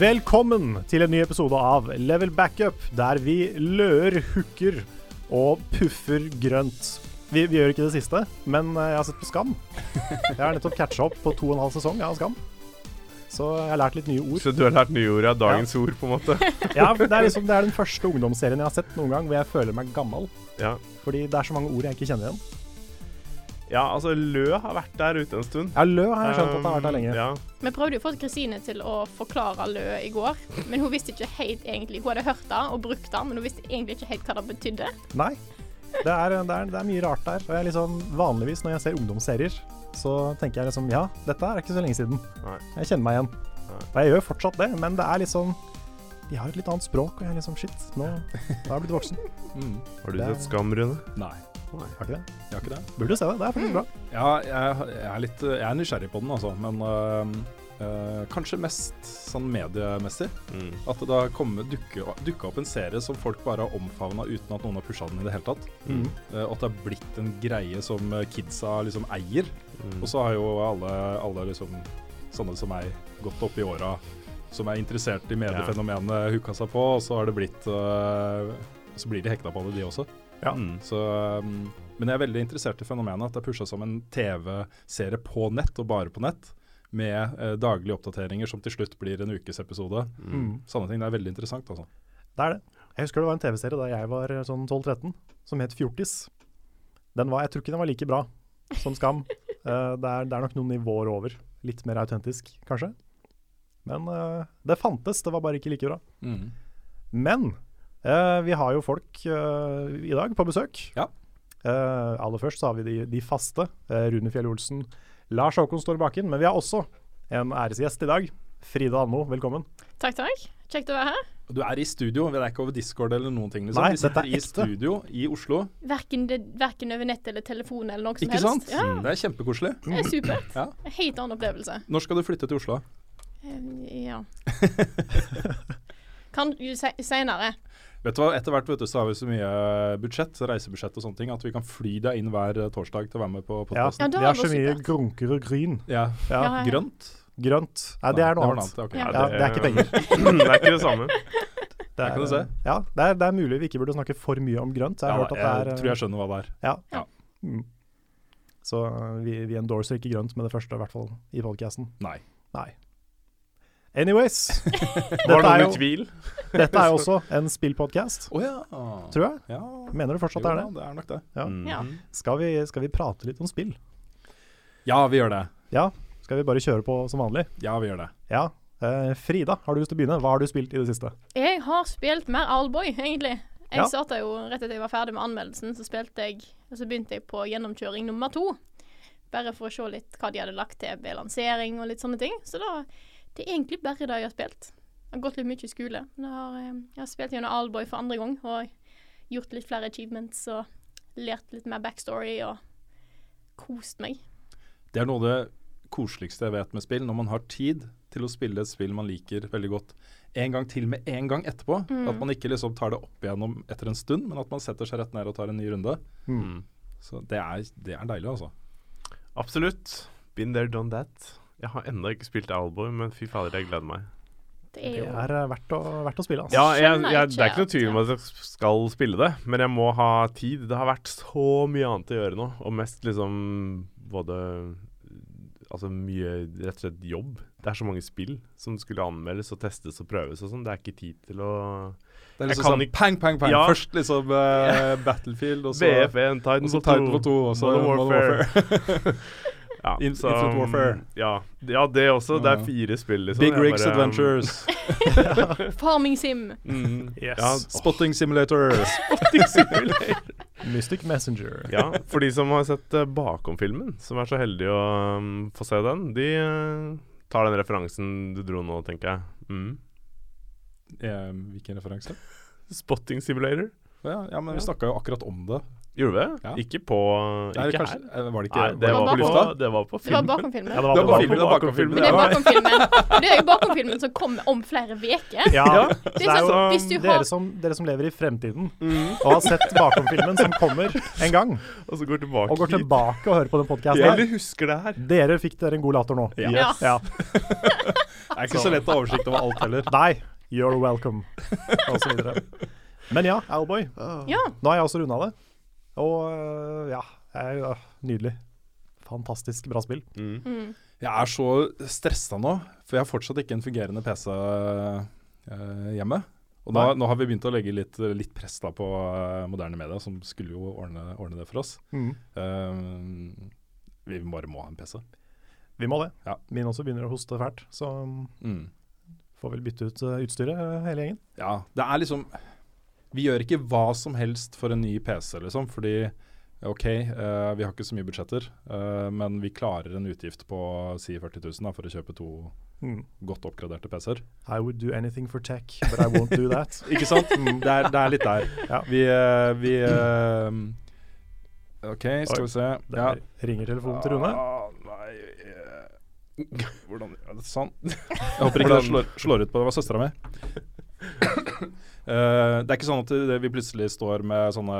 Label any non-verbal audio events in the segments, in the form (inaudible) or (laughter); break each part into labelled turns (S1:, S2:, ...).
S1: Velkommen til en ny episode av Level Backup, der vi løer, hooker og puffer grønt. Vi, vi gjør ikke det siste, men eh, jeg har sett på Skam. Jeg har nettopp catcha opp på to og en halv sesong av Skam. Så jeg har lært litt nye ord.
S2: Så du har lært nye ord av dagens ord, på en måte?
S1: Ja, det, er liksom, det er den første ungdomsserien jeg har sett noen gang hvor jeg føler meg gammel.
S2: Ja.
S1: Fordi det er så mange ord jeg ikke kjenner igjen.
S2: ja, altså Lø har vært der ute en stund. Ehm,
S1: Ja, lø har jeg skjønt at det har vært der lenge.
S2: Ja.
S3: Vi prøvde jo å få Kristine til å forklare lø i går, men hun visste ikke helt egentlig. Hun hadde hørt det og brukt det, men hun visste egentlig ikke helt hva det betydde.
S1: Nei. Det er, det, er, det er mye rart der. Og jeg er liksom, vanligvis når jeg ser ungdomsserier, så tenker jeg liksom ja, dette her er ikke så lenge siden.
S2: Nei.
S1: Jeg kjenner meg igjen.
S2: Nei.
S1: Og jeg gjør fortsatt det, men det er liksom De har et litt annet språk, og jeg er liksom shit, nå da har jeg blitt voksen.
S2: Har du
S1: Det-
S2: sett Skam, Rune?
S4: Nei,
S1: Har ikke det?
S4: jeg har Mm. ikke det.
S1: Burde du se det, det er faktisk bra.
S4: Ja, jeg, jeg, er litt, jeg er nysgjerrig på den, altså. Men øh, øh, kanskje mest sånn mediemessig.
S2: Mm.
S4: At det da kommer- dukker dukker opp en serie som folk bare har omfavna uten at noen har pusha den i det hele tatt.
S2: Mm.
S4: Eh, Og at det er blitt en greie som eh, kidsa liksom eier.
S2: Mm.
S4: Og så har jo alle, alle liksom sånne som meg gått opp i åra, som er interessert i mediefenomenet, hooka seg på, og så har det blitt øh, Så blir de hekta på det, de også.
S1: Ja.
S2: Mm.
S4: Så, um, men jeg er veldig interessert i fenomenet at det er pusha som en TV-serie på nett, og bare på nett, med eh, daglige oppdateringer som til slutt blir en ukesepisode.
S2: Mm.
S4: Sånne ting. Det er veldig interessant, altså.
S1: Det er det. Jeg husker det var en TV-serie da jeg var sånn 12-13, som het Fjortis. Den var, jeg tror ikke den var like bra som Skam. Eh, det, er, det er nok noen nivåer over. Litt mer autentisk, kanskje. Men eh, det fantes, det var bare ikke like bra. Men eh, vi har jo folk eh, i dag på besøk.
S4: Ja.
S1: Eh, aller først så har vi de, de faste. eh, Rune Fjell Olsen, Lars Håkon Storbakken. Men vi har også en æresgjest i dag. Frida Anmo, velkommen.
S3: Takk, takk. Kjekt å være her.
S4: Du er i studio, vi er ikke over Discord eller noen ting. Liksom.
S1: Nei,
S4: vi sitter
S1: dette er
S4: i
S1: ekte.
S4: studio i Oslo.
S3: Verken, det, verken over nett eller telefon eller noe som
S4: Ikke sant?
S3: helst. Ja,
S4: Det er kjempekoselig.
S3: det er supert.
S4: Ja.
S3: En Helt annen opplevelse.
S4: Når skal du flytte til Oslo?
S3: Eh, Ja. Kan du se senere.
S4: Vet du hva, Etter hvert vet du, så har vi så mye eh, budsjett, reisebudsjett og sånne ting, at vi kan fly deg inn hver eh, torsdag til å være med på podkasten.
S3: Ja, det
S1: vi
S3: var
S1: har så
S3: noe
S1: mye
S3: supert.
S1: grunker og gryn.
S4: Ja.
S1: Ja,
S3: Ja, ja.
S4: Grønt?
S1: Grønt. Nei, det er noe
S4: var
S1: annet.
S4: ok.
S3: Ja.
S1: Ja, det er ikke penger.
S2: (laughs) det er ikke det samme.
S1: Det
S4: kan du se.
S1: Ja, det er, det er mulig vi ikke burde snakke for mye om grønt. så Jeg har
S4: Ja,
S1: hørt at det er eh,
S4: jeg tror jeg skjønner hva det er.
S1: Ja.
S4: Ja.
S1: Mm. Så eh, vi, vi endorser ikke grønt med det første, i hvert fall i podkasten.
S4: Nei.
S1: Nei. Anyways.
S2: Var
S1: dette
S2: det
S1: er
S2: noen
S1: jo,
S2: tvil?
S1: dette er jo også en spillpodkast,
S4: Å ja.
S1: tror jeg.
S4: Ja.
S1: Mener du fortsatt
S4: Jo
S1: det er
S4: da,
S1: det?
S4: det er nok det.
S1: Ja.
S2: Mm.
S3: Ja.
S1: Skal vi, skal vi prate litt om spill?
S4: Ja, vi gjør det.
S1: Ja. Skal vi bare kjøre på som vanlig?
S4: Ja, vi gjør det.
S1: Ja. Eh, Frida, har du lyst til å begynne? Hva har du spilt i det siste?
S3: Jeg har spilt mer Owlboy, egentlig. Jeg
S1: Ja.
S3: starta jo rett etter jeg var ferdig med anmeldelsen, så spilte jeg Og så begynte jeg på gjennomkjøring nummer to. Bare for å se litt hva de hadde lagt til ved lansering og litt sånne ting. Så da Det er egentlig bare det jeg har spilt. Jeg har gått litt mye i skole. Men jeg har, eh, jeg har spilt gjennom Owlboy for andre gang og gjort litt flere achievements og lært litt mer backstory og kost meg.
S4: Det er noe av det koseligste jeg vet med spill, når man har tid til å spille et spill man liker veldig godt en gang til med en gang etterpå. At man ikke liksom tar det opp igjennom etter en stund, men at man setter seg rett ned og tar en ny runde.
S2: Mm.
S4: Så det er, det er deilig, altså.
S2: Absolutt. Been there, done that. Jeg har ennå ikke spilt Alboy, men fy fader, jeg gleder meg.
S3: Det er
S1: Det
S3: jo
S1: er eh, verdt å, verdt å spille, altså.
S2: Ja, jeg,
S3: skjønner
S2: jeg,
S3: ikke
S2: Det er ikke noe
S3: at-
S2: tvil om at jeg skal spille det, men jeg må ha tid. Det har vært så mye annet å gjøre nå, og mest liksom både Altså mye rett og slett jobb. Det er så mange spill som skulle anmeldes og testes og prøves og sånn. Det er ikke tid til å
S4: Det er
S2: Jeg
S4: liksom
S2: kan
S4: sånn
S2: ikke-
S4: pang, pang, pang.
S2: Ja.
S4: Først liksom (laughs) eh, Battlefield, og så
S2: BF1, Titan
S4: og
S2: på
S4: så
S2: E,
S4: Titan
S2: to.
S4: på to, og så
S2: Modern
S4: Modern
S2: Warfare.
S4: Warfare. (laughs)
S2: Ja, mm,
S4: In- Infinite Warfare.
S2: Ja, ja, det også. Det
S4: Ja.
S2: er fire spill, liksom.
S4: Big
S2: Jeg
S4: Rigs
S2: bare, um,
S4: Adventures. (laughs)
S3: Farming Sim.
S2: Mm,
S1: Yes.
S2: ja,
S4: Spotting Simulator.
S1: Mystic Messenger.
S2: (laughs) Ja, for de som har sett eh, Bakom-filmen, som er så heldige å um, få se den, de eh, tar den referansen du dro nå, tenker jeg. Mm.
S4: Eh, Hvilken referanse?
S2: Spotting Simulator.
S4: Ja, ja men
S2: Ja.
S4: vi snakka jo akkurat om det.
S2: Gjorde vi det?
S4: Ja.
S2: Ikke på
S4: Nei,
S2: Ikke
S4: kanskje,
S2: her.
S4: eh, var det ikke
S2: Nei, det
S3: var
S2: var,
S3: på
S2: på,
S4: lufta?
S2: det var på
S3: Det var
S2: filmen.
S3: bakom filmen.
S1: Ja,
S4: Det var
S1: på
S4: filmen, det var
S2: bakom
S4: filmen.
S3: Men det er
S4: Ja.
S3: bakom filmen. Og det er jo bakom filmen som kommer om flere uker.
S1: Ja,
S3: Det
S1: det
S3: er
S1: er jo
S3: sånn, hvis du har
S1: dere som, dere som lever i fremtiden og har sett Bakom-filmen som kommer en gang,
S2: Mm. Og så går tilbake,
S1: og går
S2: hit.
S1: tilbake og hører på den podkasten
S2: Eller husker det her.
S1: Dere fikk dere en god later nå.
S4: Ja.
S3: Ja.
S1: Ja.
S4: er ikke så lett å ha oversikt over alt heller.
S1: Nei, you're welcome, og så videre. Men ja, Owlboy.
S3: Ja.
S1: Nå har jeg også runda det. Og øh, ja, jeg, ja, nydelig. Fantastisk bra spill.
S2: Mm.
S3: Mm.
S4: Jeg er så stressa nå, for jeg har fortsatt ikke en fungerende PC eh, hjemme. Og nå,
S1: Nei.
S4: nå har vi begynt å legge litt, litt press da på eh, moderne media, som skulle jo ordne, ordne det for oss. Eh, vi bare må ha en PC.
S1: Vi må det.
S4: Ja.
S1: Min også begynner å hoste fælt, så um, får vel bytte ut øh, utstyret, øh, hele gjengen.
S4: Ja, det er liksom Vi gjør ikke hva som helst for en ny PC, liksom, fordi OK, eh, vi har ikke så mye budsjetter, eh, men vi klarer en utgift på si 40 000 da, for å kjøpe to
S1: Mm.
S4: godt oppgraderte PC-er.
S1: I would do anything for tech, but I won't do
S4: (laughs)
S1: that.
S4: Ikke sant? Mm, Det er, det er litt der.
S1: Ja.
S4: Vi, eh, vi eh, OK, skal
S1: Oi,
S4: vi se.
S1: Der ringer telefonen til Rune.
S4: Ah, nei eh, Hvordan ja, det er Sånn. (laughs) Jeg håper ikke det
S2: Hvordan-
S4: slår, slår ut på det var søstera mi. (coughs) Eh, det er ikke sånn at det, vi plutselig står med sånne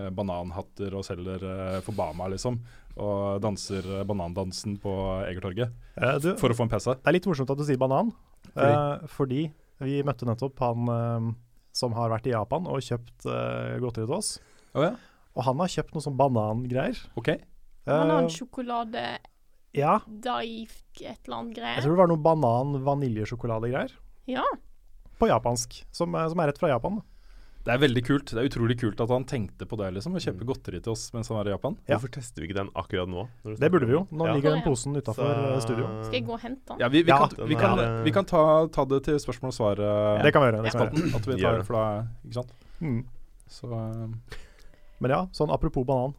S4: eh, bananhatter og selger eh, for Bama, liksom. Og danser eh, banandansen på Egertorget
S1: Eh, du,
S4: for å få en PC.
S1: Det er litt morsomt at du sier banan,
S4: Fordi?
S1: eh, fordi vi møtte nettopp han eh, som har vært i Japan og kjøpt eh, godteri til oss.
S4: Å ja.
S1: Og han har kjøpt noe sånn banangreier.
S4: OK.
S1: Eh,
S3: Banansjokolade
S1: ja,
S3: Daif et eller annet
S1: jeg
S3: greier.
S1: tror det var noe banan-vaniljesjokoladegreier
S3: Ja.
S1: på japansk, som, eh, som er rett fra Japan.
S4: Det er veldig kult. Det er utrolig kult at han tenkte på det, liksom. Å kjøpe godteri til oss mens han var i Japan.
S1: Ja.
S2: Hvorfor tester vi ikke den akkurat nå? når du
S1: Det burde vi jo.
S2: snakker om
S1: Nå
S2: Ja.
S1: ligger den
S3: Ja, ja.
S1: posen utafor
S2: Så-
S1: studio.
S3: Skal jeg gå og hente den?
S4: Ja, vi, vi,
S1: Ja,
S4: kan,
S2: den
S4: vi, kan,
S2: er, eh,
S4: vi kan ta, ta det til spørsmål og svar. eh,
S1: Det kan vi gjøre. Det kan vi gjøre.
S4: At vi
S2: Gjør
S4: tar
S2: det.
S4: det for da Ikke sant?
S1: Mm.
S4: Så eh,
S1: Men ja, sånn apropos banan.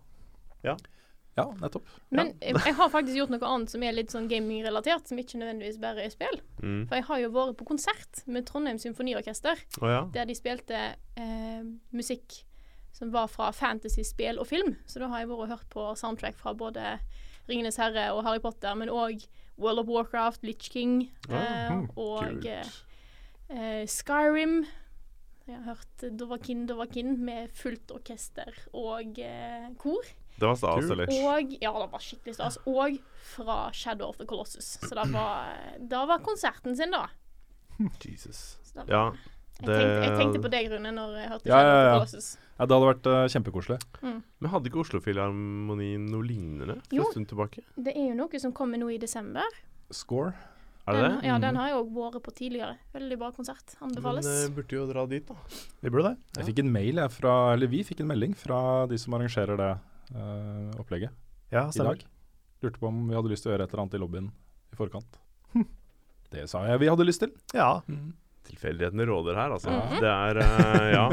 S4: Ja, nettopp.
S3: Men jeg, jeg har faktisk gjort noe annet som er litt sånn gaming-relatert, som ikke nødvendigvis bare er spill.
S2: Mm.
S3: For jeg har jo vært på konsert med Trondheim Symfoniorkester,
S2: Å ja.
S3: der de spilte eh, musikk som var fra fantasy-spill og film. Så da har jeg vært og hørt på soundtrack fra både Ringenes herre og Harry Potter, men òg World of Warcraft, Litch King eh,
S1: Ah,
S3: og
S2: Kult.
S3: eh, eh, Skyrim. Jeg har hørt Dovakin Dovakin med fullt orkester og eh, kor.
S2: Det var stas, eller?
S3: Og ja, det var skikkelig stas. Og fra Shadow of the Colossus. Så det var, da var konserten sin, da.
S2: Jesus.
S3: Så da-
S2: Ja.
S3: jeg,
S2: det-
S3: tenkte, jeg tenkte på deg, Rune, når jeg hørte
S4: Ja,
S3: Shadow
S4: ja,
S3: of
S4: ja.
S3: the Colossus.
S4: Ja, det hadde vært eh, kjempekoselig.
S2: Men hadde ikke Oslofilharmonien noe lignende for
S3: Jo.
S2: en stund tilbake?
S3: Det er jo noe som kommer nå i desember.
S4: Score.
S2: Er det
S3: den,
S2: det? Mm.
S3: Ja, den har jeg òg vært på tidligere. Veldig bra konsert. Anbefales.
S2: Men eh, burde jo dra dit, da.
S1: Vi burde det.
S4: Jeg fikk en mail jeg, fra, eller vi fikk en melding fra de som arrangerer det eh, opplegget
S1: Ja,
S4: i
S1: stemmer.
S4: dag. Lurte på om vi hadde lyst til å gjøre et eller annet i lobbyen i forkant.
S1: Hm.
S4: Det sa jeg vi hadde lyst til.
S1: Ja,
S2: Tilfeldighetene råder her, altså.
S4: Mhm.
S2: Det er eh, Ja.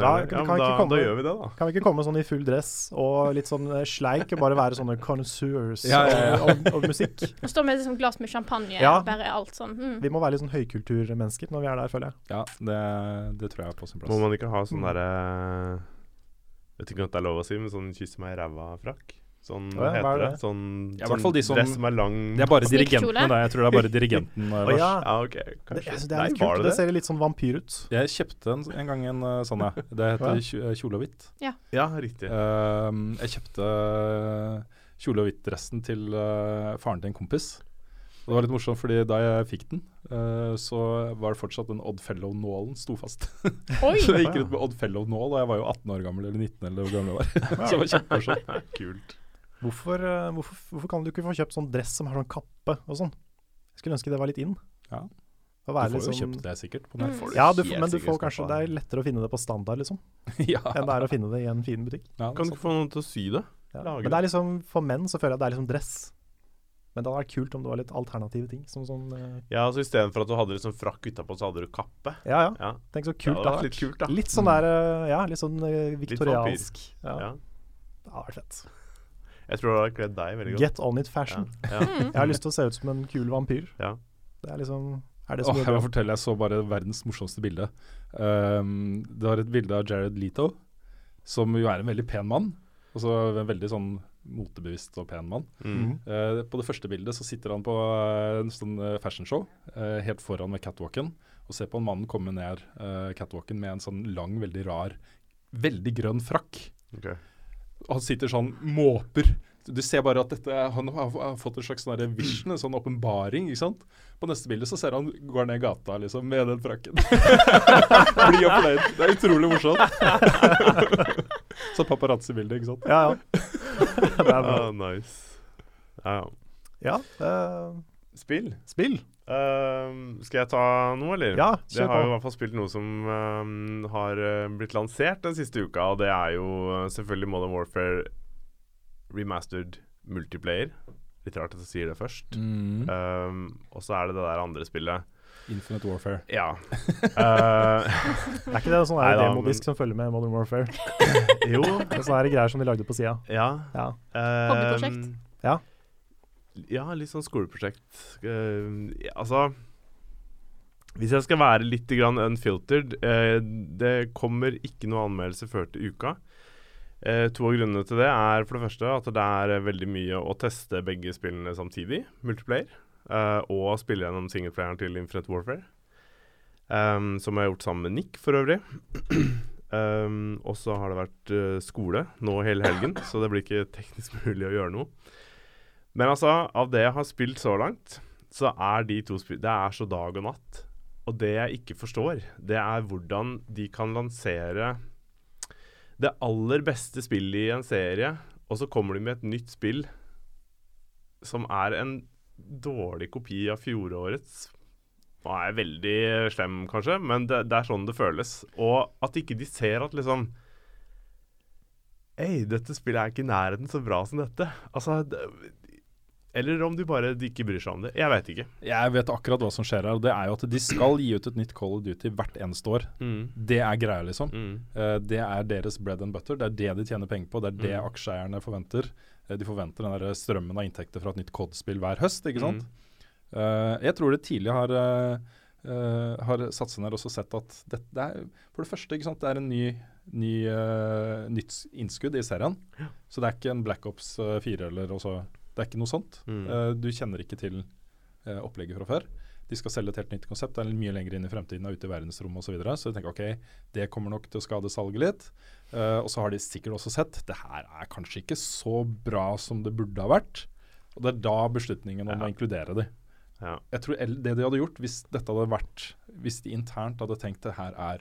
S1: (laughs) Da-
S2: Ja,
S1: vi kan ikke
S2: men da,
S1: komme-
S2: da gjør vi det, da.
S1: Kan vi ikke komme sånn i full dress og litt sånn eh, sleik og bare være sånne connoisseurs
S4: Ja, ja, ja.
S1: Om, om musikk?
S3: Og står med et sånt glass med champagne
S1: Ja.
S3: og bare alt sånn. Mm.
S1: Vi må være litt sånn høykulturmennesker når vi er der, føler jeg.
S4: Ja, det, det tror jeg er på sin
S2: Må
S4: plass.
S2: man ikke ha sånn
S1: Mm.
S2: derre Vet ikke om det er lov å si, men sånn kysse meg i ræva-frakk? Sånn
S1: Å ja, hva
S2: heter
S1: er
S2: det.
S1: det?
S2: Sånn,
S4: Ja, i hvert
S2: sånn
S4: fall de som-
S2: dress som er lang
S4: Det er bare
S3: Snikkjole.
S4: dirigenten det. Jeg tror det
S1: (laughs)
S4: er bare dirigenten. eh, Lars.
S1: ja.
S2: Ja, OK.
S1: Det,
S2: Kanskje.
S1: altså, det er litt
S2: Nei, var
S1: kult. Det,
S2: det det?
S1: ser litt sånn vampyr ut.
S4: Jeg kjøpte en, en gang en eh, sånn, ja. Det
S1: Ja.
S4: heter kj- eh, kjole og hvitt.
S2: Ja, riktig.
S4: Ehm, jeg kjøpte eh, kjole og hvitt-dressen til eh, faren til en kompis. Og det var litt morsomt, fordi da jeg fikk den, eh, så var det fortsatt den Odd Fellow-nålen sto fast. (laughs)
S3: Oi!
S4: så jeg gikk rundt med Odd Fellow-nål, og jeg var jo 18 år gammel, eller 19 eller hvor gammel jeg var. (laughs) så det var kjempemorsomt.
S2: (laughs) Kult.
S1: Hvorfor, eh, hvorfor, hvorfor kan du ikke få kjøpt sånn dress som har sånn kappe og sånn? Jeg skulle ønske det var litt in.
S4: Ja.
S1: Å
S4: Du
S1: være
S4: får
S1: litt
S4: jo
S1: sånn-
S4: kjøpt det sikkert på
S3: Mm.
S4: nett.
S2: Får
S1: Ja, du,
S2: helt
S1: får- men du
S2: sikkert
S1: får
S2: skaffa
S1: kanskje, det
S2: deg.
S1: er lettere å finne det på standard,
S2: (laughs)
S1: liksom,
S4: (laughs) ja.
S1: enn det er å finne det i en fin butikk.
S4: Ja,
S2: Kan du
S4: sant.
S2: ikke få noen til å sy det?
S1: Ja.
S2: Lager
S1: Men det er liksom, for menn så føler jeg at det er liksom dress. Men det hadde vært kult om det var litt alternative ting. Som sånn eh,
S2: Ja, altså Istedenfor at du hadde liksom frakk utapå, så hadde du kappe.
S1: Ja ja,
S2: Ja,
S1: tenk så
S2: det
S1: kult
S2: hadde
S1: det hadde
S2: vært litt kult, da.
S1: vært. Litt sånn der eh, Ja, litt sånn eh, viktoriansk. Ja.
S2: Ja.
S1: Det hadde vært fett.
S2: Jeg tror det hadde kledd deg veldig godt.
S1: Get on it fashion.
S2: Ja. Ja.
S1: Jeg har lyst til å se ut som en kul vampyr.
S2: Ja.
S1: Det er liksom Er det
S4: Åh,
S1: som
S4: jeg
S1: gjør
S4: må
S1: det?
S4: fortelle, jeg så bare verdens morsomste bilde. Ehm, det var et bilde av Jared Leto, som jo er en veldig pen mann. Altså en veldig sånn motebevisst og pen mann.
S1: (laughs)
S2: Mm.
S4: Eh, på det første bildet så sitter han på eh, en sånn eh, fashion show eh, helt foran med catwalken, og ser på en mann komme ned eh, catwalken med en sånn lang, veldig rar, veldig grønn frakk.
S2: Ok.
S4: Og han sitter sånn, måper Du ser bare at dette, er- han har har fått en slags sånn der vision, en sånn åpenbaring. ikke sant? På neste bilde så ser han går ned gata liksom, med den frakken. (laughs) Bli oppløyd. Det er utrolig morsomt. (laughs) så paparazzi-bilde, ikke sant.
S1: Ja, (laughs) ja. det er bra.
S2: Ah, nice. Ja, ja.
S1: Ja, eh,
S2: Spill.
S1: spill.
S2: Ehm, skal jeg ta noe, eller?
S1: Ja,
S2: Jeg
S1: kjør
S2: har jo i
S1: på.
S2: hvert fall spilt noe som ehm, har eh, blitt lansert den siste uka, og det er jo eh, selvfølgelig Modern Warfare remastered multiplayer. Litt rart at jeg sier det først.
S1: Mm.
S2: Ehm, og så er det det der andre spillet.
S4: Infinite Warfare.
S2: Ja.
S1: (laughs)
S2: Eh, (laughs)
S1: Er ikke det sånn
S2: Nei
S1: der
S2: da,
S1: demodisk som følger med Modern Warfare?
S2: jo.
S1: Det er Sånne her greier som de lagde på sida.
S2: Ja.
S1: Ja.
S2: ehm,
S3: Hobbyprosjekt.
S1: Ja.
S2: Ja, litt sånn skoleprosjekt. Ehm, ja, altså Hvis jeg skal være litt grann unfiltered eh, Det kommer ikke noe anmeldelse før til uka. Eh, to av grunnene til det er for det første at det er eh, veldig mye å teste begge spillene samtidig, multiplayer, eh, og spille gjennom singleplayeren til Infinite Warfare. ehm, som jeg har gjort sammen med Nick, for øvrig. um, og så har det vært eh, skole nå hele helgen, så det blir ikke teknisk (laughs) mulig å gjøre noe. Men altså, av det jeg har spilt så langt, så er de to spill... Det er så dag og natt. Og det jeg ikke forstår, det er hvordan de kan lansere det aller beste spillet i en serie, og så kommer de med et nytt spill som er en dårlig kopi av fjorårets. Nå er jeg veldig slem, kanskje, men det, det er sånn det føles. Og at ikke de ser at liksom Ei, dette spillet er ikke i nærheten så bra som dette. Altså det, Eller om de bare de ikke bryr seg om det. Jeg veit ikke.
S4: Jeg vet akkurat hva som skjer her. og Det er jo at de skal gi ut et nytt Call of Duty hvert eneste år. Det er greia, liksom.
S2: Mm.
S4: Eh, Det er deres bread and butter. Det er det de tjener penger på. Det er det
S2: Mm.
S4: aksjeeierne forventer. Eh, De forventer den der strømmen av inntekter fra et nytt kodespill hver høst,
S2: Mm.
S4: ikke sant. Eh, jeg tror det tidlig har, eh, eh, har satt seg ned og så sett at dette det er For det første, ikke sant, det er en ny, ny eh, nytt innskudd i serien. Så det er ikke en Black Ops eh, 4 eller også, Det er ikke noe sånt.
S2: Mm.
S4: Eh, du kjenner ikke til eh, opplegget fra før. De skal selge et helt nytt konsept. Det er mye lenger inn i fremtiden og ute i verdensrommet osv. Så, videre. så jeg tenker ok, det kommer nok til å skade salget litt. Eh, og så har de sikkert også sett det her er kanskje ikke så bra som det burde ha vært. Og det er da beslutningen om
S2: Ja.
S4: å inkludere de.
S2: Ja.
S4: Jeg tror el- det de hadde gjort hvis dette hadde vært Hvis de internt hadde tenkt det her er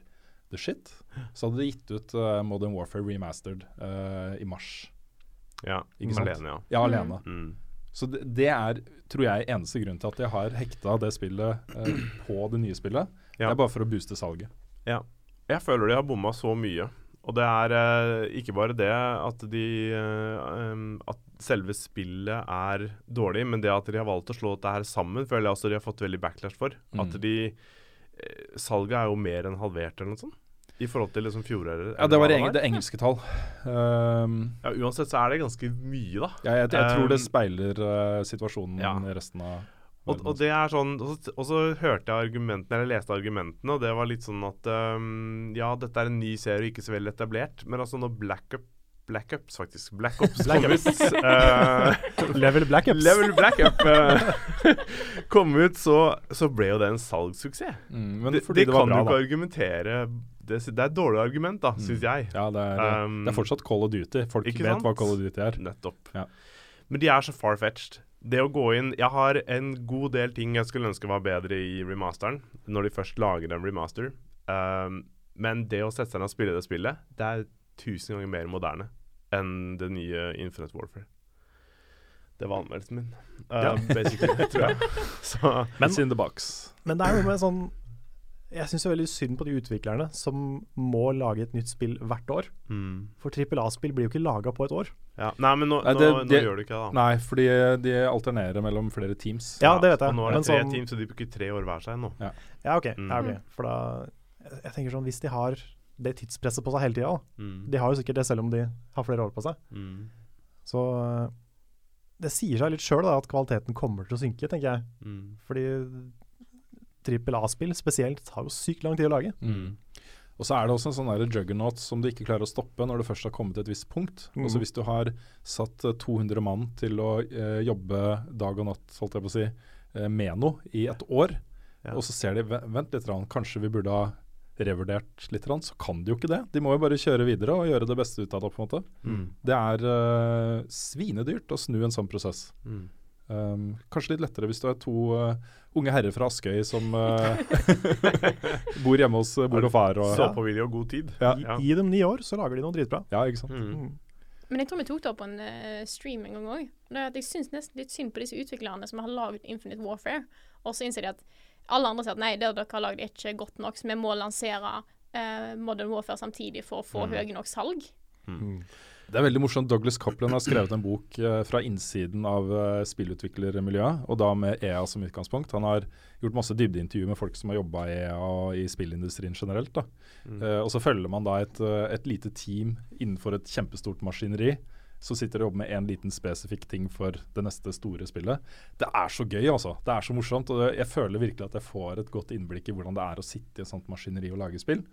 S4: the shit, så hadde de gitt ut eh, Modern Warfare Remastered eh, i mars.
S2: Ja,
S4: Ikke sant?
S2: Malene, ja.
S4: Ja,
S3: Mm.
S4: alene.
S2: Mm.
S4: Så det, det er, tror jeg, eneste grunnen til at jeg har hekta det spillet eh, på det nye spillet. Det
S2: Ja.
S4: er bare for å booste salget.
S2: Jeg føler de har bomma så mye. Og det er eh, ikke bare det at de eh, em, At selve spillet er dårlig, men det at de har valgt å slå dette her sammen, føler jeg også de har fått veldig backlash for. At
S4: Mm.
S2: de eh, Salget er jo mer enn halvert eller noe sånt. I forhold til liksom fjoråret.
S4: Ja,
S2: eller
S4: det
S2: hva
S4: var eng det engelske tall. Um,
S2: Ja, uansett så er det ganske mye, da.
S4: ja, jeg, jeg
S2: Um,
S4: tror det speiler eh, situasjonen
S2: ja.
S4: i resten av
S2: Og, og det er sånn, og så, og så hørte jeg argumentene, eller leste argumentene, og det var litt sånn at øhm, Ja, dette er en ny serie og ikke så veldig etablert, men altså når Black Up Black Ups, faktisk. Black Ops
S1: Black
S2: kom ut eh,
S4: (laughs)
S1: Level blackups.
S2: Level Black Up eh, (laughs) kom ut, så, så ble jo det en salgssuksess.
S4: mm, Men
S2: Det,
S4: fordi
S2: det
S4: det, var
S2: kan
S4: bra,
S2: du
S4: da. Mm.
S2: ikke argumentere Det, det er et dårlig argument, da, syns jeg.
S4: Ja, det er, eh,
S2: Um,
S4: det er fortsatt Call of Duty. Folk
S2: ikke
S4: vet
S2: sant?
S4: hva Call of Duty er.
S2: Nettopp.
S4: Ja.
S2: Men de er så far-fetched. Det å gå inn Jeg har en god del ting jeg skulle ønske var bedre i remasteren, når de først lager en remaster. Um, men det å sette seg ned og spille det spillet, det er tusen ganger mer moderne enn det nye Infinite Warfare. Det var anmeldelsen min, uh,
S1: Ja. (laughs)
S2: basically, tror jeg. Så
S1: Men-
S4: It's in the box.
S1: Men det er noe med sånn Jeg syns veldig synd på de utviklerne som må lage et nytt spill hvert år.
S2: mm.
S1: For trippel A-spill blir jo ikke laga på et år.
S2: ja. Nei, men nå,
S4: Nei,
S2: nå,
S4: det-
S2: nå
S4: det-
S2: gjør du ikke det, da.
S4: Nei, fordi de alternerer mellom flere teams.
S1: Ja, det vet jeg.
S2: Og nå er
S1: Men
S2: det tre
S1: sånn-
S2: team, så de bruker tre år hver seg nå.
S1: Ja, OK. Ja, ok.
S3: Mm.
S1: For da jeg- Jeg tenker sånn, hvis de har det tidspresset på seg hele tida,
S2: Mm.
S1: de har jo sikkert det selv om de har flere år på seg,
S2: Mm.
S1: så eh, Det sier seg litt sjøl at kvaliteten kommer til å synke, tenker jeg.
S2: Mm.
S1: Fordi trippel A-spill spesielt tar jo sykt lang tid å lage.
S4: Mm. Og så er det også en sånn der juggernaut som du ikke klarer å stoppe når det først har kommet til et visst punkt.
S1: Mhm.
S4: Altså hvis du har satt eh, 200 mann til å eh, jobbe dag og natt, holdt jeg på å si, eh, med noe i et år,
S2: Ja.
S4: og så ser de "Ve- Vent litt, rann, kanskje vi burde ha revurdert litt, grann, så kan de jo ikke det. De må jo bare kjøre videre og gjøre det beste ut av det. på en måte.
S2: Mm.
S4: Det er eh, svinedyrt å snu en sånn prosess.
S2: Mm.
S4: Um, kanskje litt lettere hvis du er to eh, unge herrer fra Askøy som eh, (laughs) bor hjemme hos eh, mor og far. Og,
S2: Så på video, god tid.
S4: Ja.
S1: Gi- Gi dem ni år, så lager de noe dritbra.
S4: Ja, ikke sant?
S2: Mm.
S1: Mm.
S3: Men jeg tror vi tok det opp på en eh, stream en gang òg. Jeg syns nesten litt synd på disse utviklerne som har lagd Infinite Warfare. Og så innser de at alle andre sier at nei, det dere har lagd er ikke godt nok, så vi må lansere eh, Modern Warfare samtidig for å få
S2: Mm.
S3: høye nok salg.
S4: Det er veldig morsomt. Douglas Coupland har skrevet en bok eh, fra innsiden av eh, spillutviklermiljøet, og da med EA som utgangspunkt. Han har gjort masse dybdeintervju med folk som har jobba i EA og i spillindustrien generelt. da.
S2: Mm.
S4: Eh, og så følger man da et, eh, et lite team innenfor et kjempestort maskineri. Så sitter de og jobber med én liten spesifikk ting for det neste store spillet. Det er så gøy, altså. Det er så morsomt. Og det- jeg føler virkelig at jeg får et godt innblikk i hvordan det er å sitte i et sånt maskineri og lage spill.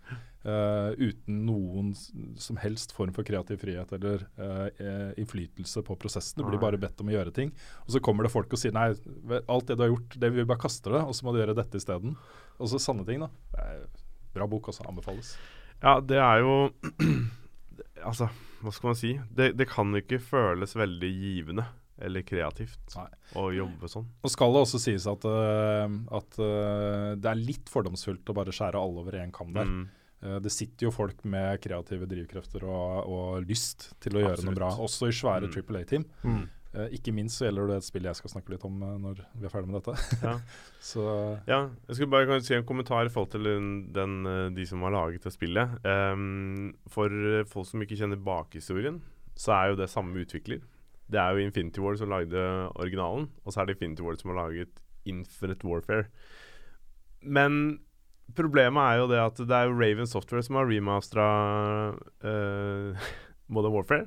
S4: eh, uten noen s- som helst form for kreativ frihet eller eh, eh, innflytelse på prosessen. Du blir
S2: Nei.
S4: bare bedt om å gjøre ting. Og så kommer det folk og sier nei, ve- alt det du har gjort, det vi bare kaster det, og så må du gjøre dette isteden. Og så sanne ting, da. Det er Bra bok også, anbefales.
S2: Ja, det er jo (clears throat) Altså, hva skal man si? Det, det kan ikke føles veldig givende eller kreativt
S4: Nei.
S2: å jobbe sånn.
S4: Og skal det også sies at, øh, at øh, det er litt fordomsfullt å bare skjære alle over én kam der.
S2: Mm.
S4: Eh, det sitter jo folk med kreative drivkrefter og, og lyst til å gjøre
S2: Absolutt.
S4: noe bra, også i svære
S2: Mm.
S4: Triple A-team.
S1: Mm.
S4: ikke minst så gjelder det et spill jeg skal snakke litt om eh, når vi er ferdig med dette.
S2: Ja.
S4: (laughs) så
S2: Ja, jeg skulle bare kan si en kommentar i forhold til den, den, eh, de som har laget det spillet. Ehm, for eh, folk som ikke kjenner bakhistorien, så er jo det samme utvikler. Det er jo Infinity Ward som lagde originalen, og så er det Infinity Ward som har laget Infinite Warfare. Men problemet er jo det at det er jo Raven Software som har remastera eh, (laughs) Modern Warfare.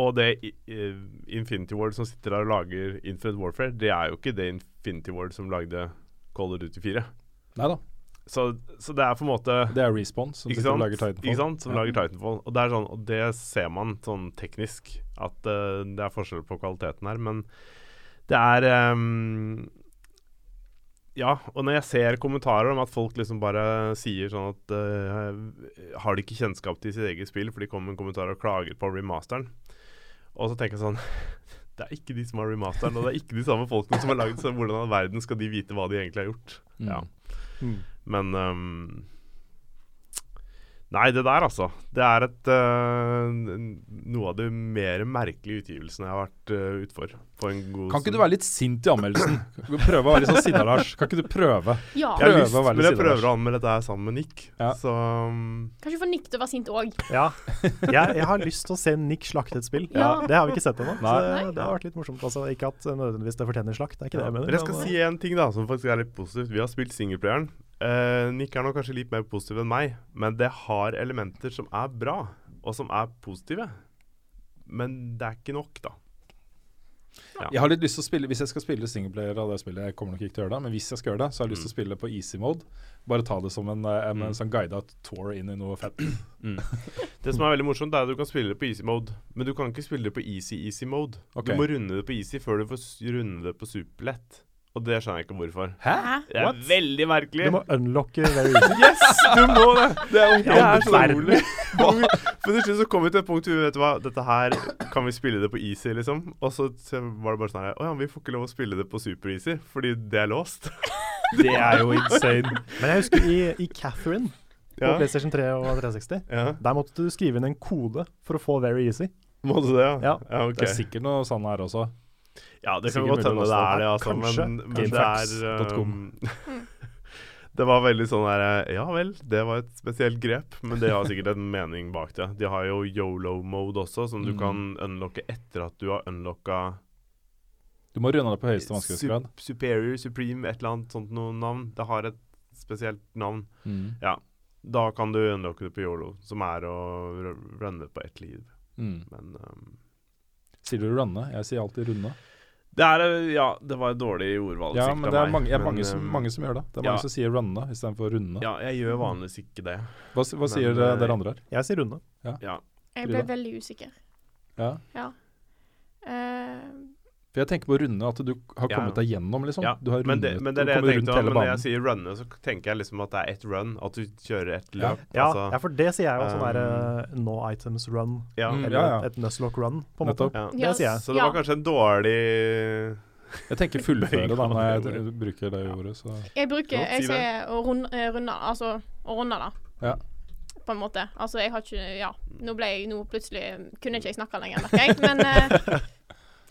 S2: Og det i- eh, Infinity Ward som sitter der og lager Infinite Warfare, det er jo ikke det Infinity Ward som lagde Call of Duty 4.
S4: Nei da,
S2: Så, så det er på en måte
S4: det er Response som
S2: Ikke
S4: sitter og
S2: sant?
S4: lager Titanfall.
S2: Ikke sant? Som
S4: Ja.
S2: lager Titanfall. Og det, er sånn, og det ser man sånn teknisk, at eh, det er forskjell på kvaliteten her, men det er ehm, Ja, og når jeg ser kommentarer om at folk liksom bare sier sånn at eh, Har de ikke kjennskap til sitt eget spill, for de kommer med en kommentar og klager på remasteren. Og så tenker jeg sånn (laughs) Det er ikke de som har remasteren, og det er ikke de samme folkene som har lagd så hvordan i all verden skal de vite hva de egentlig har gjort?
S4: Mm.
S2: Ja.
S1: Mm.
S2: Men ehm, Nei, det der, altså. Det er et eh, n- noe av de mer merkelige utgivelsene jeg har vært uh, utfor. På en god
S4: Kan ikke du være litt sint i anmeldelsen? Prøve å være litt sånn sinna, Lars. Kan ikke du prøve?
S3: Ja.
S2: Jeg har lyst,
S4: Prøve å være
S2: men jeg
S4: litt
S2: prøver å anmelde dette her sammen med Nick.
S4: Ja.
S2: Så
S4: (laughs)
S2: um,
S3: Kanskje få Nick til å være sint òg.
S1: Ja. Jeg, jeg har lyst til å se Nick slakte et spill.
S3: Ja.
S1: Det har vi ikke sett ennå. Så
S4: Nei.
S1: det- det har vært litt morsomt. Altså, ikke at eh, nødvendigvis det fortjener slakt, det er ikke det jeg mener.
S2: Men jeg skal
S1: men,
S2: si en ting da som faktisk er litt positivt. Vi har spilt singleplayeren. Eh, Nick er nok kanskje litt mer positiv enn meg, men det har elementer som er bra, og som er positive. Men det er ikke nok, da.
S4: Jeg har litt lyst til å spille, Hvis jeg skal spille singleplayer av det spillet, jeg kommer nok ikke til å gjøre det, men hvis jeg skal gjøre det, så har jeg lyst
S2: Mm.
S4: til å spille på easy mode. Bare ta det som en, eh, en, en sånn guida tour inn i noe fett.
S2: Det som er veldig morsomt, er at du kan spille det på easy mode, men du kan ikke spille det på easy-easy mode.
S4: Ok.
S2: Du må runde det på easy før du får s- runde det på superlett. Og det skjønner jeg ikke hvorfor.
S4: Hæ?
S2: Det er
S1: What?
S2: veldig merkelig.
S1: eh, Du må unlocke very easy.
S2: Yes, du må
S4: (laughs)
S2: det! Det er, det
S1: Ja,
S2: er så
S1: verden.
S2: rolig. For til slutt så kom vi til et punkt hvor vi vet du hva, dette her kan vi spille det på easy, liksom. Og så t- var det bare sånn her Å ja, vi får ikke lov å spille det på super-easy fordi det er låst.
S4: Det er jo insane.
S1: Men jeg husker i, i Catherine på
S2: Ja.
S1: PlayStation 3 og 360,
S2: Ja,
S1: der måtte du skrive inn en kode for å få very easy.
S2: Må du det, ja?
S1: Ja.
S2: ja ok.
S4: Det er sikkert noe sånn her også.
S2: Ja, det kan godt
S4: Sikkert mulig
S2: hende
S4: å
S2: det
S4: laste
S2: er det,
S1: opp.
S2: altså.
S1: Kanskje.
S2: Men, men det er
S4: Gamefax.com.
S2: um, (laughs) Det var veldig sånn der Ja vel, det var et spesielt grep, men det har sikkert en mening bak det. De har jo yolo-mode også, som du
S4: Mm.
S2: kan unlocke etter at du har unlocka
S4: Du må runde det på høyeste vanskelighetsgrad.
S2: sup Superior, Supreme, et eller annet sånt noe navn. Det har et spesielt navn.
S4: Mm.
S2: Da kan du unlocke det på yolo, som er å ru- runne på ett liv.
S4: Mm.
S2: Men um,
S4: Sier du runde? Jeg sier alltid runde.
S2: det er eh, Ja, det var et dårlig ordvalg
S4: Ja,
S2: sikkert
S4: men
S2: av
S4: det er
S2: meg,
S4: mange, jeg er
S2: men,
S4: mange, som,
S2: um,
S4: mange som gjør det. Det er
S2: ja.
S4: mange som sier runde istedenfor runde.
S2: Ja, jeg gjør vanligvis ikke det.
S4: Hva, s- hva sier
S2: Men,
S4: eh,
S2: eh,
S4: dere andre?
S1: Jeg sier runde.
S2: Ja.
S3: Jeg ble
S4: Frida?
S3: veldig usikker.
S4: Ja.
S3: Ja. Eh,
S4: For jeg tenker på å runde, at du har
S2: Ja,
S4: kommet deg gjennom, liksom.
S2: Ja,
S4: Du har
S2: men, det,
S4: rundet-
S2: men det er
S4: du
S2: det jeg
S4: kommer
S2: tenkte også,
S4: rundt hele
S2: Men når jeg
S4: banen.
S2: sier runne, så tenker jeg liksom at det er ett run. At du kjører ett
S4: Ja.
S2: løp.
S1: Ja,
S2: altså.
S1: ja, for det sier jeg jo. Sånn
S2: um,
S1: derre no items run,
S2: ja.
S4: Mm,
S1: eller
S4: ja, ja.
S1: et Nuzlocke run, på en måte.
S4: Nettopp.
S2: Ja.
S1: Det sier jeg.
S2: Så det var
S3: ja.
S2: kanskje en dårlig
S4: Jeg tenker fullføre,
S2: (laughs)
S4: da,
S2: Bøying
S4: når
S2: av
S4: jeg
S2: det
S4: d- bruker det ordet. Så.
S3: Jeg bruker
S2: Flott,
S3: Jeg
S2: Sive.
S3: sier å runde, eh, runde altså å runde, da.
S4: Ja.
S3: På en måte. Altså, jeg har ikke Ja, nå ble jeg nå plutselig Kunne ikke jeg snakke lenger, merker jeg. Men eh,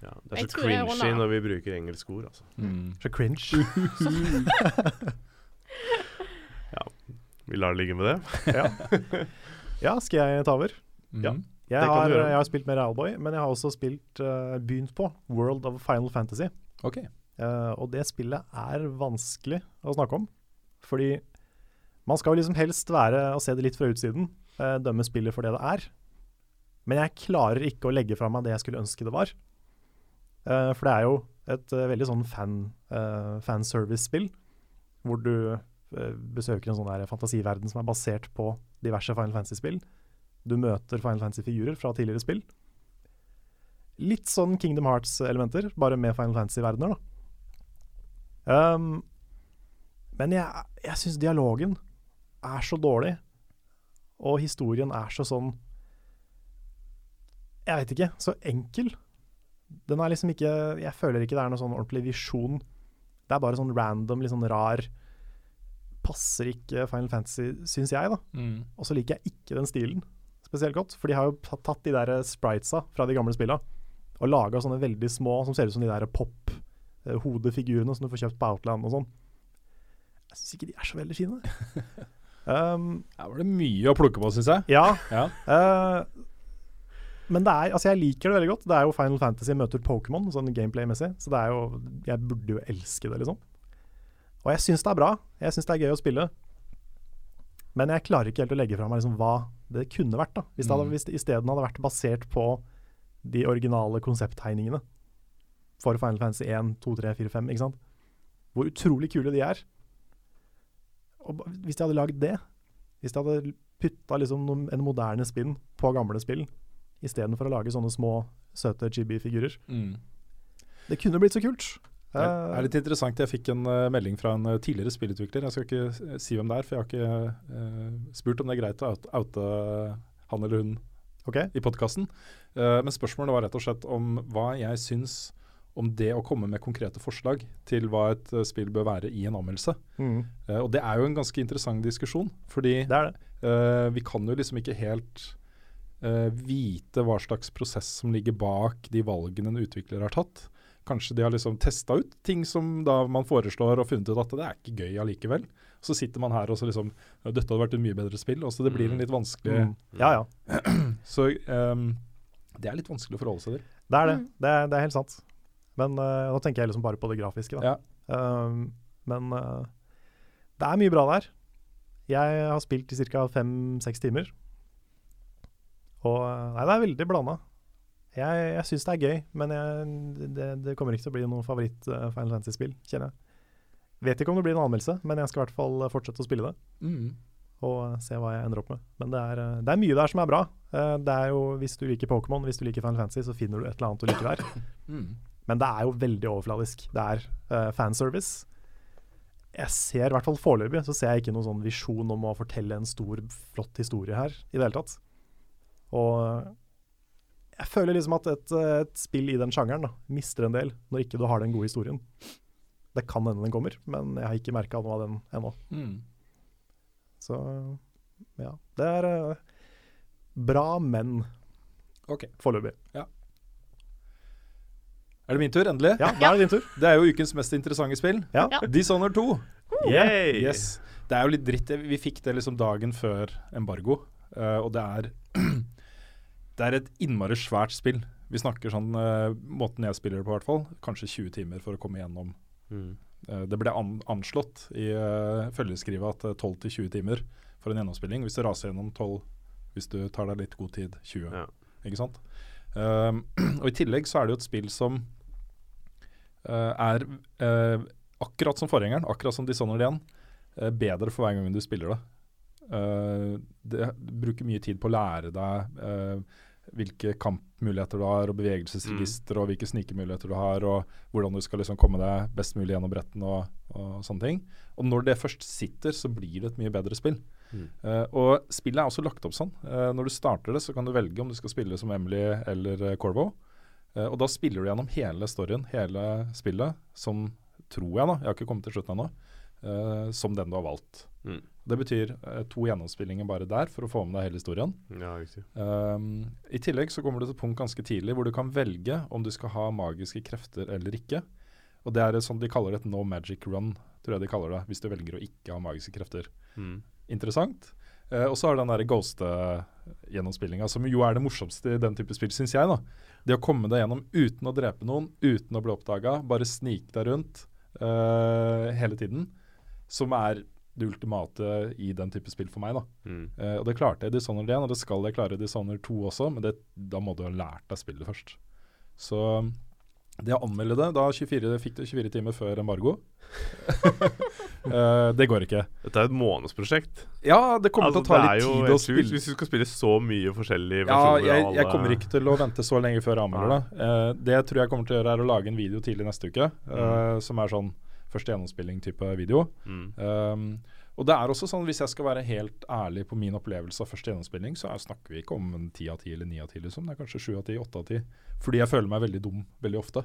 S2: ja, Det er
S3: Jeg
S2: så
S3: tror jeg
S2: cringy
S3: runder av.
S2: når vi bruker engelske ord, altså.
S4: Mm.
S1: Så cringe.
S2: Uh. Vi lar det ligge med det.
S1: Ja, skal jeg ta over?
S2: Ja.
S4: Mm.
S1: Jeg
S2: Det kan
S1: har,
S2: du gjøre.
S1: jeg har spilt mer Owlboy, men jeg har også spilt eh, begynt på World of Final Fantasy.
S4: OK.
S1: Eh, og det spillet er vanskelig å snakke om. Fordi man skal jo liksom helst være og se det litt fra utsiden, eh, dømme spillet for det det er. Men jeg klarer ikke å legge fra meg det jeg skulle ønske det var. Eh, for det er jo et eh, veldig sånn fan, eh, fanservice-spill, hvor du eh, besøker en sånn der fantasiverden som er basert på diverse Final Fantasy-spill. Du møter Final Fantasy-figurer fra tidligere spill. Litt sånn Kingdom Hearts-elementer, bare med Final Fantasy-verdener, da. Um, men jeg, jeg syns dialogen er så dårlig, og historien er så sånn Jeg vet ikke, så enkel. Den er liksom ikke Jeg føler ikke det er noen sånn ordentlig visjon. Det er bare sånn random, litt sånn rar Passer ikke Final Fantasy, syns jeg, da.
S4: Mm.
S1: Og så liker jeg ikke den stilen spesielt godt, for de har jo ta- tatt de der spritesa fra de gamle spilla og laga sånne veldig små som ser ut som de der pop-hodefigurene som du får kjøpt på Outland og sånn. Jeg syns ikke de er så veldig fine. um,
S4: Her var det mye å plukke på, syns jeg.
S1: ja.
S4: Ja.
S1: eh, men det er, altså jeg liker det veldig godt. Det er jo Final Fantasy møter Pokémon sånn gameplay-messig, så det er jo, jeg burde jo elske det, liksom. Og jeg syns det er bra. Jeg syns det er gøy å spille. Men jeg klarer ikke helt å legge fra meg liksom hva det kunne vært, da. Hvis det hadde,
S4: Mm.
S1: hvis det isteden hadde vært basert på de originale konsepttegningene for Final Fantasy 1, 2, 3, 4, 5, ikke sant. Hvor utrolig kule de er. Og ba- hvis de hadde lagd det, hvis de hadde putta liksom noen- en moderne spinn på gamle spill, istedenfor å lage sånne små, søte chibi-figurer.
S4: Mm.
S1: Det kunne blitt så kult.
S4: Det er,
S1: Eh,
S4: er litt interessant. Jeg fikk en eh, melding fra en eh, tidligere spillutvikler. Jeg skal ikke eh, si hvem det er, for jeg har ikke eh, spurt om det er greit å out- oute han eller hun
S1: OK?
S4: i podkasten. men spørsmålet var rett og slett om hva jeg syns om det å komme med konkrete forslag til hva et eh, spill bør være i en anmeldelse.
S1: Mm.
S4: Eh, og det er jo en ganske interessant diskusjon, fordi
S1: Det er det.
S4: Eh, vi kan jo liksom ikke helt eh, vite hva slags prosess som ligger bak de valgene en utvikler har tatt. Kanskje de har liksom testa ut ting som da man foreslår og funnet ut at det er ikke gøy allikevel. Så sitter man her og så liksom «Ja, Dette hadde vært et mye bedre spill. Og så det blir en litt vanskelig
S1: Mm. Ja ja.
S4: Så ehm, det er litt vanskelig å forholde seg til.
S1: Det er det.
S3: Mm.
S1: Det, er, det er helt sant. Men eh, nå tenker jeg liksom bare på det grafiske, da.
S4: Ja.
S1: Um, men eh, det er mye bra der. Jeg har spilt i ca. fem-seks timer. Og eh, Nei, det er veldig blanda. Jeg, jeg syns det er gøy, men jeg, det, det kommer ikke til å bli noe favoritt-Final Fantasy-spill, kjenner jeg. Vet ikke om det blir en anmeldelse, men jeg skal i hvert fall eh, fortsette å spille det
S4: Mm.
S1: og eh, se hva jeg ender opp med. Men det er, eh, det er mye der som er bra. Eh, Det er jo, Hvis du liker Pokémon, hvis du liker Final Fantasy, så finner du et eller annet du liker der.
S4: Mm.
S1: Men det er jo veldig overfladisk. Det er eh, fanservice. Jeg ser, i hvert fall foreløpig, så ser jeg ikke noen sånn visjon om å fortelle en stor, flott historie her i det hele tatt. Og jeg føler liksom at et, eh, et spill i den sjangeren da, mister en del når ikke du har den gode historien. Det kan hende den kommer, men jeg har ikke merka noe av den ennå.
S4: Mm.
S1: Så ja. Det er eh, bra, men
S4: Ok.
S1: foreløpig.
S4: Er det min tur, endelig?
S1: Ja, da er det din tur.
S4: Det er jo ukens mest interessante spill.
S1: Ja.
S3: Ja.
S4: Dishonored 2.
S2: Yay!
S4: Yes. Det er jo litt dritt. Vi fikk det liksom dagen før embargo, eh, og det er (clears throat) Det er et innmari svært spill. Vi snakker sånn eh, måten jeg spiller det på, i hvert fall. Kanskje 20 timer for å komme gjennom.
S2: Mm.
S4: Eh, det ble an anslått i uh, følgeskrivet at eh, 12-20 timer for en gjennomspilling. Hvis du raser gjennom 12, hvis du tar deg litt god tid, 20.
S2: Ja.
S4: Ikke sant? Um, (clears throat) og I tillegg så er det jo et spill som eh, er eh, akkurat som forgjengeren, akkurat som Dishonored igjen, eh, bedre for hver gang du spiller det. Eh, det. Du bruker mye tid på å lære deg eh, hvilke kampmuligheter du har, og bevegelsesregister, og hvilke snikemuligheter du har, og hvordan du skal liksom komme deg best mulig gjennom bretten og, og sånne ting. Og når det først sitter, så blir det et mye bedre spill.
S2: Mm.
S4: Eh, og spillet er også lagt opp sånn. Eh, når du starter det, så kan du velge om du skal spille som Emily eller eh, Corvo. Eh, og da spiller du gjennom hele storyen, hele spillet, som tror jeg, da, jeg har ikke kommet til slutten ennå, eh, som den du har valgt.
S2: Mm.
S4: Det betyr eh, to gjennomspillinger bare der for å få med deg hele historien.
S2: Ja, riktig.
S4: Um, I tillegg så kommer du til et punkt ganske tidlig hvor du kan velge om du skal ha magiske krefter eller ikke. Og det er et sånt de kaller et no magic run, tror jeg de kaller det, hvis du velger å ikke ha magiske krefter.
S2: Mm.
S4: Interessant. Eh, og så har du den derre ghost-gjennomspillinga, som jo er det morsomste i den type spill, syns jeg. da. Det å komme deg gjennom uten å drepe noen, uten å bli oppdaga, bare snike deg rundt eh, hele tiden, som er det ultimate i den type spill for meg, da.
S2: Mm.
S4: Eh, og det klarte jeg i Dishonored 1, og det skal jeg klare i Dishonored 2 også, men det, da må du ha lært deg spillet først. Så det å anmelde det Da 24, fikk det 24 timer før embargo. (laughs) Eh, det går ikke.
S2: Dette er jo et månedsprosjekt.
S4: Ja, det kommer
S2: Altså,
S4: til å ta
S2: det er
S4: litt
S2: jo
S4: tid
S2: helt
S4: å
S2: sjukt
S4: spille.
S2: Hvis du skal spille så mye forskjellige
S4: Ja,
S2: versjoner
S4: jeg,
S2: av
S4: jeg
S2: alle-
S4: kommer ikke til å vente så lenge før jeg anmelder det. Eh, det jeg tror jeg kommer til å gjøre, er å lage en video tidlig neste uke, eh, som er sånn første gjennomspilling-type video.
S2: mm.
S4: Um, og det er også sånn, Hvis jeg skal være helt ærlig på min opplevelse av første gjennomspilling, så er, snakker vi ikke om en ti av ti eller ni av ti. Liksom. Det er kanskje sju av ti, åtte av ti. Fordi jeg føler meg veldig dum veldig ofte.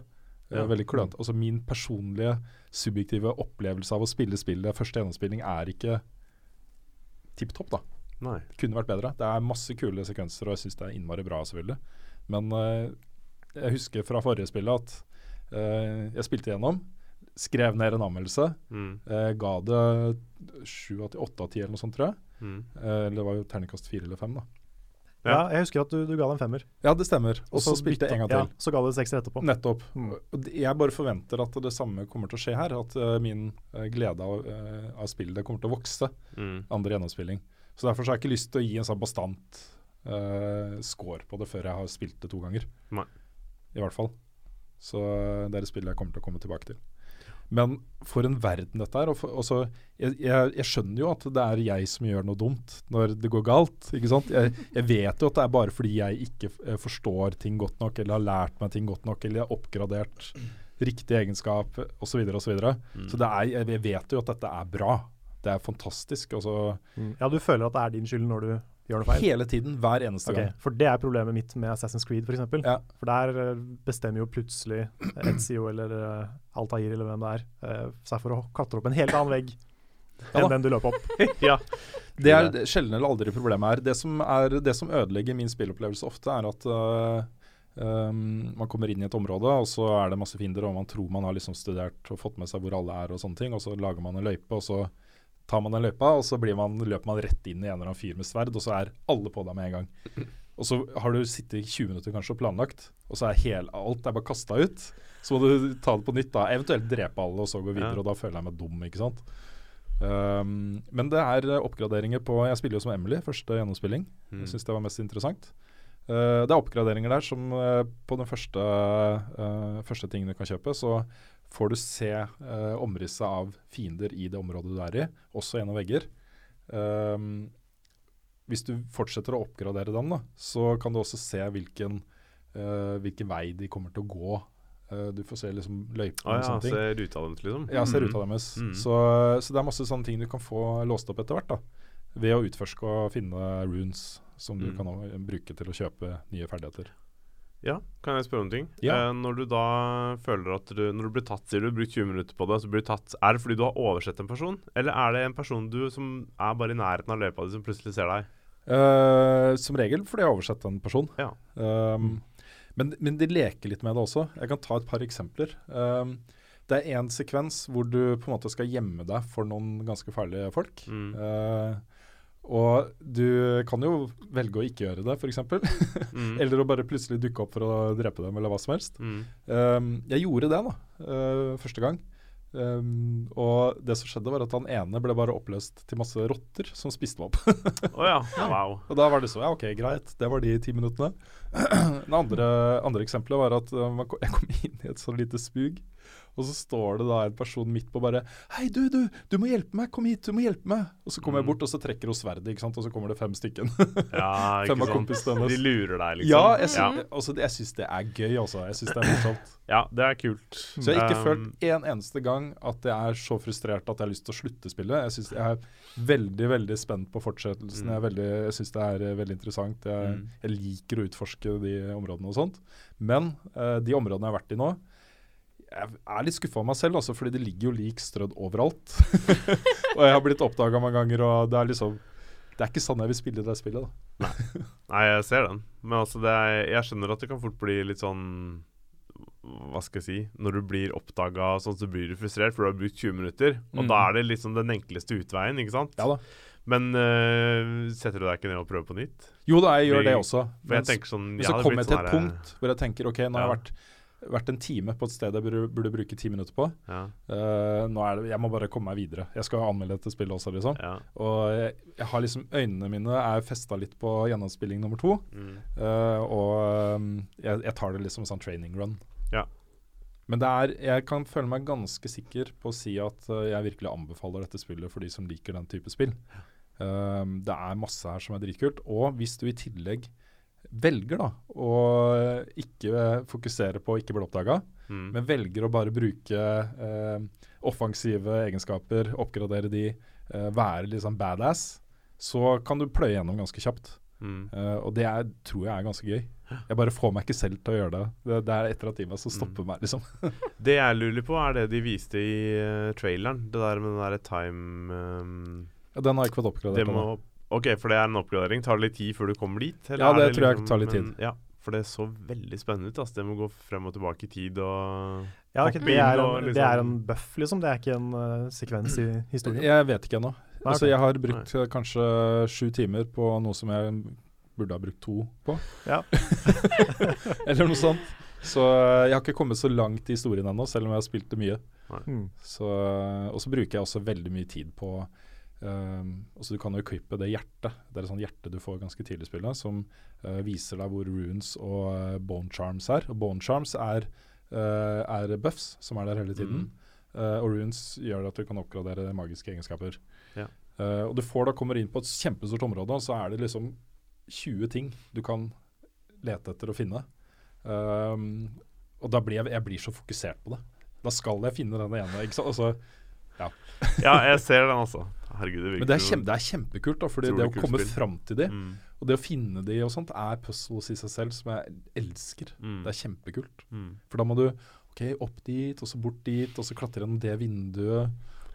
S4: Eh,
S2: Ja.
S4: Veldig klønete. Altså Min personlige, subjektive opplevelse av å spille spillet første gjennomspilling er ikke tipp topp, da.
S2: Nei.
S4: Det kunne vært bedre. Det er masse kule sekvenser, og jeg syns det er innmari bra, selvfølgelig. Men eh, jeg husker fra forrige spillet at eh, jeg spilte gjennom, skrev ned en anmeldelse.
S2: Mm.
S4: Eh, ga det 7 av 10, 8 av 10 eller noe sånt, tror jeg.
S2: Mm.
S4: Eh, eller det var jo terningkast 4 eller 5, da.
S1: Ja,
S2: Ja.
S1: jeg husker at du, du ga det en femmer.
S4: Ja, det stemmer. Og så
S1: Også
S4: spilte jeg en gang
S1: bytta-
S4: til.
S1: Ja, så ga du det sekser etterpå.
S4: Nettopp.
S1: Mm.
S4: Og det- Jeg bare forventer at det samme kommer til å skje her. At eh, min eh, glede av, eh, av spillet kommer til å vokse
S2: Mm.
S4: andre gjennomspilling. Så derfor så har jeg ikke lyst til å gi en sånn bastant eh, score på det før jeg har spilt det to ganger.
S2: Nei.
S4: I hvert fall. Så eh, det er et spill jeg kommer til å komme tilbake til. Men for en verden dette er. Og for, og så, jeg, jeg, jeg skjønner jo at det er jeg som gjør noe dumt når det går galt. ikke sant? Jeg, jeg vet jo at det er bare fordi jeg ikke eh, forstår ting godt nok, eller har lært meg ting godt nok, eller har oppgradert riktig egenskap osv. osv. Så, videre.
S2: Mm.
S4: så det er, jeg- jeg vet jo at dette er bra. Det er fantastisk. Altså,
S1: Mm. Ja, du føler at det er din skyld når du gjør det feil?
S4: hele tiden, hver eneste
S1: Ok,
S4: gang.
S1: For det er problemet mitt med Assassin's Creed, f.eks. eksempel
S4: Ja.
S1: For der eh, bestemmer jo plutselig Ezio eller eh, Altair eller hvem det er, eh, seg for å klatre opp en helt annen vegg
S4: (laughs) Ja
S1: enn
S4: da.
S1: den du løp opp.
S2: ja.
S4: Det er det- sjelden eller aldri problemet her. Det som, er, det som ødelegger min spillopplevelse ofte, er at øh, øhm, man kommer inn i et område, og så er det masse fiender, og man tror man har liksom studert og fått med seg hvor alle er, og sånne ting, og så lager man en løype, og så tar man den løypa, og så blir man, løper man rett inn i en eller annen fyr med sverd, og så er alle på deg med en gang. Og så har du sittet i 20 minutter kanskje og planlagt, og så er hel, alt er bare kasta ut. Så må du ta det på nytt, da. Eventuelt drepe alle og så gå videre,
S2: Ja.
S4: og da føler jeg meg dum, ikke sant. Um, men det er eh, oppgraderinger på Jeg spiller jo som Emily, første gjennomspilling.
S2: Mm.
S4: Jeg syns det var mest interessant. Eh, det er oppgraderinger der som eh, på den første, eh, første tingen du kan kjøpe, så får du se eh, omrisset av fiender i det området du er i, også gjennom vegger. Um, hvis du fortsetter å oppgradere den, da, så kan du også se hvilken, eh, hvilken vei de kommer til å gå. Eh, du får se liksom løypene
S2: Å
S4: og
S2: ja,
S4: sånne ting.
S2: ser ruta deres, liksom?
S4: Ja, ser
S2: Mm.
S4: ruta deres.
S2: Mm.
S4: Så, så det er masse sånne ting du kan få låst opp etter hvert. da, Ved å utforske og finne runes som du
S2: Mm.
S4: kan eh, bruke til å kjøpe nye ferdigheter.
S2: Ja, kan jeg spørre om en ting?
S4: Ja.
S2: Eh, når du da føler at du Når du blir tatt, sier du, du har brukt 20 minutter på det, så blir du tatt Er det fordi du har oversett en person, eller er det en person du som er bare i nærheten av løypa di, som plutselig ser deg?
S4: Eh, som regel fordi jeg har oversett en person.
S2: Ja. Mm.
S4: Um, men, men de leker litt med det også. Jeg kan ta et par eksempler. Um, det er én sekvens hvor du på en måte skal gjemme deg for noen ganske farlige folk.
S2: Mm.
S4: Eh, og du kan jo velge å ikke gjøre det, f.eks.
S2: Mm.
S4: (laughs) Eller å bare plutselig dukke opp for å drepe dem, eller hva som helst.
S2: Mm.
S4: Um, jeg gjorde det da, eh, første gang. Um, og det som skjedde, var at han ene ble bare oppløst til masse rotter som spiste meg opp. (laughs)
S2: Å ja. Wow.
S4: Og da var det så, ja ok, greit, det var de ti (clears throat) minuttene. Det andre, andre eksempelet var at eh, man ko- jeg kom inn i et sånn lite spug Og så står det da en person midt på bare Hei, du, du! Du må hjelpe meg! Kom hit! Du må hjelpe meg! Og så kommer jeg
S2: Mm.
S4: bort, og så trekker hun sverdet, ikke sant? og så kommer det fem stykken.
S2: Ja,
S4: (laughs)
S2: ikke
S4: Fem av
S2: sant.
S4: kompisene
S2: De
S4: hennes.
S2: lurer deg, liksom.
S4: (laughs) Ja, jeg, sy
S2: ja.
S4: Altså, det- jeg syns det er gøy, altså. Jeg syns det er morsomt.
S2: Ja, det er kult.
S4: Så jeg har ikke
S2: Um,
S4: følt en eneste gang at jeg er så frustrert at jeg har lyst til å slutte spillet. Jeg, synes jeg er veldig veldig spent på fortsettelsen. Jeg, er veldig- jeg syns det er eh, veldig interessant. Jeg,
S2: Mm.
S4: jeg liker å utforske de områdene og sånt. Men eh, de områdene jeg har vært i nå jeg er litt skuffa av meg selv, altså, fordi det ligger jo lik strødd overalt. (laughs) og jeg har blitt oppdaga mange ganger, og det er liksom Det er ikke sånn jeg vil spille det spillet. da.
S2: Nei, jeg ser den. Men altså, det er, jeg skjønner at det kan fort bli litt sånn Hva skal jeg si Når du blir oppdaga sånn, så blir du frustrert, for du har brukt 20 minutter. Og
S4: Mm.
S2: da er det liksom den enkleste utveien, ikke sant?
S4: Ja da.
S2: Men øh, setter du deg ikke ned og prøver på nytt?
S4: Jo da, jeg gjør
S2: Fordi-
S4: det også.
S2: For jeg
S4: men-
S2: tenker sånn
S4: Men så
S2: hadde
S4: kommer
S2: blitt
S4: jeg til
S2: sånn
S4: et
S2: her,
S4: punkt hvor jeg tenker ok, nå har jeg
S2: Ja.
S4: vært, vært en time på et sted jeg burde, burde bruke ti minutter på.
S2: Ja,
S4: Eh, nå er det, jeg må bare komme meg videre. Jeg skal anmelde dette spillet også, liksom.
S2: ja,
S4: Og jeg, jeg har liksom øynene mine er festa litt på gjennomspilling nummer to.
S2: mm.
S4: eh, og ehm, jeg, jeg tar det liksom sånn training run.
S2: Ja.
S4: Men det er, jeg kan føle meg ganske sikker på å si at eh, jeg virkelig anbefaler dette spillet for de som liker den type spill. Um, det er masse her som er dritkult. Og hvis du i tillegg velger da å ikke fokusere på å ikke bli oppdaga,
S2: Mm.
S4: men velger å bare bruke eh, offensive egenskaper, oppgradere de, eh, være liksom badass, så kan du pløye gjennom ganske kjapt.
S2: mm.
S4: Eh, og det er, tror jeg er ganske gøy. Jeg bare får meg ikke selv til å gjøre det. Det, det er etter at timen som
S1: Mm.
S4: stopper meg, liksom. (laughs)
S2: Det jeg lurer på, er det de viste i eh, traileren. Det der med den derre time ehm,
S4: Ja, Den har jeg ikke fått oppgradert.
S2: Det
S4: ennå.
S2: må OK, for det er en oppgradering. Tar det litt tid før du kommer dit?
S4: Ja,
S2: er
S4: det tror jeg tar litt tid.
S2: Men, ja, for det så veldig spennende ut. Altså. Det må gå frem og tilbake i tid og
S1: Ja,
S2: Hoppe
S1: ok, det, er
S2: inn og
S1: en, det er en
S2: liksom-
S1: buff, liksom. Det er ikke en eh, sekvens i historien.
S4: Jeg vet ikke ennå.
S1: Nei,
S4: Altså,
S1: ok.
S4: jeg har brukt eh, kanskje sju timer på noe som jeg burde ha brukt to på.
S1: Ja.
S4: (laughs) Eller noe sånt. Så eh, jeg har ikke kommet så langt i historien ennå, selv om jeg har spilt det mye.
S1: Mm.
S4: Så, og så bruker jeg også veldig mye tid på ehm, altså Du kan jo equippe det hjertet. Det er et sånt hjerte du får ganske tidlig i spillet, som eh, viser deg hvor runes og eh, bone charms er. Og bone charms er, eh, er buffs som er der hele tiden. Eh, og runes gjør at du kan oppgradere magiske egenskaper.
S2: Ja.
S4: Eh, og du får da kommer inn på et kjempestort område, og så er det liksom 20 ting du kan lete etter og finne. Ehm, og da blir jeg, jeg blir så fokusert på det. Da skal jeg finne den ene. Ikke sant? Altså,
S2: Ja, jeg ser den, altså. Herregud, det virker
S4: men det er,
S2: som-
S4: kjem, det er kjempekult, da, fordi
S2: Utrolig
S4: det å
S2: kult
S4: komme
S2: spill.
S4: fram til de,
S2: Mm,
S4: og det å finne de og sånt, er puzzles i seg selv som jeg elsker.
S2: mm,
S4: Det er kjempekult.
S2: mm.
S4: For da må du ok, opp dit, og så bort dit, og så klatre gjennom det vinduet.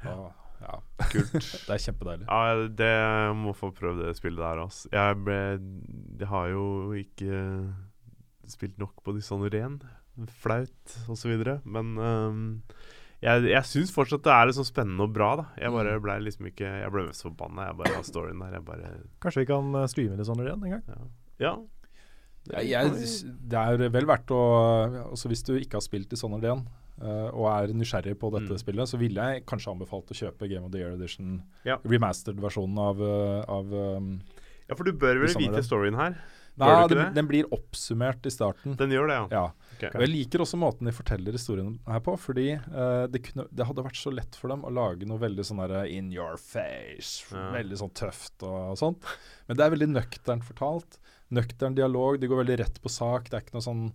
S4: Ah, ja.
S2: Kult.
S4: (laughs) Det er kjempedeilig.
S2: Ja, det jeg må få prøvd det spillet der, altså. Jeg ble Jeg har jo ikke spilt nok på Dishonoren. Flaut og så videre. Men øhm, jeg, jeg syns fortsatt det er liksom spennende og bra, da. Jeg bare
S4: Mm.
S2: ble liksom ikke Jeg ble mest forbanna. Jeg bare har storyen der. Jeg bare
S1: Kanskje vi kan eh, streame det sånn igjen en gang?
S2: Ja. ja.
S4: Ja, jeg, det er vel verdt å altså Hvis du ikke har spilt i Sonner DN eh, og er nysgjerrig på dette
S2: Mm.
S4: spillet, så ville jeg kanskje anbefalt å kjøpe Game of the Year Edition,
S2: Ja.
S4: remastered-versjonen av, eh, av um,
S2: ja, for du bør vel
S4: Dishonored.
S2: vite storyen her?
S4: Nei,
S2: Gjør det ikke
S4: den,
S2: det?
S4: den blir oppsummert i starten.
S2: Den gjør det, ja.
S4: Ja.
S2: Ok.
S4: Og jeg liker også måten de forteller historien her på, fordi eh, det, kunne, det hadde vært så lett for dem å lage noe veldig sånn der in your face,
S2: Ja.
S4: veldig sånn tøft og, sånt. Men det er veldig nøkternt fortalt. Nøktern dialog, det går veldig rett på sak. Det er ikke noe sånn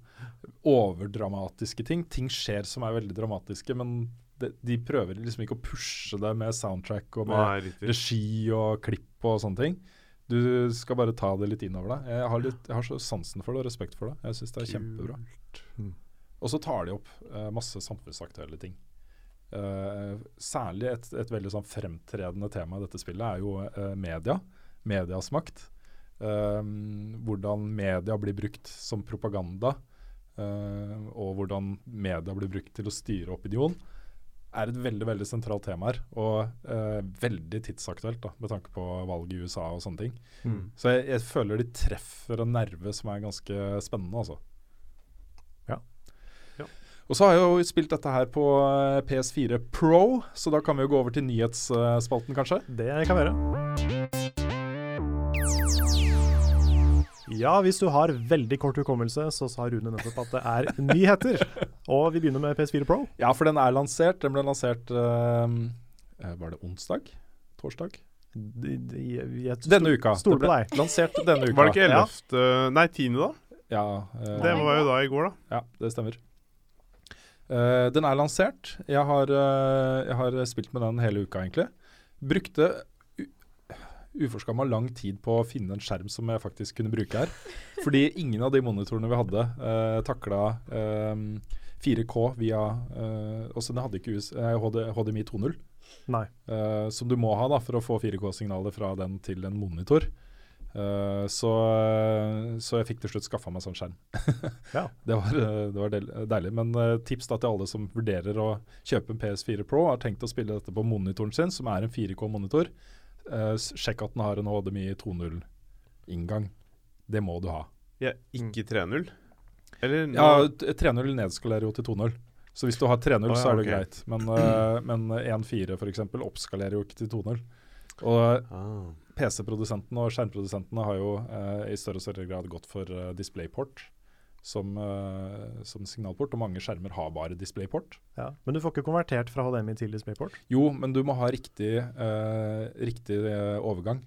S4: overdramatiske ting. Ting skjer som er veldig dramatiske, men de, de prøver liksom ikke å pushe det med soundtrack og med
S2: Nei, riktig.
S4: regi og klipp og sånne ting. Du skal bare ta det litt innover deg. Jeg har, litt, jeg har så sansen for det og respekt for det. Jeg syns det er kjempebra.
S1: Mm.
S4: Og så tar de opp eh, masse samfunnsaktuelle ting. Eh, særlig et, et veldig sånn fremtredende tema i dette spillet er jo eh, media. Medias makt. Eh, hvordan media blir brukt som propaganda, eh, og hvordan media blir brukt til å styre opinion, er et veldig veldig sentralt tema her. Og eh, veldig tidsaktuelt, da, med tanke på valget i USA og sånne ting.
S1: Mm.
S4: Så jeg, jeg føler de treffer en nerve som er ganske spennende, altså.
S1: Ja.
S2: Ja.
S4: Og så har jeg jo spilt dette her på eh, PS4 Pro, så da kan vi jo gå over til nyhetsspalten, kanskje.
S1: Det kan være. (laughs) Ja, hvis du har veldig kort hukommelse, så sa Rune nettopp at det er nyheter. Og vi begynner med PS4 Pro.
S4: Ja, for den er lansert. Den ble lansert eh, eh, Var det onsdag? Torsdag?
S1: De, de, jeg
S4: Denne uka.
S1: Stoler
S4: Det
S1: på
S4: ble
S1: deg.
S4: Lansert denne uka.
S2: Var det ikke
S1: Ja.
S2: 11. Nei, 10. da?
S4: Ja, eh,
S2: Det var jo da i går, da.
S4: ja, det stemmer. Eh, den er lansert. Jeg har, eh, jeg har spilt med den hele uka, egentlig. Brukte u- uforskamma lang tid på å finne en skjerm som jeg faktisk kunne bruke her. Fordi ingen av de monitorene vi hadde, uh, takla 4K via uh, Også den hadde ikke US, eh, HD, HDMI 2.0.
S1: Nei.
S4: Eh, som du må ha da for å få 4K-signaler fra den til en monitor. Eh, så, eh, så jeg fikk til slutt skaffa meg sånn skjerm. (laughs)
S1: Ja.
S4: Det var, eh, det var del, deilig. Men eh, tips da til alle som vurderer å kjøpe en PS4 Pro og har tenkt å spille dette på monitoren sin, som er en 4K-monitor, eh, s- sjekk at den har en HDMI 2.0-inngang. Det må du ha.
S2: Ja, ikke 3-0. Eller nå,
S4: Mm. Ja, t- 3.0 nedskalerer jo til 2.0. Så hvis du har 3.0,
S2: Å ja,
S4: så er det
S2: ok.
S4: greit. Men, eh, men 1.4 f.eks. oppskalerer jo ikke til 2.0. Og
S2: ah.
S4: PC-produsentene og skjermprodusentene har jo eh, i større og større grad gått for eh, DisplayPort som, eh, som signalport, og mange skjermer har bare DisplayPort.
S1: Ja. Men du får ikke konvertert fra HDMI til DisplayPort.
S4: Jo, men du må ha riktig, eh, riktig eh, overgang.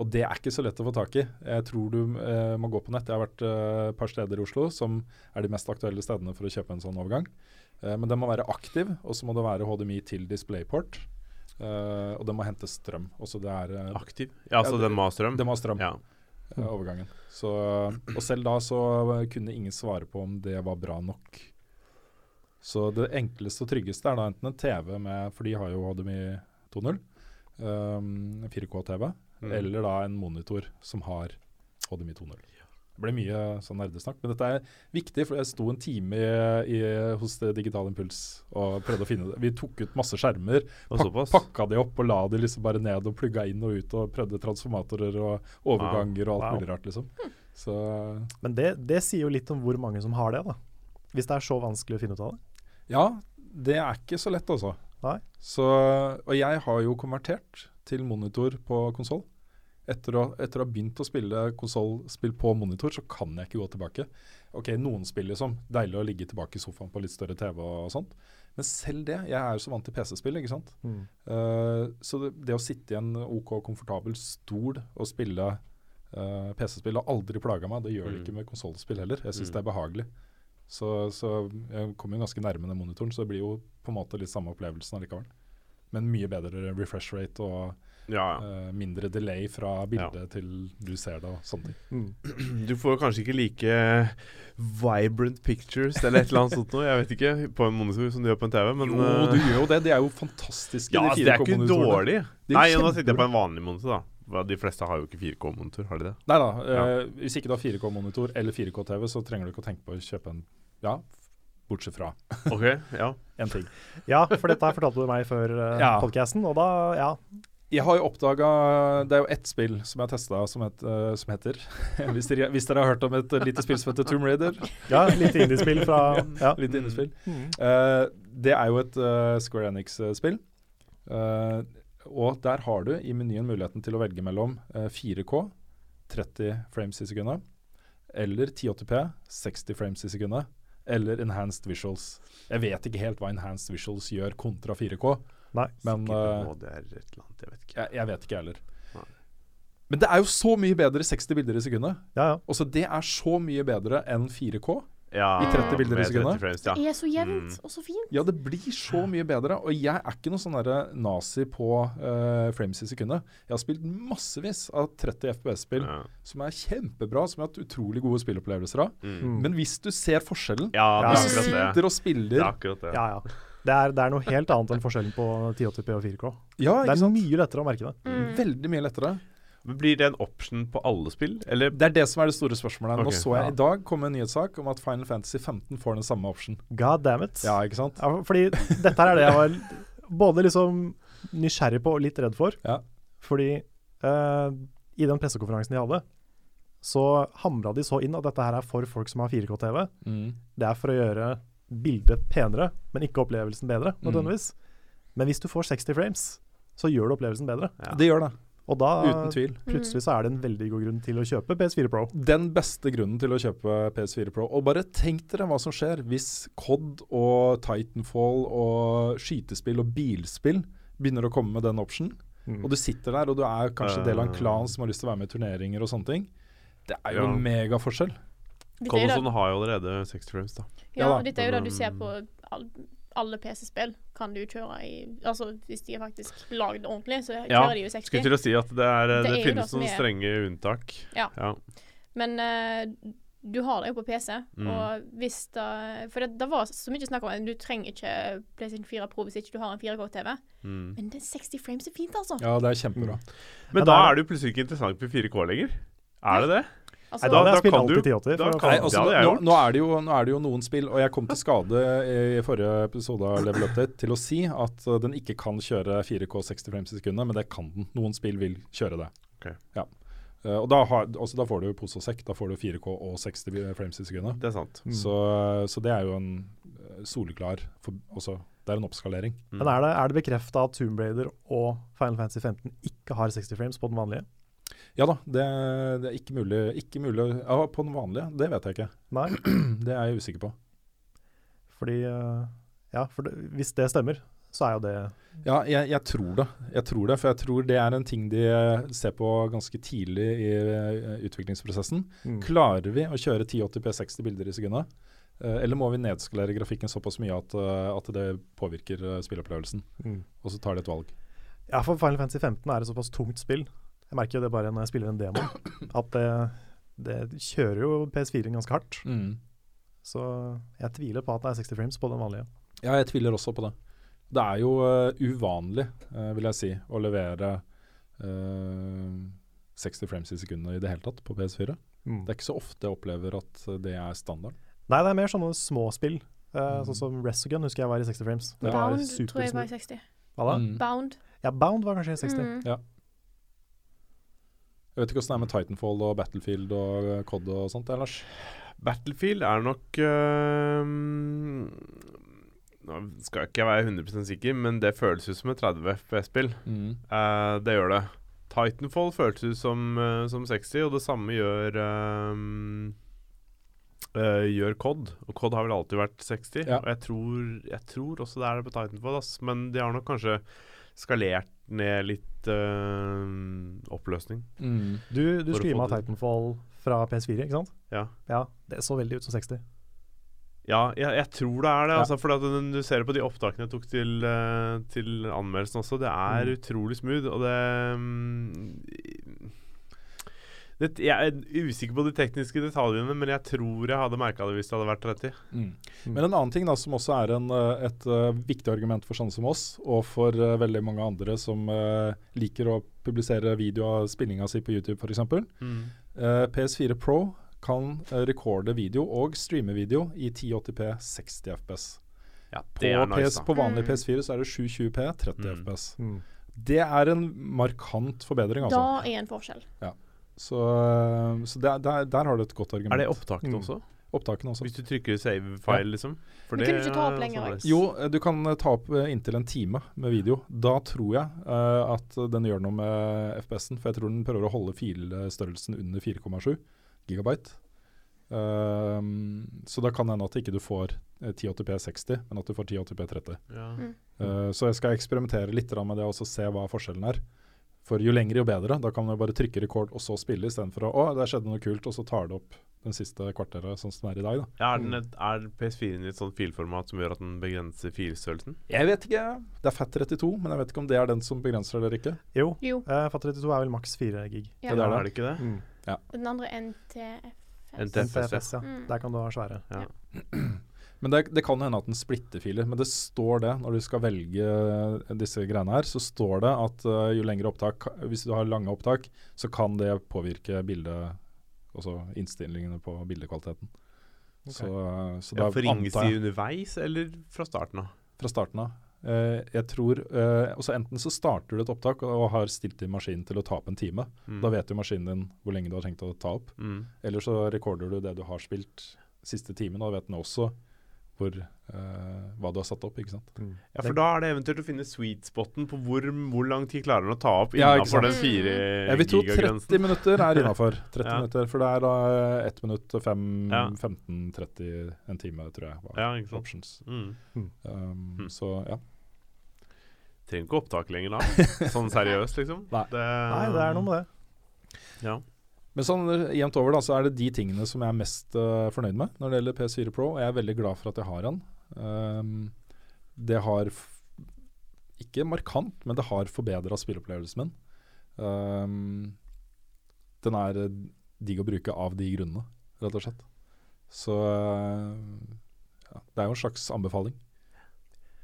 S4: Og det er ikke så lett å få tak i. Jeg tror du eh, må gå på nett. Jeg har vært eh, et par steder i Oslo som er de mest aktuelle stedene for å kjøpe en sånn overgang. Eh, men den må være aktiv, og så må det være HDMI til DisplayPort. eh, og den må hente strøm. Også det er, eh,
S2: Aktiv. Ja, altså
S4: Ja, det-
S2: den må ha strøm?
S4: den må ha strøm.
S2: Ja.
S4: eh, overgangen. Så, og selv da så eh, kunne ingen svare på om det var bra nok. Så det enkleste og tryggeste er da enten en TV med For de har jo HDMI 2.0, ehm, 4K-TV,
S2: Mm.
S4: eller da en monitor som har HDMI 2.0. Det ble mye sånn nerdesnakk, men dette er viktig, for jeg sto en time i, i, hos det Digital Impuls og prøvde å finne det. Vi tok ut masse skjermer,
S2: Og
S4: Pak-
S2: såpass.
S4: pakka de opp og la de liksom bare ned og plugga inn og ut og prøvde transformatorer og overganger og alt
S1: Wow.
S4: mulig rart, liksom. Så
S1: Men det, det sier jo litt om hvor mange som har det, da. Hvis det er så vanskelig å finne ut av det.
S4: ja, det er ikke så lett, altså.
S1: Nei.
S4: Så, og jeg har jo konvertert til monitor på konsoll. Etter, å- etter å ha begynt å spille konsollspill på monitor, så kan jeg ikke gå tilbake. Ok, noen spill, liksom. Deilig å ligge tilbake i sofaen på litt større TV og sånt. Men selv det, jeg er jo så vant til PC-spill, ikke sant.
S1: Mm.
S4: Eh, så det, det å sitte i en OK komfortabel stol og spille eh, PC-spill har aldri plaga meg. Det gjør det
S2: Mm.
S4: ikke med konsollspill heller. Jeg syns
S2: Mm.
S4: det er behagelig. Så, så jeg kommer jo ganske nærme den monitoren, så det blir jo på en måte litt samme opplevelsen allikevel. Men mye bedre refresh rate og
S2: Ja, ja.
S4: eh, mindre delay fra bildet til du ser det og sånne ting.
S1: Mm.
S2: Du får kanskje ikke like vibrant pictures eller et eller annet sånt noe, jeg vet ikke, på en monitor som du gjør på en TV, men
S4: jo,
S2: eh,
S4: du gjør jo det. De er jo fantastiske,
S2: Ja,
S4: de
S2: altså, det er ikke
S4: 4K-monitorene.
S2: dårlig.
S4: Det er
S2: Nei,
S4: jo
S2: nå sitter jeg
S4: kjempebra.
S2: på en vanlig monitor, da. Hva, De fleste har jo ikke 4K-monitor, har de det?
S4: Nei da. eh, Hvis ikke du har 4K-monitor eller 4K-TV, så trenger du ikke å tenke på å kjøpe en Ja, bortsett fra
S2: OK, ja.
S4: én ting.
S1: Ja, for dette her fortalte du meg før uh,
S4: Ja.
S1: podkasten, og da ja.
S4: Jeg har jo oppdaga Det er jo ett spill som jeg har testa som, het, eh, som heter (laughs) hvis dere, hvis dere har hørt om et eh, lite spill som heter Tomb Raider,
S1: ja litt indiespill fra (laughs) ja.
S4: litt innespill,
S1: Mm.
S4: eh, det er jo et eh, Square Enix-spill. Eh, og der har du i menyen muligheten til å velge mellom eh, 4K, 30 frames i sekundet, eller 1080P, 60 frames i sekundet, eller enhanced visuals. Jeg vet ikke helt hva enhanced visuals gjør kontra 4K.
S1: Nei.
S4: Men,
S2: Sikkert
S4: eh,
S2: må det er et eller annet, jeg vet ikke.
S4: Jeg, jeg vet ikke, jeg heller.
S2: Nei.
S4: Men det er jo så mye bedre 60 bilder i sekundet.
S1: Ja, ja.
S4: Også det er så mye bedre enn 4K.
S2: Ja,
S4: i 30 bilder i
S2: med
S4: sekundet.
S2: 30 frames,
S3: Det
S2: Ja.
S3: er så jevnt og så fint.
S4: Ja, det blir så mye bedre. Og jeg er ikke noen sånn derre nazi på eh, frames i sekundet. Jeg har spilt massevis av 30 FPS-spill
S2: Ja.
S4: som er kjempebra, som jeg har hatt utrolig gode spillopplevelser av.
S2: Mm.
S4: Men hvis du ser forskjellen
S2: ja, det
S1: Ja.
S2: er
S4: Hvis du
S2: akkurat det.
S4: sitter og
S2: Det
S4: spiller
S2: er
S4: Ja,
S2: akkurat det.
S1: ja, ja. Det er, det er noe helt annet enn forskjellen på 1080P og 4K. Det
S4: ikke
S1: er
S4: sant? Mm.
S1: mye lettere å merke det.
S4: Veldig mye lettere.
S2: Men Blir det en option på alle spill, eller
S4: Det er det som er det store spørsmålet. her.
S2: Ok,
S4: Nå så jeg
S1: ja.
S4: i dag komme en nyhetssak om at Final Fantasy 15 får den samme option.
S1: God damn it.
S4: Ja, ikke sant?
S1: Ja, fordi dette her er det jeg var både liksom nysgjerrig på og litt redd for.
S4: Ja.
S1: Fordi eh, i den pressekonferansen de hadde, så hamra de så inn at dette her er for folk som har 4K-TV.
S4: Mm.
S1: Det er for å gjøre bildet penere, men ikke
S4: Mm.
S1: opplevelsen bedre, nødvendigvis. Men hvis du får 60 frames, så gjør det opplevelsen bedre.
S2: Ja.
S4: Det gjør det.
S1: Og da
S4: Uten tvil.
S1: plutselig så er det en veldig god grunn til å kjøpe PS4 Pro.
S4: Den beste grunnen til å kjøpe PS4 Pro. Og bare tenk dere hva som skjer hvis Cod og Titanfall og skytespill og bilspill begynner å komme med den optionen.
S1: Mm.
S4: Og du sitter der, og du er kanskje del av en klan som har lyst til å være med i turneringer og sånne ting. Det er jo
S2: Ja.
S4: en megaforskjell.
S3: Dette er jo det,
S2: Coloson har jo allerede 60 frames, sånn da.
S4: ja
S3: ja,
S4: da,
S3: og dette er jo det
S2: men,
S3: du ser på
S2: um,
S3: all, alle PC-spill. Kan du kjøre i Altså hvis de er faktisk lagd ordentlig, så
S2: Ja,
S3: kjører de jo 60.
S2: Skulle til å si at det, er, eh,
S3: Det
S2: det,
S3: er jo det
S2: finnes
S3: som
S2: noen
S3: er-
S2: strenge unntak.
S3: Ja.
S2: ja.
S3: Men eh, du har det jo på PC,
S2: Mm.
S3: og hvis da For det, det var så mye snakk om at du trenger ikke PlayStation 4 Pro hvis ikke du har en 4K-TV.
S2: Mm.
S3: Men det 60 frames er fint, altså.
S4: Ja, det er kjempebra.
S1: Men
S2: Men
S1: det
S2: da
S1: er-
S2: er det jo plutselig ikke interessant med 4K lenger. Er det det?
S3: altså
S1: Nei, da,
S2: da-
S1: hadde
S2: da
S1: jeg spilt
S2: kan
S1: alltid
S2: du-
S1: 1080.
S2: da
S1: for å
S2: kan-
S1: få-
S4: Nei,
S2: Ja,
S4: altså,
S2: det hadde jeg
S4: nå, nå, er det jo, nå er det jo noen spill, og jeg kom til skade eh, i forrige episode av Level Update til å si at eh, den ikke kan kjøre 4K 60 frames i sekundet, men det kan den. Noen spill vil kjøre det.
S2: Ok.
S4: Ja. Eh, og da, har, altså, da får du jo pose og sekk. Da får du 4K og 60 frames i sekundet.
S2: Det er sant.
S1: Mm.
S4: Så, uh, så det er jo en eh, soleklar for, altså, Det er en oppskalering.
S2: Mm.
S1: Men er det, er det bekrefta at Tomb Raider og Final Fantasy 15 ikke har 60 frames på den vanlige?
S4: Ja da, det, det er ikke mulig, ikke mulig ja, På den vanlige, det vet jeg ikke.
S1: Nei,
S4: (clears throat) Det er jeg usikker på.
S1: fordi eh, Ja, for det, hvis det stemmer, så er jo det
S4: Ja, jeg, jeg tror det. Jeg tror det, For jeg tror det er en ting de eh, ser på ganske tidlig i eh, utviklingsprosessen.
S1: mm.
S4: Klarer vi å kjøre 1080p 60 bilder i sekundet? Eh, Eller må vi nedskalere grafikken såpass mye at, eh, at det påvirker eh, spilleopplevelsen?
S1: Mm.
S4: Og så tar de et valg.
S1: Ja, for Final Fantasy 15 er et såpass tungt spill. Jeg merker jo det bare når jeg spiller en (coughs) demo, at det, det kjører jo PS4-en ganske hardt.
S4: Mm.
S1: Så jeg tviler på at det er 60 frames på den vanlige.
S4: Ja, jeg tviler også på det. Det er jo eh, uvanlig, eh, vil jeg si, å levere eh, 60 frames i sekundet i det hele tatt på PS4.
S1: Mm.
S4: Det er ikke så ofte jeg opplever at eh, det er standarden.
S1: Nei, det er mer sånne små spill. eh,
S4: Mm.
S1: Sånn som Resogun husker jeg var i 60 frames. Det var
S3: Bound
S1: super
S3: tror jeg var
S1: smooth.
S3: i 60.
S1: Hva da?
S4: Mm.
S3: Bound.
S1: Ja, Bound var kanskje i 60.
S3: Mm.
S4: Jeg vet ikke åssen det er med Titanfall og Battlefield og eh, COD og sånt, det, Lars.
S2: Battlefield er nok øhm, Nå skal ikke jeg være 100 sikker, men det føles ut som et 30 FPS-spill. Eh, det gjør det. Titanfall føltes ut som, eh, som 60, og det samme gjør ehm, eh, Gjør Cod. Og Cod har vel alltid vært 60.
S4: Ja.
S2: Og jeg tror, jeg tror også det er det på Titanfall, ass. men de har nok kanskje skalert ned litt ehm, oppløsning.
S1: Du, du
S2: For å
S1: streama
S2: få det-
S1: Titanfall fra PS4, ikke sant?
S2: Ja.
S1: Ja, det så veldig ut som 60.
S2: Ja, jeg, jeg tror det er det.
S4: Ja.
S2: Altså, for at den, du ser det på de opptakene jeg tok til, eh, til anmeldelsen også. Det er
S4: Mm.
S2: utrolig smooth, og det mm, det, jeg er usikker på de tekniske detaljene, men jeg tror jeg hadde merka det hvis det hadde vært 30.
S4: Mm. Men en annen ting da, som også er en, eh, et eh, viktig argument for sånne som oss, og for eh, veldig mange andre som eh, liker å publisere video av spillinga si på YouTube f.eks. Uh, PS4 Pro kan eh, rekorde video og streame video i 1080p 60 FPS.
S2: Ja,
S4: På,
S2: det er
S4: PS,
S2: nice, da.
S4: på vanlig
S3: Mm.
S4: PS4 så er det 720p 30
S2: Mm.
S4: FPS.
S1: Mm.
S4: Det er en markant forbedring,
S3: Da
S4: altså.
S3: er en forskjell.
S4: Så, eh, så der, der, der har du et godt argument.
S2: Er det opptaket
S1: Mm.
S2: også?
S4: Opptakene også.
S2: Hvis du trykker save file, liksom? For
S3: Men
S2: det
S3: kunne du ikke ta opp
S2: er
S3: lenger,
S2: sånn
S3: da?
S2: nice.
S4: Jo, eh, du kan eh, ta opp eh, inntil en time med video. Da tror jeg eh, at den gjør noe med eh, FPS-en, for jeg tror den prøver å holde filstørrelsen under 4,7 gigabyte. Ehm, så da kan det hende at ikke du får eh, 1080p 60, men at du får 1080p 30.
S2: Ja.
S3: Mm.
S4: Eh, så jeg skal eksperimentere litt grann med det og så se hva forskjellen er. For jo lengre, jo bedre. Da kan du bare trykke rekord og så spille, istedenfor å Å, der skjedde noe kult, og så tar det opp den siste kvarteret, sånn som det er i dag, da.
S2: Ja, er, den et, er PS4-en i et sånt filformat som gjør at den begrenser filstørrelsen?
S4: Jeg vet ikke. Det er FAT32, men jeg vet ikke om det er den som begrenser det eller ikke.
S1: Jo,
S3: Jo.
S1: uh, FAT32 er vel maks 4 gig.
S3: Ja.
S4: det er det.
S2: Er det ikke det?
S3: Den andre NTFS.
S2: NTFS.
S1: NTFS, ja.
S3: Mm.
S1: Der kan du ha svære.
S4: Men det, det kan hende at den splitter filer. Men det står det, når du skal velge eh, disse greiene her, så står det at eh, jo lengre opptak, hvis du har lange opptak, så kan det påvirke bildet, altså innstillingene på bildekvaliteten. Så, eh, så da
S2: Ja, for ringes
S4: antar
S2: de
S4: jeg
S2: underveis, eller fra starten av?
S4: fra starten av. Eh, jeg tror, eh, også Enten så starter du et opptak og har stilt din maskin til å ta opp en time.
S2: Mm.
S4: Da vet jo maskinen din hvor lenge du har tenkt å ta opp.
S2: mm.
S4: Eller så rekorder du det du har spilt siste timen, og da vet den også hvor, eh, hva du har satt opp. ikke sant?
S2: Ja, for da er det eventuelt å finne sweet spoten på hvor, hvor lang tid klarer han å ta opp
S4: Ja, ikke Mm.
S2: innenfor den
S3: sant.
S2: fire
S4: Jeg vil tro 30
S2: gigagrensen.
S4: (laughs) minutter er
S2: (laughs)
S4: innafor. 30
S2: Eh, Ja.
S4: minutter, For det er da 1 minutt,
S2: Ja.
S4: 5, 15, 30, en time, tror jeg. Var
S2: Ja, ikke sant.
S4: options.
S2: Mm.
S4: Um,
S2: Hmm.
S4: Så ja.
S2: Trenger ikke opptak
S4: (laughs)
S2: lenger da. Sånn seriøst, liksom.
S4: Nei.
S2: det,
S1: Nei, det er noe med det.
S2: Ja.
S4: Men sånn eh, jevnt over da, så er det de tingene som jeg er mest eh, fornøyd med når det gjelder PS4 Pro, og jeg er veldig glad for at jeg har den. Ehm, det har f ikke markant, men det har forbedra spilleopplevelsen min. Ehm, den er eh, digg å bruke av de grunnene, rett og slett. Så eh, ja, det er jo en slags anbefaling.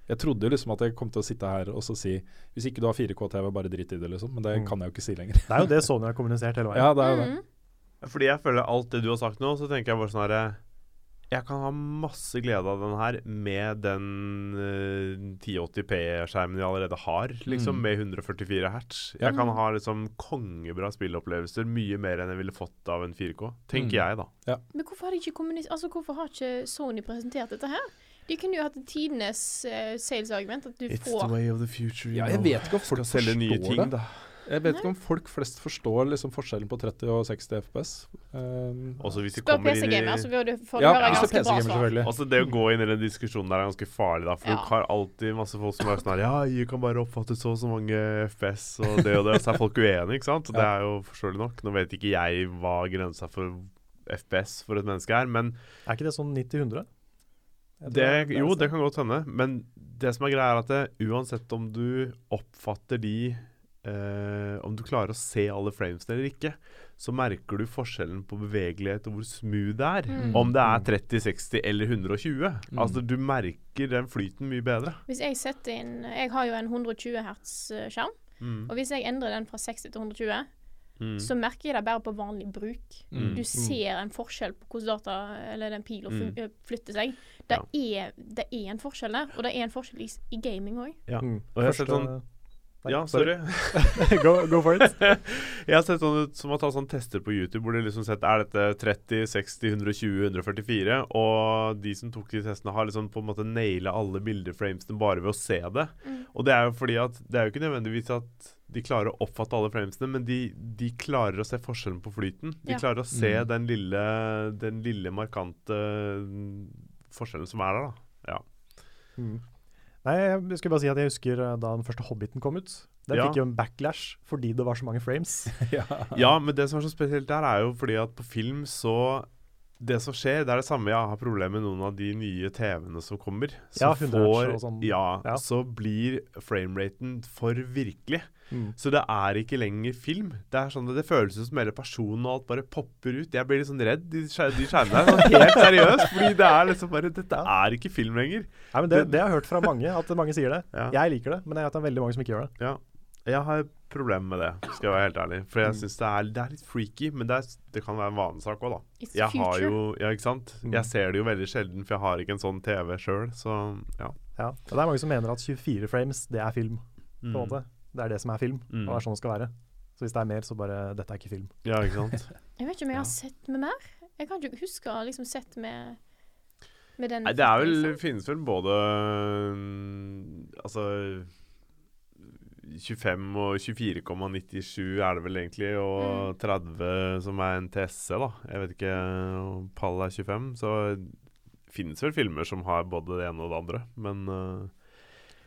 S4: Jeg trodde jo liksom at jeg kom til å sitte her og så si Hvis ikke du har 4K-TV, bare drit i det, liksom. Men det
S1: Mm.
S4: kan jeg jo ikke si lenger.
S1: Det er jo det Sony har kommunisert hele veien.
S4: (laughs) Ja, det er jo det.
S3: Mm.
S2: Fordi jeg føler alt det du har sagt nå, så tenker jeg bare sånn herre Jeg kan ha masse glede av den her med den eh, 1080p-skjermen jeg allerede har, liksom,
S4: Mm.
S2: med 144 hertz.
S4: Ja.
S2: Jeg kan ha liksom kongebra spilleopplevelser, mye mer enn jeg ville fått av en 4K,
S4: Mm.
S2: tenker jeg, da.
S3: Men hvorfor har, de ikke kommunis- altså, hvorfor har ikke Sony presentert dette her? De kunne jo hatt tidenes eh, sales-argument, at du får
S2: way of the future.
S4: Ja, jeg vet ikke om folk
S2: Skal selge nye
S4: forstår
S2: ting,
S4: det.
S2: da.
S4: Jeg vet ikke om folk flest forstår liksom forskjellen på 30 og 60 FPS.
S2: Også hvis de
S3: Spør
S2: kommer inn i
S3: PC-gamer,
S4: altså.
S3: så bør du få
S4: Ehm, ja,
S3: høre
S4: hvis det
S3: ganske
S4: er
S3: bra
S4: PC-gamer,
S3: svar.
S4: selvfølgelig.
S2: Altså Det å gå inn i den diskusjonen der er ganske farlig, da. For
S3: Ja.
S2: du har alltid masse folk som er sånn her Ja, jeg kan bare oppfatte så og så mange FPS og det og det. Og så er folk uenige, ikke sant. Og det
S4: Ja.
S2: er jo forståelig nok. Nå vet ikke jeg hva grensa for FPS for et menneske er, men
S1: Er ikke det sånn 90-100? Jeg tror
S2: det,
S1: er-
S2: jo,
S1: er
S2: det kan godt hende. Men det som er greia, er at det, uansett om du oppfatter de eh, Om du klarer å se alle framesene eller ikke, så merker du forskjellen på bevegelighet og hvor smooth det er.
S3: Mm.
S2: Om det er 30, 60 eller 120.
S4: Mm.
S2: Altså Du merker den flyten mye bedre.
S3: Hvis jeg setter inn Jeg har jo en 120 hertz-skjerm, eh, og hvis jeg endrer den fra 60 til 120,
S2: Mm.
S3: så merker jeg det bare på vanlig bruk.
S2: Mm.
S3: Du ser en forskjell på hvordan data, eller den pila fu-
S2: Mm.
S3: eh, flytter seg. Det, er, det er en forskjell der, og det er en forskjell i, s- i gaming òg.
S2: Ja.
S1: Mm.
S2: Og jeg har sett
S1: Første-
S2: sånn-
S1: Nei,
S2: Ja, sorry.
S1: (laughs)
S2: (laughs)
S1: go, go for it.
S2: Jeg har sett sånn ut som å ta sånn tester på YouTube hvor de liksom sett er dette 30, 60, 120, 144, og de som tok de testene, har liksom på en måte naila alle bildeframesene bare ved å se det.
S3: Mm.
S2: Og det er jo fordi at det er jo ikke nødvendigvis at de klarer å oppfatte alle framesene, men de, de klarer å se forskjellen på flyten. De
S3: Ja.
S2: klarer å se
S4: Mm.
S2: den lille, den lille markante mm, forskjellen som er der, da.
S1: Mm. Nei, jeg skulle bare si at jeg husker eh, da den første Hobbiten kom ut. Den
S2: Ja.
S1: fikk jo en backlash fordi det var så mange frames.
S4: (laughs) ja.
S2: Ja, men det som er så spesielt der, er jo fordi at på film så Det som skjer, det er det samme jeg har problemer med noen av de nye TV-ene som kommer.
S1: Ja,
S2: Som
S1: 100 hertz og sånn.
S2: ja,
S1: Ja.
S2: så blir frameraten for virkelig.
S1: Mm.
S2: Så det er ikke lenger film. Det er sånn at det føles ut som hele personen og alt bare popper ut. Jeg blir litt sånn redd i skjer- de skjermene her, sånn helt seriøst. Fordi det er liksom bare Dette er ikke film lenger.
S1: Nei, men det, det har jeg hørt fra mange, at mange sier det.
S2: Ja.
S1: Jeg liker det, men jeg vet det er veldig mange som ikke gjør det.
S2: Ja. Jeg har problemer med det, skal jeg være helt ærlig. For jeg
S1: Mm.
S2: syns det, er- det er litt freaky, men det, er, det kan være en vanesak òg, da.
S3: It's the
S2: Jeg har
S3: future.
S2: jo Ja, ikke sant?
S1: Mm.
S2: Jeg ser det jo veldig sjelden, for jeg har ikke en sånn TV sjøl, så ja.
S1: Ja. Og det er mange som mener at 24 frames, det er film. på en
S2: Mm.
S1: måte. Det er det som er film,
S2: Mm.
S1: og det er sånn det skal være. Så hvis det er mer, så bare Dette er ikke film.
S2: Ja, ikke sant.
S3: Jeg vet ikke om jeg
S2: Ja.
S3: har sett med mer. Jeg kan ikke huske å ha liksom sett med, med den.
S2: Nei, det er vel,
S3: liksom.
S2: finnes vel både mm, Altså 25 og 24,97 er det vel egentlig, og 30 som er en TSC, da. Jeg vet ikke om pall er 25, så finnes vel filmer som har både det ene og det andre, men eh,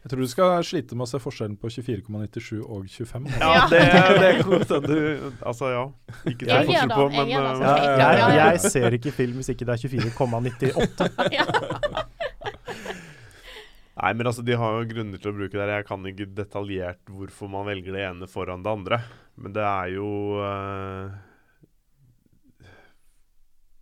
S4: Jeg tror du skal slite med å se forskjellen på 24,97 og 25.
S2: Ja,
S3: Ja.
S2: det, det er godt at du Altså, ja. Ikke
S3: Jeg
S2: tenk forskjell
S3: gjør det,
S2: på,
S3: jeg
S2: men
S3: gjør
S2: eh,
S3: det, så
S1: altså.
S3: Ja, ja, ja,
S1: Jeg,
S3: ja.
S1: jeg ser ikke film hvis ikke det er 24,98.
S2: Nei, men altså, de har jo grunner til å bruke det. her. Jeg kan ikke detaljert hvorfor man velger det ene foran det andre. Men det er jo eh,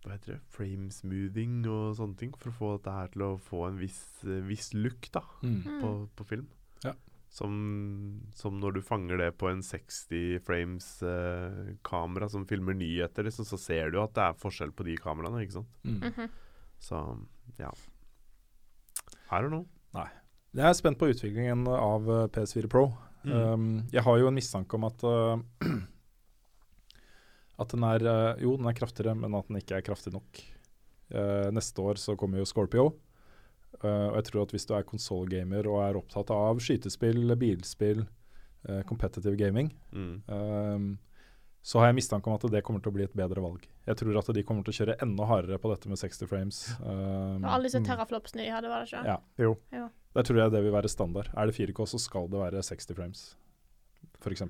S2: Hva heter det? Frame smoothing og sånne ting. For å få dette her til å få en viss, eh, viss look da,
S4: (laughs) Mm.
S2: på,
S3: Mm.
S2: på film.
S4: Ja.
S2: Som, som når du fanger det på en 60 frames-kamera som filmer nyheter, liksom, så ser du at det er forskjell på de kameraene, ikke sant.
S4: Mm.
S3: Mhm.
S2: Så ja. I don't know.
S4: Jeg er spent på utviklingen av eh, PS4 Pro.
S2: Mm.
S4: Um, jeg har jo en mistanke om at eh, (clears throat) at den er eh, Jo, den er kraftigere, men at den ikke er kraftig nok. Eh, neste år så kommer jo Scorpio. Eh, og jeg tror at hvis du er konsollgamer og er opptatt av skytespill, bilspill, eh, competitive gaming,
S2: Mm.
S4: Ehm, så har jeg mistanke om at det kommer til å bli et bedre valg. Jeg tror at de kommer til å kjøre enda hardere på dette med 60 frames. Ehm,
S3: Det var alle disse
S1: Mm.
S3: terraflopsene de hadde, var det ikke?
S4: Ja.
S1: Jo.
S4: der tror jeg det vil være standard. Er det 4K, så skal det være 60 frames, f.eks.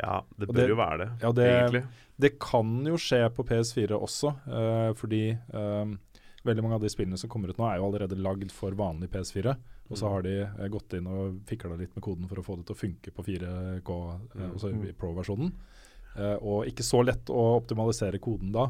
S2: Ja, det
S4: Og
S2: bør
S4: det-
S2: jo være det,
S4: ja, det-
S2: egentlig.
S4: Det kan jo skje på PS4 også, eh, fordi ehm, veldig mange av de spillene som kommer ut nå, er jo allerede lagd for vanlig PS4. Og så
S2: Mm.
S4: har de eh, gått inn og fikla litt med koden for å få det til å funke på 4K, eh,
S2: Mm.
S4: altså i
S1: Mm.
S4: pro-versjonen. Eh, og ikke så lett å optimalisere koden da,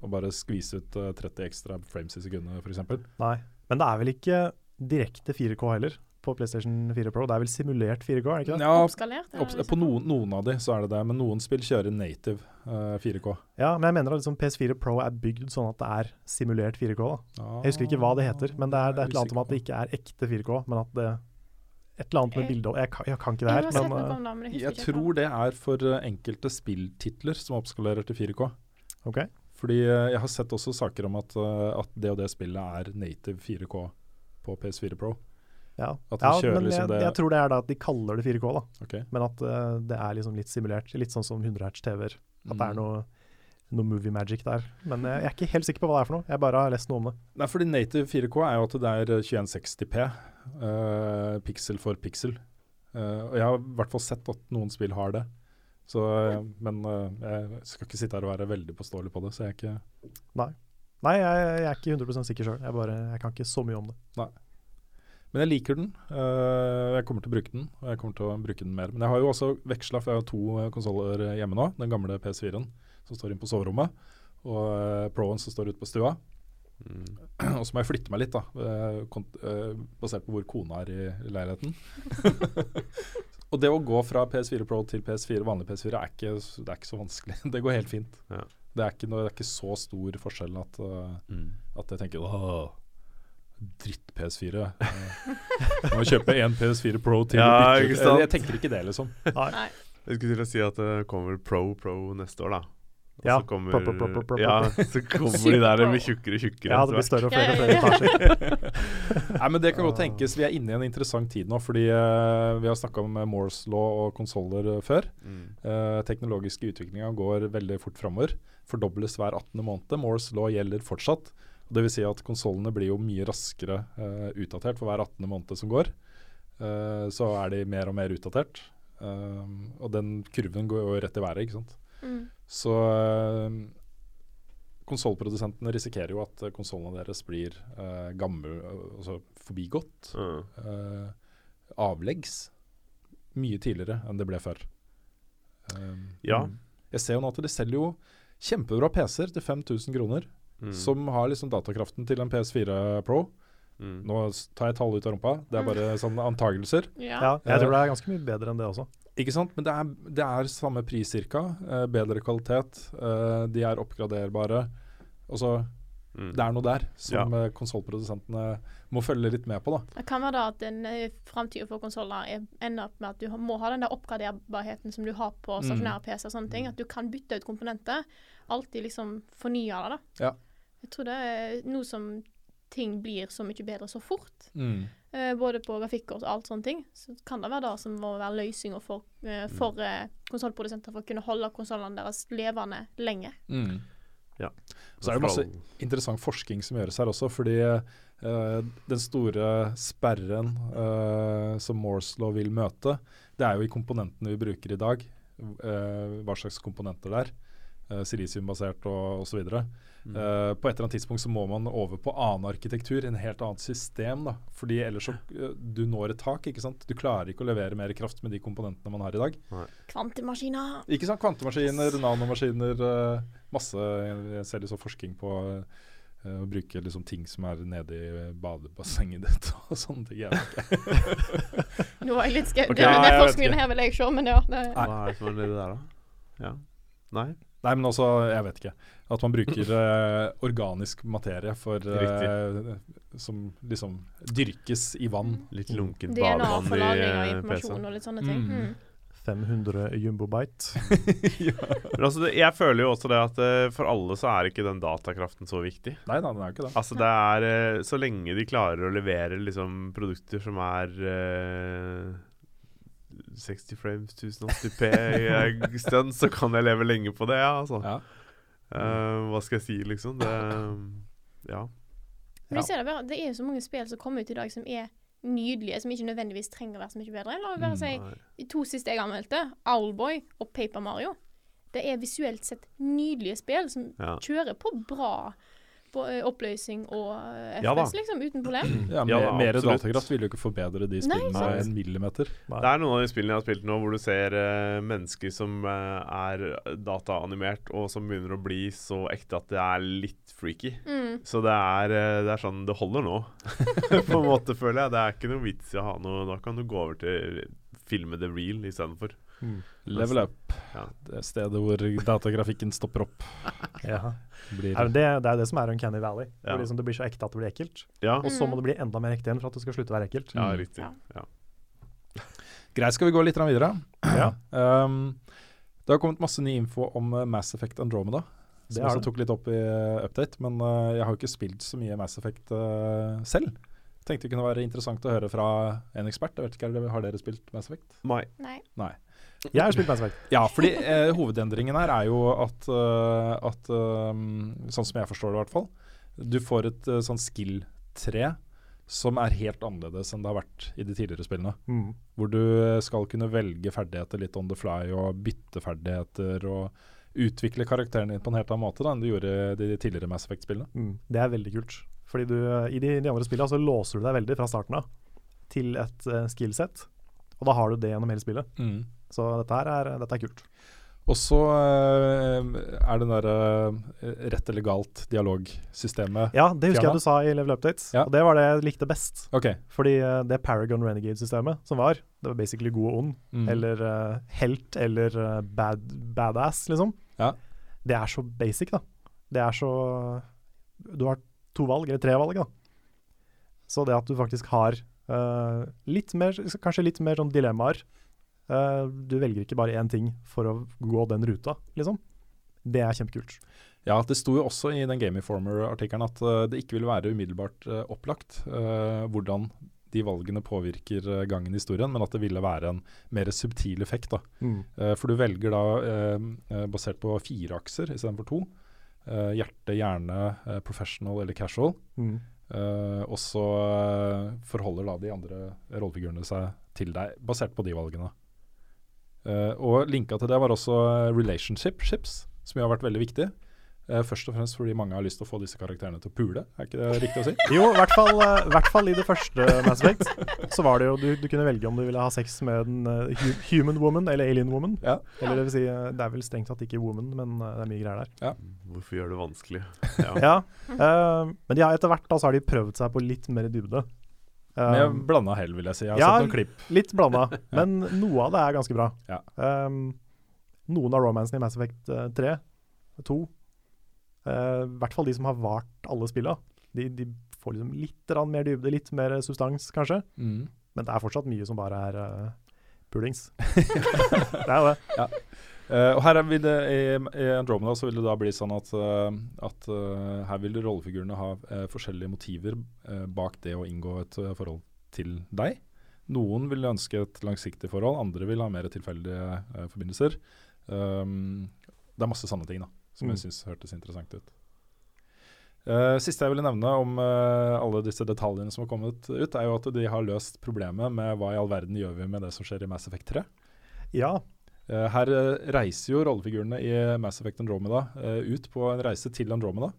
S4: og bare skvise ut eh, 30 ekstra frames i sekundet f.eks.
S1: Nei. Men det er vel ikke direkte 4K heller på PlayStation 4 Pro? Det er vel simulert 4K, er det ikke det?
S4: Ja,
S3: Oppskalert? eller
S4: opp,
S3: liksom?
S4: på noen, noen av de så er det det, men noen spill kjører native eh, 4K.
S1: Ja, men jeg mener at liksom PS4 Pro er bygd sånn at det er simulert 4K. Da. Jeg husker ikke hva det heter, men det er, det er et eller annet om at det ikke er ekte 4K, men at det Et eller annet med
S3: Jeg-
S1: bilde og jeg, kan- jeg kan ikke det
S3: Jeg
S1: her,
S3: har sett
S1: men
S3: noe
S1: eh,
S3: om det, men jeg
S4: Jeg
S3: husker ikke.
S4: tror det er for eh, enkelte spilltitler som oppskalerer til 4K.
S1: OK.
S4: Fordi eh, jeg har sett også saker om at, eh, at det og det spillet er native 4K på PS4 Pro.
S1: Ja,
S4: At de
S1: ja
S4: kjører
S1: men
S4: liksom
S1: jeg,
S4: det-
S1: jeg tror det er da at de kaller det 4K, da.
S4: Ok.
S1: Men at eh, det er liksom litt simulert. Litt sånn som 100 Hz TV-er. At det
S4: Mm.
S1: er noe, noe movie magic der. Men eh, jeg er ikke helt sikker på hva det er for noe. Jeg bare har lest noe om det.
S4: Nei, fordi native 4K er jo at det er 2160p, eh, piksel for piksel. Eh, og jeg har i hvert fall sett at noen spill har det. Så, eh, men eh, jeg skal ikke sitte her og være veldig påståelig på det, så jeg er ikke
S1: Nei, jeg, jeg er ikke 100 sikker sjøl. Jeg, bare- jeg kan ikke så mye om det.
S4: Men jeg liker den. eh, jeg kommer til å bruke den, og jeg kommer til å bruke den mer. Men jeg har jo også veksla, for jeg har to eh, konsoller hjemme nå. Den gamle PS4-en som står inne på soverommet, og eh, Pro-en som står ute på stua. (clears throat)
S2: Mm.
S4: Og så må jeg flytte meg litt, da, eh, kont eh, basert på hvor kona er i leiligheten. (laughs) og det å gå fra PS4 Pro til PS4, vanlig PS4 er ikke, s- det er ikke så vanskelig. (laughs) det går helt fint.
S2: Ja.
S4: Det, er ikke noe, det er ikke så stor forskjell at, eh,
S2: Mm.
S4: at jeg tenker åh, dritt PS4. eh, Må kjøpe én PS4 Pro til. og
S2: Ja,
S4: bytte ut."
S2: ikke sant?
S4: Jeg tenker ikke det,
S2: (laughs)
S4: liksom.
S1: Nei.
S3: Nei.
S2: Jeg skulle til å si at det kommer Pro Pro neste år, da. Og
S1: Ja,
S2: så kommer,
S1: pro, pro, pro, pro, pro, pro.
S2: ja, (laughs) så kommer de der med tjukkere og tjukkere.
S1: Ja, det blir større og flere,
S3: Ja,
S1: og
S3: ja,
S1: flere
S3: ja.
S1: etasjer.
S4: Nei, men Det kan godt tenkes. Vi er inne i en interessant tid nå, fordi eh, vi har snakka om eh, Moores law og konsoller før.
S2: Mm.
S4: Eh, teknologiske utviklinga går veldig fort framover. Fordobles hver 18. måned. Moores law gjelder fortsatt. Og det vil si at konsollene blir jo mye raskere eh, utdatert for hver 18. måned som går. Eh, så er de mer og mer utdatert. Eh, og den kurven går jo rett i været, ikke sant.
S3: Mm.
S4: Så uh, konsollprodusentene risikerer jo at konsollene deres blir uh, gammel, altså forbigått
S2: Mm.
S4: eh, avleggs mye tidligere enn det ble før. Um,
S2: Ja.
S4: mm. Jeg ser jo nå at de selger jo kjempebra PC-er til 5000 kroner,
S2: Mm.
S4: som har liksom datakraften til en PS4 Pro.
S2: Mm.
S4: Nå s- tar jeg tallet ut av rumpa, det er bare sånne antagelser.
S3: Ja.
S1: Ja, jeg tror det er ganske mye bedre enn det også.
S4: Ikke sant? Men det er, det er samme pris cirka, eh, bedre kvalitet, eh, de er oppgraderbare. Altså,
S2: Mm.
S4: det er noe der som ja. konsollprodusentene må følge litt med på, da.
S3: Det kan være da at den framtida for konsoller ender opp med at du har- må ha den der oppgraderbarheten som du har på stasjonære PC og sånne ting. At du kan bytte ut komponenter. Alltid liksom fornye det, da.
S4: Ja.
S3: Jeg tror det er nå som ting blir så mye bedre så fort, eh, både på grafikkort og alt sånne ting, så kan det være det som må være løsninga for, eh,
S2: Mm.
S3: for eh, konsollprodusenter for å kunne holde konsollene deres levende lenge.
S4: Mm.
S2: Ja.
S4: Så er det masse interessant forskning som gjøres her også, fordi eh, den store sperren eh, som Moreslow vil møte, det er jo i komponentene vi bruker i dag. eh, hva slags komponenter det er. eh, Silisiumbasert og osv. videre.
S2: Mm.
S4: Eh, på et eller annet tidspunkt så må man over på annen arkitektur, en helt annet system. da, fordi ellers så eh, du når et tak. ikke sant? Du klarer ikke å levere mer kraft med de komponentene man har i dag.
S3: Kvantemaskiner!
S4: Ikke sant? Kvantemaskiner, nanomaskiner eh, Masse Jeg ser liksom forskning på eh, å bruke liksom ting som er nede i badebassenget (laughs) ditt og sånne ting. Jeg vet ikke.
S3: Nå var jeg litt skeptisk.
S2: Ok,
S3: den
S2: ja, jeg
S3: den
S2: vet
S3: forskningen
S2: ikke.
S3: her vil jeg se, men ja. Det,
S2: Hva
S4: Mm.
S2: er det som er nedi der, da? Ja. Nei?
S4: Nei, men også Jeg vet ikke. At man bruker eh, organisk materie for eh, Som liksom dyrkes i vann.
S2: Litt lunkent
S3: DNA for
S2: badevann i
S3: lagring av
S2: eh,
S3: informasjon
S2: PC-en.
S3: og litt sånne ting.
S4: Mm.
S3: Mm.
S1: 500 jumbobyte.
S2: Men altså, det, jeg føler jo også det at eh, for alle så er ikke den datakraften så viktig.
S4: Nei da, den er jo ikke det.
S2: Altså det er eh, Så lenge de klarer å levere liksom produkter som er eh, 60 frames, 1080p i (laughs) stund, så kan jeg leve lenge på det, ja. Altså.
S4: Ja.
S2: Eh, hva skal jeg si, liksom? Det Ja.
S3: Men
S1: Ja.
S3: jeg ser det, bare, det er jo så mange spill som kommer ut i dag som er nydelige, som ikke nødvendigvis trenger å være så mye bedre. La meg bare si
S2: Nei.
S3: de to siste jeg anmeldte, Owlboy og Paper Mario. Det er visuelt sett nydelige spill som
S2: Ja.
S3: kjører på bra på, eh, oppløsning og eh,
S2: Ja da.
S3: FPS, liksom, uten
S1: (clears throat)
S3: problem.
S2: Ja,
S4: Ja, mer,
S2: da,
S4: mer
S2: absolutt.
S4: datakraft vil jo ikke forbedre de
S3: Nei,
S4: spillene
S2: sant.
S4: med en millimeter.
S2: Det er noen av de spillene jeg har spilt nå, hvor du ser eh, mennesker som eh, er dataanimert, og som begynner å bli så ekte at det er litt freaky.
S3: Mm.
S2: Så det er, eh, det er sånn Det holder nå, (laughs) på en måte, føler jeg. Det er ikke noe vits i å ha noe Da kan du gå over til filme the real istedenfor.
S1: Mm.
S4: Level up.
S2: Ja.
S4: Det er stedet hvor datagrafikken stopper opp.
S1: Ja.
S4: Blir
S1: Nei, men Det, det er jo det som er Uncanny Valley.
S2: Ja.
S1: Hvor liksom det blir så ekte at det blir ekkelt.
S2: Ja,
S1: Og så
S3: Mm.
S1: må det bli enda mer ekte igjen for at det skal slutte å være ekkelt.
S2: ja
S4: Mm.
S2: riktig.
S3: Ja.
S2: Ja.
S4: Greit, skal vi gå litt grann videre?
S1: Ja.
S4: Um, det har kommet masse ny info om eh, Mass Effect Andromeda.
S1: Det
S4: Som
S1: har
S4: jeg også
S1: det.
S4: tok litt opp i eh, update, men eh, jeg har jo ikke spilt så mye Mass Effect eh, selv. Tenkte det kunne være interessant å høre fra en ekspert. Jeg vet ikke, er det- Har dere spilt Mass Effect?
S2: Mai.
S3: Nei.
S1: Jeg har spilt Mass Effect.
S4: Ja, fordi eh, hovedendringen her er jo at, eh, at eh, Sånn som jeg forstår det i hvert fall Du får et eh, sånn skill-tre som er helt annerledes enn det har vært i de tidligere spillene.
S1: Mm.
S4: Hvor du eh, skal kunne velge ferdigheter litt on the fly og bytte ferdigheter og utvikle karakteren din på en helt annen måte da, enn du gjorde i de tidligere Mass Effect-spillene.
S1: Mm. Det er veldig kult. Fordi du, I de, de andre spillene så låser du deg veldig fra starten av til et uh, skillset. Og da har du det gjennom hele spillet. Så dette her er, dette er kult.
S4: Og så eh, er det den derre eh, rett eller galt-dialogsystemet.
S1: Ja, det husker
S4: Fjerna.
S1: jeg du sa i Level Updates,
S4: Ja.
S1: og det var det jeg likte best.
S4: OK.
S1: Fordi eh, det Paragon Renegade-systemet som var, det var basically god og ond,
S4: Mm.
S1: eller eh, helt, eller eh, bad, badass, liksom.
S4: Ja.
S1: Det er så basic, da. Det er så Du har to valg, eller tre valg, da. Så det at du faktisk har eh, litt mer, kanskje litt mer sånn dilemmaer eh, Du velger ikke bare én ting for å gå den ruta, liksom. Det er kjempekult.
S4: Ja, det sto jo også i den Game Informer-artikkelen at eh, det ikke ville være umiddelbart eh, opplagt eh, hvordan de valgene påvirker eh, gangen i historien, men at det ville være en mer subtil effekt. da. Eh, for du velger da, eh, eh, basert på fire akser istedenfor to, eh, hjerte, hjerne, eh, professional eller casual.
S1: Mm.
S4: eh, og så eh, forholder da de andre rollefigurene seg til deg, basert på de valgene. Eh, og linka til det var også eh, relationships, som jo har vært veldig viktig. Eh, først og fremst fordi mange har lyst til å få disse karakterene til å pule, er ikke det
S3: (laughs)
S4: riktig å si?
S1: Jo, i hvert fall, eh, i hvert fall i det første Mass Effect så var det jo du, du kunne velge om du ville ha sex med en eh, hu- human woman eller alien woman.
S4: Ja.
S1: Eller det vil si, eh, det er vel strengt tatt ikke woman, men eh, det er mye greier der.
S2: Hvorfor gjør det vanskelig?
S1: Ja, eh, Men de har etter hvert da, så har de prøvd seg på litt mer dybde. Eh,
S4: Med blanda hell, vil jeg si. Jeg har
S1: ja,
S4: sett noen klipp.
S1: litt blanda,
S4: (laughs)
S1: men noe av det er ganske bra.
S4: Ja.
S1: Eh, noen av romansene i Mass Effect eh, 3, 2, eh, i hvert fall de som har vart alle spilla, de, de får liksom litt grann mer dybde, litt mer substans, kanskje. Men det er fortsatt mye som bare er eh, pulings.
S4: (laughs)
S1: det er jo det.
S4: Eh, og her er- vil det, i, I Andromeda så vil det da bli sånn at, eh, at eh, her vil rollefigurene ha eh, forskjellige motiver eh, bak det å inngå et eh, forhold til deg. Noen vil ønske et langsiktig forhold, andre vil ha mer tilfeldige eh, forbindelser. Um, det er masse sånne ting da, som jeg syns hørtes interessant ut. Eh, siste jeg ville nevne om eh, alle disse detaljene som har kommet ut, er jo at de har løst problemet med hva i all verden gjør vi med det som skjer i Mass Effect 3.
S1: Ja,
S4: Eh, Her eh, reiser jo rollefigurene i Mass Effect Andromeda eh, ut på en reise til Andromeda.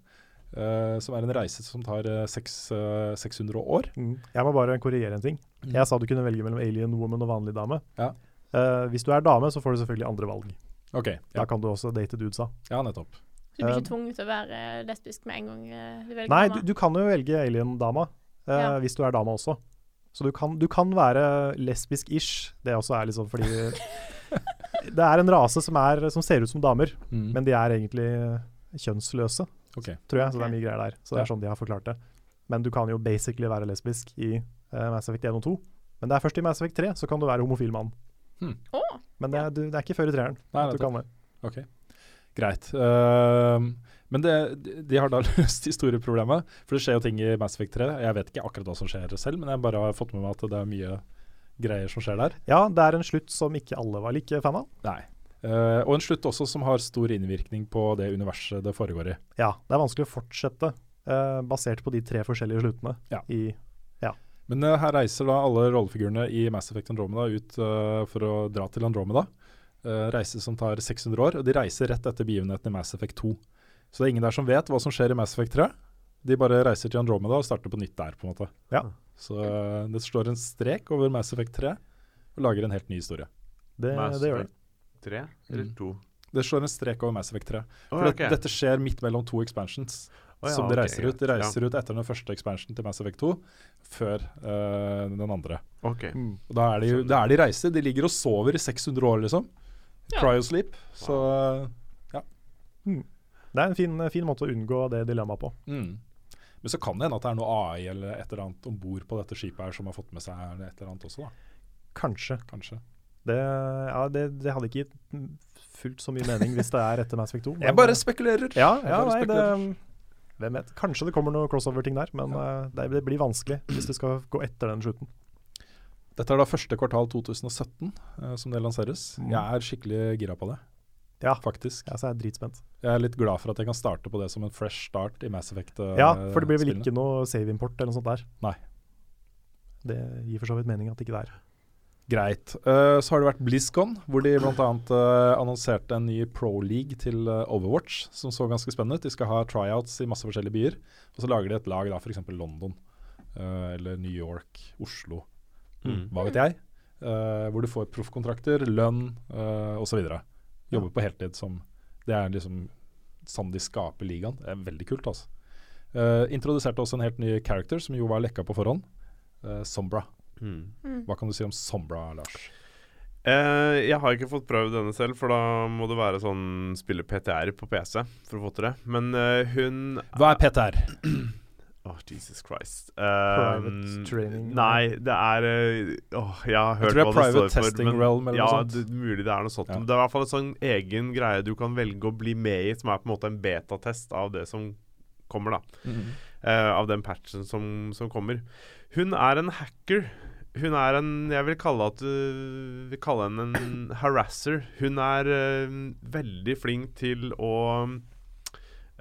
S4: eh, som er en reise som tar eh, seks, eh, 600 år.
S1: mm. jeg må bare korrigere en ting.
S4: Mm.
S1: Jeg sa du kunne velge mellom alien woman og vanlig dame.
S4: Ja.
S1: Eh, hvis du er dame, så får du selvfølgelig andre valg.
S4: OK.
S1: Da
S4: Ja,
S1: kan du også date dudesa.
S4: ja nettopp.
S3: Så du blir
S1: Eh,
S3: ikke tvunget til å være lesbisk med en gang eh, du velger
S1: Nei, du,
S3: mamma.
S1: du kan jo velge alien-dama eh,
S3: Ja.
S1: hvis du er dama også. Så du kan, du kan være lesbisk-ish. Det også er liksom fordi
S3: (laughs)
S1: Det er en rase som, er, som ser ut som damer,
S4: Mm.
S1: men de er egentlig eh, kjønnsløse.
S4: Ok.
S1: tror jeg, så det er
S3: Ok.
S1: mye greier der. Så det
S4: Ja.
S1: er sånn de har forklart det. Men du kan jo basically være lesbisk i eh, Mass Effect 1 og 2. Men det er først i Mass Effect 3 så kan du være homofil mann.
S3: Å,
S1: Men det er, du, det er ikke før i treeren.
S4: Nei,
S1: at du
S4: nettopp.
S1: kan det.
S4: Ok, greit. Ehm, men det, de- de har da (laughs) løst de store problemet, for det skjer jo ting i Mass Effect 3. Jeg vet ikke akkurat hva som skjer selv, men jeg bare har fått med meg at det er mye greier som skjer der.
S1: Ja, det er en slutt som ikke alle var like fan av.
S4: Nei. Eh, og en slutt også som har stor innvirkning på det universet det foregår i.
S1: Ja, det er vanskelig å fortsette eh, basert på de tre forskjellige sluttene.
S4: Ja.
S1: I,
S4: Men eh, her reiser da alle rollefigurene i Mass Effect Andromeda ut eh, for å dra til Andromeda. Eh, reise som tar 600 år, og de reiser rett etter begivenheten i Mass Effect 2. Så det er ingen der som vet hva som skjer i Mass Effect 3. De bare reiser til Andromeda og starter på nytt der, på en måte.
S1: Ja.
S4: Så eh, det slår en strek over Mass Effect 3 og lager en helt ny historie.
S1: det,
S2: Mass
S1: det gjør det.
S2: Tre eller
S4: Mm.
S2: to?
S4: Det slår en strek over Mass Effect 3. For
S2: Å,
S4: det-
S2: ok.
S4: dette skjer midt mellom to expansions.
S2: Å, ja,
S4: som de
S2: ok,
S4: reiser ut. De
S2: greit.
S4: reiser ut etter den første expansionen til Mass Effect 2, før eh, den andre.
S2: ja. ok.
S1: Mm.
S4: Og da er de, jo- da er de reiser. De ligger og sover i 600 år, liksom.
S3: Ja.
S4: Cryosleep. Så
S1: Det er en fin, fin måte å unngå det dilemmaet på.
S4: mm. Men så kan det hende at det er noe AI eller et eller annet om bord på dette skipet her som har fått med seg et eller annet også, da.
S1: Kanskje.
S4: Kanskje.
S1: Det, ja, det, det hadde ikke gitt fullt så mye mening hvis det er etter Mass Effect 2. men-
S4: (laughs)
S1: eh,
S4: Jeg bare spekulerer!
S1: ja, ja, nei,
S4: jeg bare
S1: det, mm, hvem vet. Kanskje det kommer noen crossover-ting der, men eh, det, det blir vanskelig hvis du skal gå etter den slutten.
S4: Dette er da første kvartal 2017 eh, som det lanseres.
S1: Mm.
S4: Jeg er skikkelig gira på det,
S1: Ja.
S4: faktisk.
S1: Ja, så er jeg dritspent.
S4: Jeg er litt glad for at jeg kan starte på det som en fresh start i Mass Effect. eh,
S1: Ja, for det blir vel
S4: spillene.
S1: ikke noe save-import eller noe sånt der.
S4: Nei.
S1: Det gir for så vidt mening at ikke det er.
S4: Greit. Eh, så har det vært BlizzCon, hvor de bl.a. Uh, annonserte en ny pro league til eh, Overwatch, som så ganske spennende ut. De skal ha tryouts i masse forskjellige byer. Og så lager de et lag, da, f.eks. London, eh, eller New York, Oslo,
S2: Mm.
S4: hva vet jeg. Eh, hvor du får proffkontrakter, lønn uh, osv. Jobber på heltid som Det er liksom sånn de skaper ligaen. Det er veldig kult, altså. Eh, introduserte også en helt ny character, som jo var lekka på forhånd. eh, Sombra.
S2: Mm.
S3: mm.
S4: Hva kan du si om Sombra, Lars?
S2: Eh, jeg har ikke fått prøvd denne selv, for da må det være sånn spille PTR på PC for å få til det. Men eh, hun
S4: Hva er PTR?
S2: Åh, Jesus Christ.
S1: Private
S2: Eh,
S1: training.
S2: Nei, det er eh, Åh, jeg har
S4: Jeg
S2: hørt
S4: tror det
S2: hva
S4: er
S2: det
S4: Private
S2: står for.
S4: Testing
S2: men-
S4: Realm eller
S2: ja,
S4: noe sånt.
S2: Det, mulig det er noe sånt.
S4: Ja.
S2: Men det er i hvert fall en sånn egen greie du kan velge å bli med i, som er på en måte en betatest av det som kommer, da. eh, av den patchen som, som kommer. Hun er en hacker. Hun er en Jeg vil kalle, at, øh, vil kalle henne en (coughs) harasser. Hun er øh, veldig flink til å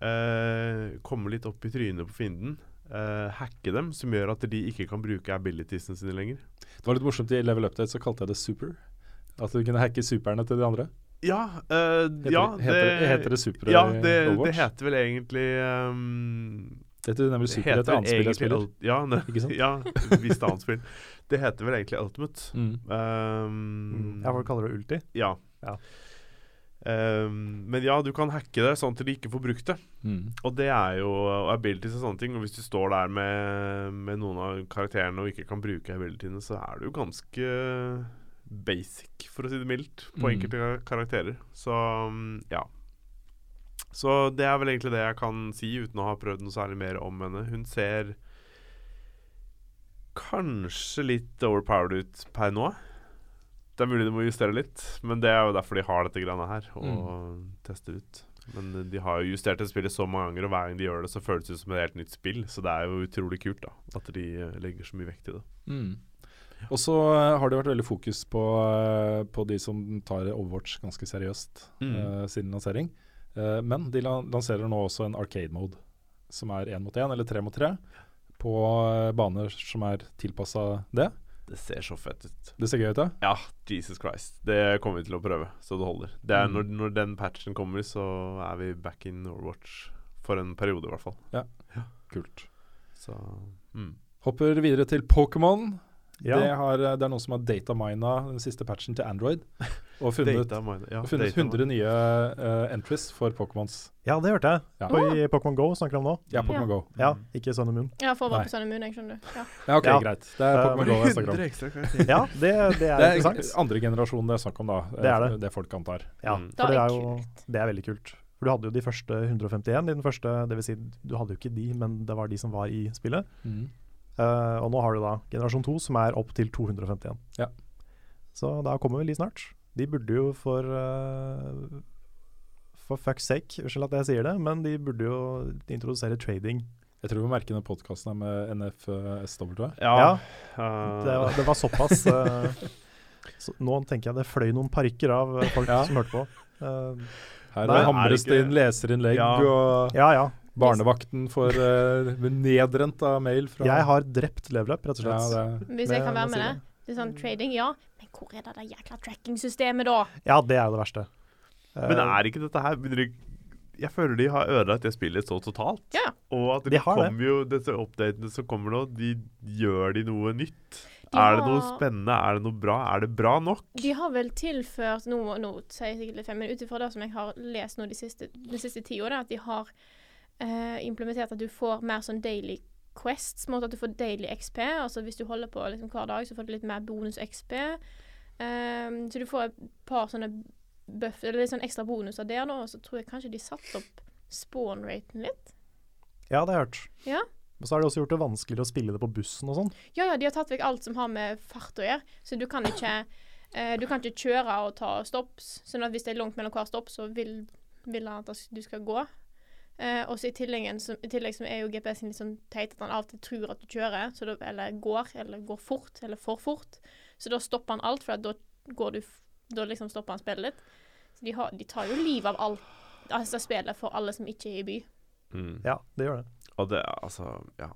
S2: øh, komme litt opp i trynet på fienden. øh, hacke dem, som gjør at de ikke kan bruke abilitiesene sine lenger.
S4: Det var litt morsomt i Level Update, så kalte jeg det Super. At du kunne hacke superne til de andre.
S2: Ja, øh,
S4: Heter,
S2: ja
S4: det, heter, det, heter det Super
S2: ja,
S4: i
S2: det, det
S4: Overwatch?
S2: heter vel egentlig um,
S4: Det heter nemlig Super i et annet spill jeg spiller.
S2: Ult- Ja, ne,
S4: Ikke sant?
S2: (laughs) ja visst annet spill. Det heter vel egentlig Ultimate.
S4: Mm.
S2: Um,
S1: Mm. Ja, folk kaller det ulti.
S2: ja.
S1: Ja.
S2: Um, men ja, du kan hacke det sånn til de ikke får brukt det.
S4: Mm.
S2: Og det er jo og abilities og sånne ting. Og hvis du står der med, med noen av karakterene og ikke kan bruke abilitiene, så er du jo ganske basic, for å si det mildt, på
S4: Mm.
S2: enkelte kar- karakterer. Så um, ja. Så det er vel egentlig det jeg kan si, uten å ha prøvd noe særlig mer om henne. Hun ser kanskje litt overpowered ut per nå. Det er mulig de må justere litt, men det er jo derfor de har dette greiene her, og Mm. tester ut. Men eh, de har jo justert det spillet så mange ganger, og hver gang de gjør det, så føles det ut som et helt nytt spill. Så det er jo utrolig kult da, at de eh, legger så mye vekt i det.
S4: Mm. Og så eh, har det vært veldig fokus på, eh, på de som tar Overwatch ganske seriøst
S2: Mm.
S4: eh, siden lansering. Eh, men de lan- lanserer nå også en arcade mode, som er én mot én eller tre mot tre, på eh, baner som er tilpassa det.
S2: Det ser så fett ut.
S4: Det ser gøy ut, ja.
S2: Ja, Jesus Christ. Det kommer vi til å prøve, så det holder. Det er
S4: Mm.
S2: når, når den patchen kommer, så er vi back in Overwatch. For en periode, i hvert fall.
S4: Kult.
S2: Så mm.
S4: Hopper videre til Pokémon.
S1: Ja.
S4: Det, har, eh, det er noen som har datamina den siste patchen til Android.
S1: (laughs)
S4: Og funnet,
S2: Data mine. Ja,
S4: og funnet
S2: data mine.
S4: 100 nye eh, entries for Pokémons.
S1: ja, det hørte jeg.
S4: Ja.
S3: Ah.
S1: På, I Pokémon Go snakker de om nå.
S4: Ja,
S2: Mm.
S4: Pokémon Go.
S1: Ja, ikke Sun
S3: (laughs)
S1: and Moon.
S3: Jeg får
S4: Nei.
S3: bare på sånn immun, jeg, skjønner du. Ja.
S4: Ja, OK,
S1: Ja.
S4: greit. Det er
S1: Eh,
S4: Pokémon Go jeg snakker om.
S2: 100 ekstra karakterer.
S1: Ja, det, det er
S4: Det er
S1: interessant.
S4: andre generasjon det er snakk om, da.
S1: Det er det.
S4: det folk antar.
S1: Ja,
S2: Mm.
S3: Da
S1: for det
S3: er
S1: er
S3: det
S1: jo det er veldig kult. For du hadde jo de første 151 i den første, dvs. Si, du hadde jo ikke de, men det var de som var i spillet. Eh, og nå har du da generasjon 2, som er opp til 251.
S4: Ja.
S1: Så da kommer vel de snart. De burde jo for eh, For fuck's sake, unnskyld at jeg sier det, men de burde jo introdusere trading.
S4: Jeg tror vi må merke denne podkasten med NFSW.
S1: Ja,
S2: eh,
S1: det var, det var såpass. eh, så nå tenker jeg det fløy noen parykker av eh, folk
S4: Ja.
S1: som hørte på. Eh,
S4: Her
S1: Nei,
S4: er hamres
S2: er det
S4: det inn leserinnlegg,
S2: Ja.
S4: og
S1: ja ja.
S4: barnevakten får eh, nedrent av mail fra
S1: Jeg har drept leverløp, rett og
S4: ja,
S1: slett.
S4: det,
S3: Hvis jeg
S1: Det
S3: kan være
S1: må
S3: med
S1: si
S3: det. Det er sånn trading, ja. Men hvor er det der jækla tracking-systemet, da?
S1: Ja, det er jo det verste. Eh,
S2: Men er ikke dette her begynner ikke- Jeg føler de har ødelagt det spillet så totalt.
S3: Ja.
S2: Og at det
S1: De har det.
S2: kommer jo disse updatene som kommer nå, de gjør de noe nytt?
S3: De
S2: Er det noe
S3: har-
S2: spennende? Er det noe bra? Er det bra nok?
S3: De har vel tilført nå, nå sier jeg sikkert litt feil, men ut ifra det som jeg har lest nå de siste, de siste ti årene, at de har eh, implementert at du får mer sånn daily quests, på en måte at du får daily XP. Altså hvis du holder på liksom, hver dag, så får du litt mer bonus XP. Ehm, så du får et par sånne buff, eller litt sånn ekstra bonuser der, da. Og så tror jeg kanskje de satte opp spawn-raten litt.
S1: Ja, det har jeg hørt.
S3: Ja.
S1: Og så har de også gjort det vanskeligere å spille det på bussen og sånn.
S3: Ja, ja, de har tatt vekk alt som har med fart å gjøre, så du kan ikke, eh, du kan ikke kjøre og ta stopps. Sånn at hvis det er langt mellom hver stopp, så vil, vil han at du skal gå. Eh, og så i tillegg, en som, i tillegg som er jo GPS-en litt sånn teit at han alltid tror at du kjører, så da, eller går, eller går fort, eller for fort. Så da stopper han alt, for at da går du f- Da liksom stopper han spillet ditt. Så de, har, de tar jo livet av alt altså spillet for alle som ikke er i by.
S2: Mm.
S1: Ja, det gjør det.
S2: Og det, altså Ja.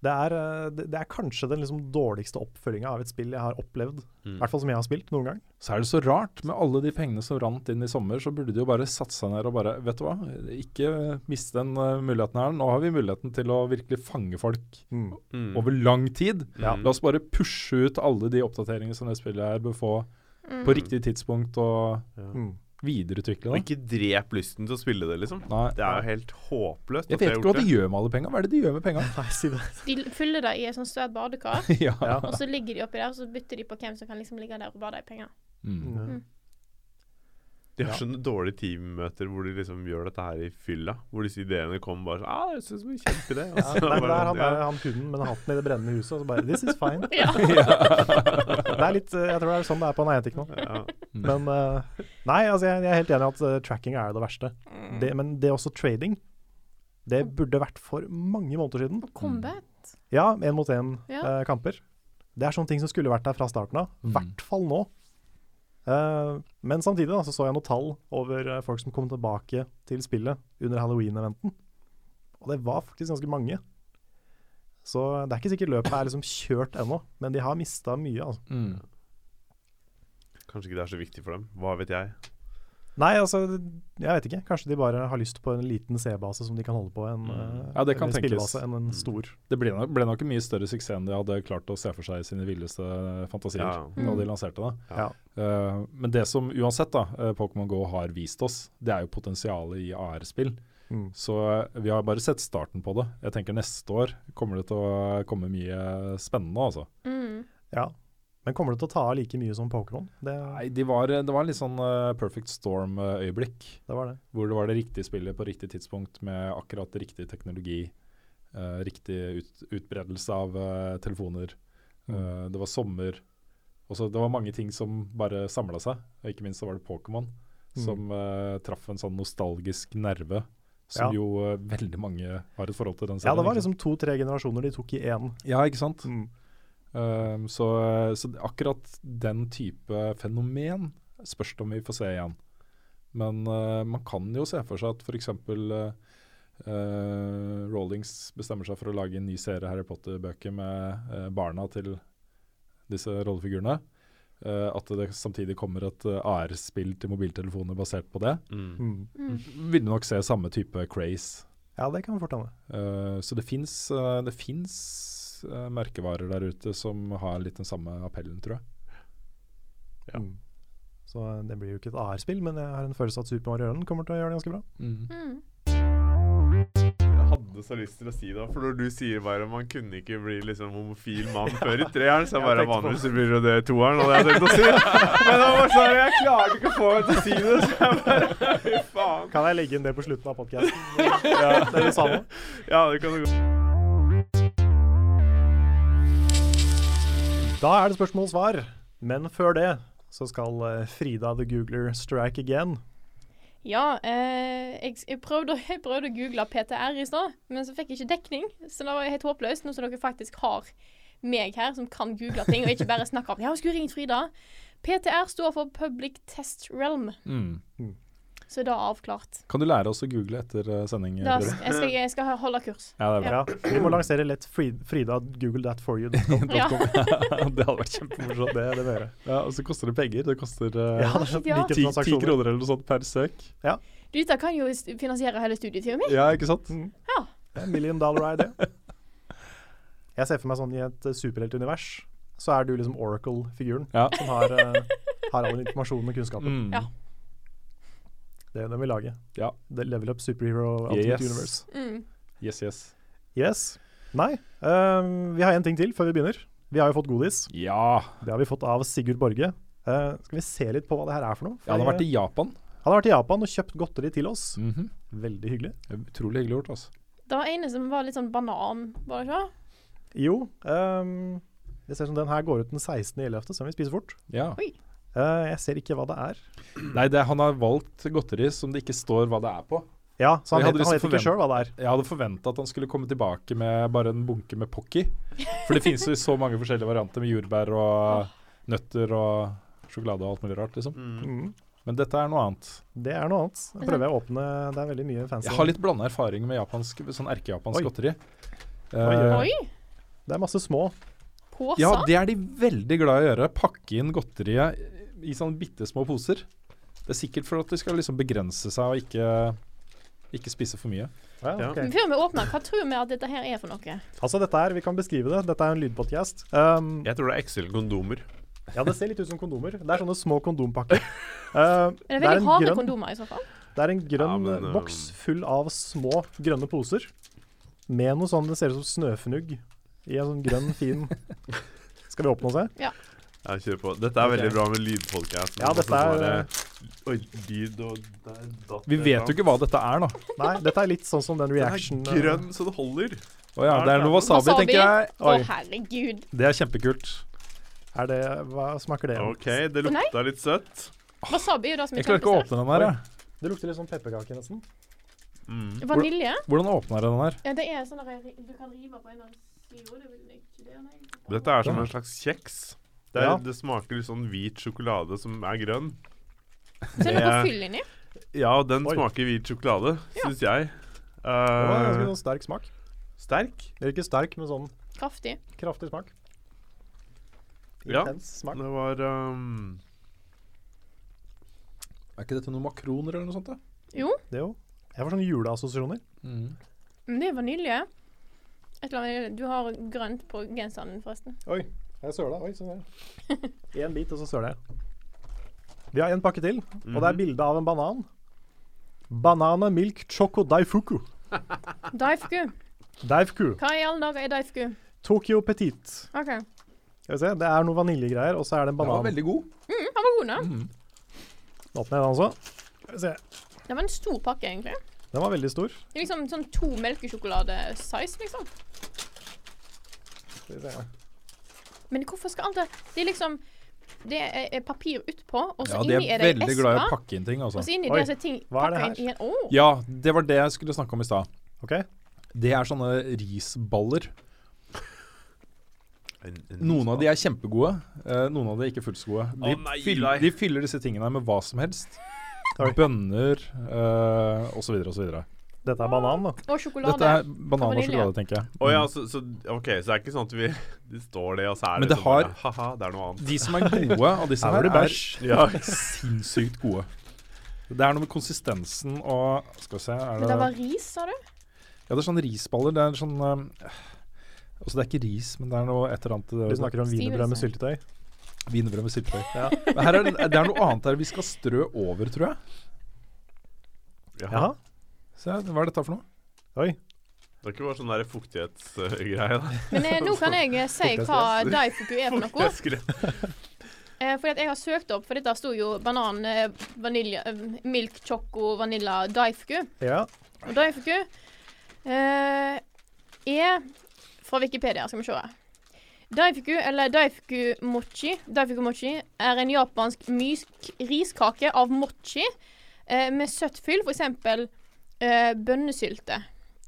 S1: Det er, eh, det, det er kanskje den liksom dårligste oppfølginga av et spill jeg har opplevd. I hvert fall som jeg har spilt noen gang.
S4: Så er det så rart, med alle de pengene som rant inn i sommer, så burde de jo bare satt seg ned og bare Vet du hva, ikke miste den eh, muligheten her. Nå har vi muligheten til å virkelig fange folk
S2: Mm.
S4: over lang tid.
S2: Ja.
S4: La oss bare pushe ut alle de oppdateringene som det spillet her bør få
S3: Mm.
S4: på riktig tidspunkt, og
S1: Mm.
S4: videreutvikle
S2: Og
S4: det.
S2: ikke drep lysten til å spille det, liksom.
S4: Nei,
S2: Det er jo helt håpløst.
S4: jeg
S2: at de har
S4: vet ikke hva
S2: gjort
S4: de gjør med alle penga. Hva er det de gjør
S2: (laughs)
S4: med (laughs) penga?
S1: Nei, si det.
S3: De fyller det i et sånt svært badekar.
S4: ja.
S2: (laughs)
S1: Ja.
S3: Og så ligger de oppi der, og så bytter de på hvem som kan liksom ligge der og bade i penger.
S4: Mm.
S1: Mm.
S2: De har sånne dårlige teammøter hvor de liksom gjør dette her i fylla. Hvor disse ideene kommer bare sånn ah, jeg synes det var en kjempeidé. Og
S1: Ja,
S2: så
S1: nei, men det
S2: bare
S1: er han,
S2: sånn,
S1: der, han hunden med den hatten i det brennende huset, og så bare This is fine.
S3: (laughs) Ja.
S1: Det er litt, eh, jeg tror det er sånn det er på Niantic nå.
S2: ja.
S1: Men eh, Nei, altså jeg, jeg er helt enig i at eh, tracking er det verste. Det, men det er også trading. Det burde vært for mange måneder siden.
S3: Og combat.
S1: Ja, én mot én-kamper.
S3: Ja.
S1: det er sånne ting som skulle vært der fra starten av. I
S4: Mm.
S1: hvert fall nå. Eh, men samtidig da, så, så jeg noen tall over eh, folk som kom tilbake til spillet under halloween-eventen. Og det var faktisk ganske mange. Så det er ikke sikkert løpet er liksom kjørt ennå, men de har mista mye. altså.
S4: Mm.
S2: Ja. Kanskje ikke det er så viktig for dem. Hva vet jeg.
S1: Nei, altså, jeg vet ikke. Kanskje de bare har lyst på en liten C-base som de kan holde på. En,
S2: Mm.
S1: eh,
S4: Ja, det kan
S1: eller
S4: tenkes. Mm.
S1: spillebase enn en stor.
S4: Det ble nok, ble nok en mye større suksess enn de hadde klart å se for seg i sine villeste fantasier
S2: Ja.
S4: da de lanserte det.
S1: Ja.
S4: Eh, men det som uansett da, eh, Pokémon GO har vist oss, det er jo potensialet i AR-spill.
S1: Mm.
S4: Så eh, vi har bare sett starten på det. Jeg tenker neste år kommer det til å komme mye spennende, altså.
S3: Mm.
S1: ja. Men kommer det til å ta av like mye som Pokémon? Det,
S4: Nei, de var, det var en litt sånn eh, Perfect eh, Storm-øyeblikk.
S1: det var det.
S4: Hvor det var det riktige spillet på riktig tidspunkt med akkurat riktig teknologi. eh, riktig ut, utbredelse av eh, telefoner.
S1: Mm.
S4: Eh, det var sommer. Og så det var mange ting som bare samla seg. Og ikke minst så var det Pokémon
S1: Mm.
S4: som eh, traff en sånn nostalgisk nerve.
S1: Ja.
S4: Som jo eh, veldig mange har et forhold til den
S1: Ja, det var
S4: ikke sant?
S1: liksom to-tre generasjoner de tok i én.
S4: ja, ikke sant?
S1: Mm.
S4: Eh, så, så det- akkurat den type fenomen spørs det om vi får se igjen. Men eh, man kan jo se for seg at f.eks. Uh, Rollings bestemmer seg for å lage en ny serie Harry Potter-bøker med eh, barna til disse rollefigurene. Eh, at det samtidig kommer et eh, AR-spill til mobiltelefoner basert på det.
S2: Mm.
S1: Mm.
S3: Mm.
S4: Vil nok se samme type craze.
S1: Ja, det kan fort hende.
S4: Eh, så det fins det finnes, eh, merkevarer der ute som har litt den samme appellen, tror jeg.
S2: Ja.
S1: Mm. Så eh, det blir jo ikke et AR-spill, men jeg har en følelse at Super Mario Run kommer til å gjøre det ganske bra.
S3: Mm.
S2: Jeg hadde så lyst til å si det, for når du sier bare at man kunne ikke bli liksom homofil mann før i treeren, så
S1: Jeg
S2: bare
S1: tenkte på
S2: vanligvis så blir det det i toeren, hadde jeg tenkt å si. Men det var sånn, jeg klarte ikke å få meg til å si det, så jeg bare Fy faen.
S1: Kan jeg legge inn det på slutten av (laughs) podkasten? ja, det er det samme.
S2: Ja, det kan du godt.
S1: Da er det spørsmål og svar Men før det så skal eh, Frida the Googler strike again.
S3: Ja, eh, jeg, jeg, prøvde, å- (laughs) jeg prøvde å google PTR i stad, men så fikk jeg ikke dekning. Så det var helt håpløst, nå som dere faktisk har meg her som kan google ting, og ikke bare snakke om (laughs) Ja, jeg skulle ringt Frida. PTR står for Public Test Realm,
S4: Mm.
S3: så er det avklart.
S4: Kan du lære oss å google etter eh, sending?
S3: Da,
S4: Børre?
S3: jeg, skal, jeg skal holde kurs.
S4: Ja, det er bra.
S1: Ja, vi må lansere lett Fri- Frida Google that for you. Det,
S4: (laughs)
S3: Ja.
S4: det hadde vært kjempemorsomt.
S1: det må vi gjøre.
S4: Ja, og så koster det penger. Det koster
S1: Ja,
S4: eh,
S1: det er sånn
S3: Ja.
S1: like
S4: ti ti
S1: transaksjoner.
S4: kroner eller noe sånt per søk.
S3: Du, Dette kan jo s- finansiere hele studietida mi.
S4: Ja, ikke sant?
S1: Mm.
S3: Ja.
S1: Det er en Million dollar er det. Jeg ser for meg sånn i et eh, superheltunivers, så er du liksom Oracle-figuren
S4: Ja.
S1: som har,
S4: (laughs)
S1: eh, har all informasjonen og kunnskapen.
S4: Mm.
S3: Ja.
S1: Det er den vi lager.
S4: Ja.
S1: The level up superhero Ultimate
S4: Yes.
S1: universe.
S3: Mm.
S4: Yes, yes.
S1: Yes. Nei, eh, vi har en ting til før vi begynner. Vi har jo fått godis.
S4: Ja.
S1: Det har vi fått av Sigurd Borge. Eh, skal vi se litt på hva det her er for noe?
S4: Jeg hadde vært i Japan.
S1: For, eh, han har vært i Japan og kjøpt godteri til oss.
S4: Mm.
S1: Veldig hyggelig.
S4: Utrolig hyggelig gjort, altså.
S3: Det var ene som var litt sånn banan, var det ikke?
S1: Jo, ehm, det ser ut som den her går ut den 16.11., så den vil spise fort.
S4: Ja.
S1: Eh, jeg ser ikke hva det er.
S4: Nei, det, han har valgt godteri som det ikke står hva det er på.
S1: Ja, så
S4: Jeg
S1: han
S4: hadde
S1: vet,
S4: lyst
S1: han vet
S4: til å
S1: ikke sjøl hva det er.
S4: Jeg hadde forventa at han skulle komme tilbake med bare en bunke med pocky. For det finnes jo så mange forskjellige varianter med jordbær og nøtter og sjokolade og alt mulig rart, liksom.
S1: Mm.
S4: Men dette er noe annet.
S1: Det er noe annet. Jeg prøver å åpne Det er veldig mye fancy.
S4: Jeg har litt blanda erfaring med japansk, sånn erkejapansk
S1: Oi.
S4: godteri.
S1: oi.
S4: Eh,
S3: Oi!
S1: Det er masse små.
S3: Påsa?
S4: ja, det er de veldig glad i å gjøre. Pakke inn godteriet i sånne bitte små poser. Det er sikkert for at de skal liksom begrense seg og ikke, ikke spise for mye.
S1: Ja,
S2: Ja.
S1: ok.
S3: Men Før vi åpner, hva tror vi at dette her er for noe?
S1: Altså, dette her, vi kan beskrive det. Dette er en lydpodcast. Ehm,
S2: Jeg tror det er XL-kondomer.
S1: ja, det ser litt ut som kondomer. Det er sånne små kondompakker. Eh,
S3: Men det er
S1: det er
S3: veldig
S1: en
S3: harde
S1: grønn-
S3: kondomer i så fall.
S1: Det er en grønn
S2: Ja, men,
S1: eh,
S2: eh,
S1: boks full av små grønne poser. Med noe sånn, det ser ut som snøfnugg i en sånn grønn, fin (laughs) Skal vi åpne og se?
S2: Jeg kjører på. Dette er
S1: Ok.
S2: veldig bra med lydpodkast.
S1: Ja, dette er-
S2: Oi, lyd og der datt
S4: Vi
S2: det
S4: vet
S2: fram.
S4: jo ikke hva dette er nå.
S1: Nei, dette er litt sånn som den
S2: Den er
S1: reaction eh,
S2: grønn så det holder.
S4: Å ja, det er noe wasabi,
S3: Wasabi.
S4: tenker jeg.
S3: Å,
S4: Oi,
S3: herregud.
S4: det er kjempekult.
S1: eh, Er det Hva smaker det?
S2: OK, det
S3: Å, nei.
S2: lukta litt søtt.
S3: Wasabi er jo det som er
S4: Jeg klarer ikke å
S3: kjempesterkt.
S4: åpne den her. jeg.
S1: Det lukter litt sånn pepperkake, nesten.
S2: Mm.
S3: Vanilje?
S4: Hvordan åpner jeg den her?
S3: Ja, det er sånn at jeg- du kan rive på en av sidene. Det vil jeg ikke det, nei.
S2: Dette er som en slags kjeks. Det, er,
S1: Ja.
S2: det smaker litt sånn hvit sjokolade som er grønn.
S3: Så er det noe fyll inni.
S2: Ja, og den
S1: Oi.
S2: smaker hvit sjokolade, syns jeg. Eh,
S1: Det var ganske sånn sterk smak.
S2: sterk.
S1: Eller ikke sterk, men sånn
S3: Kraftig.
S1: kraftig smak.
S2: Ja.
S1: Intens smak.
S2: Det var ehm,
S4: Er ikke dette noen makroner eller noe sånt? da?
S3: Jo,
S1: Det er jo Jeg får sånne juleassosiasjoner.
S3: men det er vanilje. Et eller annet, du har grønt på genseren din, forresten.
S1: Oi, jeg søla. Oi, sånn der. (laughs) Én bit, og så søler jeg. Vi har en pakke til, og
S2: mhm.
S1: det er bilde av en banan. Banana milk choco daifuku.
S3: Daifku.
S1: Daifku.
S3: Hva i alle dager er daifku?
S1: Tokyo Petit.
S3: OK.
S1: Skal vi se, Det er noe vaniljegreier, og så er det en
S4: Den var
S1: banan.
S4: veldig god.
S3: Den Mm, var god, da.
S1: Nå åpner jeg den også. Skal vi se.
S3: Det var en stor pakke, egentlig.
S1: Den var veldig stor.
S3: Det er liksom sånn to melkesjokolade-size, liksom.
S1: Skal vi se.
S3: Men hvorfor skal alt det Det er liksom Det er er papir utpå, og så
S4: Ja, de
S3: inni er
S4: er
S3: det ei
S4: veldig glad i å
S3: eske.
S4: pakke inn ting, altså.
S3: Og så inni
S1: Oi,
S3: der så er ting
S1: hva er det
S3: pakka inn i en Å!
S4: Ja, det var det jeg skulle snakke om i stad.
S1: OK.
S4: Det er sånne risballer.
S2: en, en
S4: Noen av de er kjempegode, eh, noen av de er ikke fullt så gode. De,
S2: Å, nei, nei.
S4: fyller, de fyller disse tingene med hva som helst.
S1: Oi.
S4: Bønner eh, osv. osv.
S1: Dette er banan, da.
S3: Og sjokolade.
S4: Dette er banan og
S3: vanilje.
S4: sjokolade, tenker jeg.
S2: Å ja, så, så OK, så det er ikke sånn at vi (laughs) Det står det, og så er
S4: Men
S2: det
S4: det
S2: sånn
S4: har-
S2: bare, Ha-ha, det er noe annet.
S4: De som er gode av disse
S1: Her
S4: (laughs) her,
S1: var det
S4: er
S1: bæsj.
S4: ja, sinnssykt gode. Det er noe med konsistensen og Skal vi se er
S3: Men
S4: det,
S3: det var ris, sa du?
S4: Ja, det er sånn risballer. Det er sånn um, Altså, det er ikke ris, men det er noe et eller
S1: Du
S4: annet
S1: snakker om wienerbrød med syltetøy.
S4: Wienerbrød med (laughs) syltetøy. Men Her er, det er noe annet her vi skal strø over, tror jeg.
S1: Jaha.
S4: Se, hva er dette for noe?
S1: Oi.
S2: Det er ikke bare sånn der (laughs) fuktighetsgreie. da.
S3: Men eh, nå kan jeg eh, si hva
S2: Fuktighetsgress.
S3: Daifuku er for
S2: (laughs)
S3: noe.
S2: Fuktighetsgreie.
S3: Eh, fordi at jeg har søkt opp, for dette sto jo banan, eh, vanilje, eh, milk, choco, vanilla, Daifuku.
S1: Ja.
S3: Og Daifuku E eh, er fra Wikipedia, skal vi se. Daifuku, eller daifuku mochi, daifuku mochi er en japansk mysk riskake av mochi eh, med søtt fyll, f.eks. Eh, bønnesylte.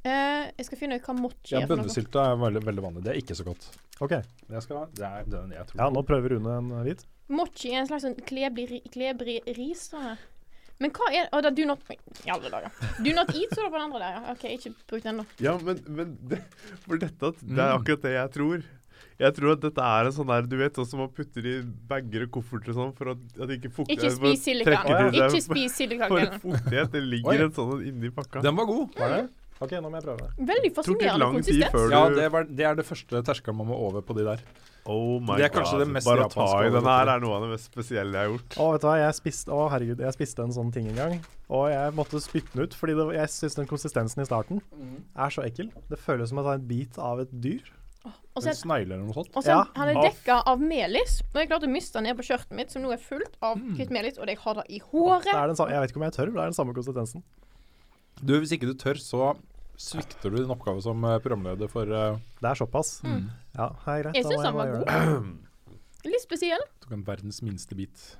S3: Eh, jeg skal finne ut hva mochi
S4: Ja,
S3: er. for noe.
S4: Bønnesylta er veldig, veldig vanlig. Det er ikke så godt.
S1: OK.
S4: Jeg skal, det er den jeg tror
S1: Ja, nå prøver Rune en hvit.
S3: Mochi er en slags sånn klebrig, ri- klebrig ris. Sånn. her. Men hva er Å, det er do not I alle dager. Do not eat, står det på den andre der, ja. OK, ikke bruk den, da.
S2: Ja, men, men det, for dette, at- det er
S4: Mm.
S2: akkurat det jeg tror. Jeg tror at dette er en sånn der, du vet, sånn som man putter i bager og kofferter og sånn for at, at ikke fukter
S3: Ikke spis silikon.
S2: trekker til
S3: Ikke
S2: seg. (laughs)
S3: spis
S2: For
S3: silikon.
S2: fuktighet, det
S4: Oi.
S2: ligger en sånn inni pakka.
S4: Den var god.
S1: Var det? OK, nå må jeg prøve.
S3: Veldig
S2: tok litt
S3: fascinerende
S2: lang tid
S3: konsistens.
S2: før du
S4: Ja, det, var, det er det første terskelen man må over på de der.
S2: Oh my
S4: Det er kanskje
S2: god.
S4: det mest
S2: Bare ta
S4: japanske
S2: i
S4: jeg har
S2: den her
S4: gjort.
S2: er noe av det mest spesielle jeg har
S4: (laughs)
S2: gjort.
S1: Å, vet du hva, jeg spiste, å, herregud, jeg spiste en sånn ting en gang. Og jeg måtte spytte den ut, fordi det, jeg syns den konsistensen i starten er så ekkel. Det føles som å ta en bit av et dyr.
S3: Og så
S4: En snegle eller noe sånt.
S3: og så er-
S1: Ja.
S3: han er
S2: Å.
S3: dekka av melis. Og jeg klarte å miste den ned på skjørtet mitt, som nå er fullt av
S2: Mm.
S3: kvitt melis, og det jeg har det i
S1: Det
S3: håret.
S1: er den samme, jeg vet ikke om jeg tør, men det er den samme konsistensen.
S4: Du, hvis ikke du tør, så svikter du din oppgave som eh, programleder for eh,
S1: Det er såpass.
S3: Mm.
S2: Mm.
S1: Ja, det er greit.
S3: Jeg
S1: da
S3: syns
S1: må
S3: han var
S1: bare gjøre
S3: god.
S1: det.
S3: Litt spesiell.
S4: tok en verdens minste bit.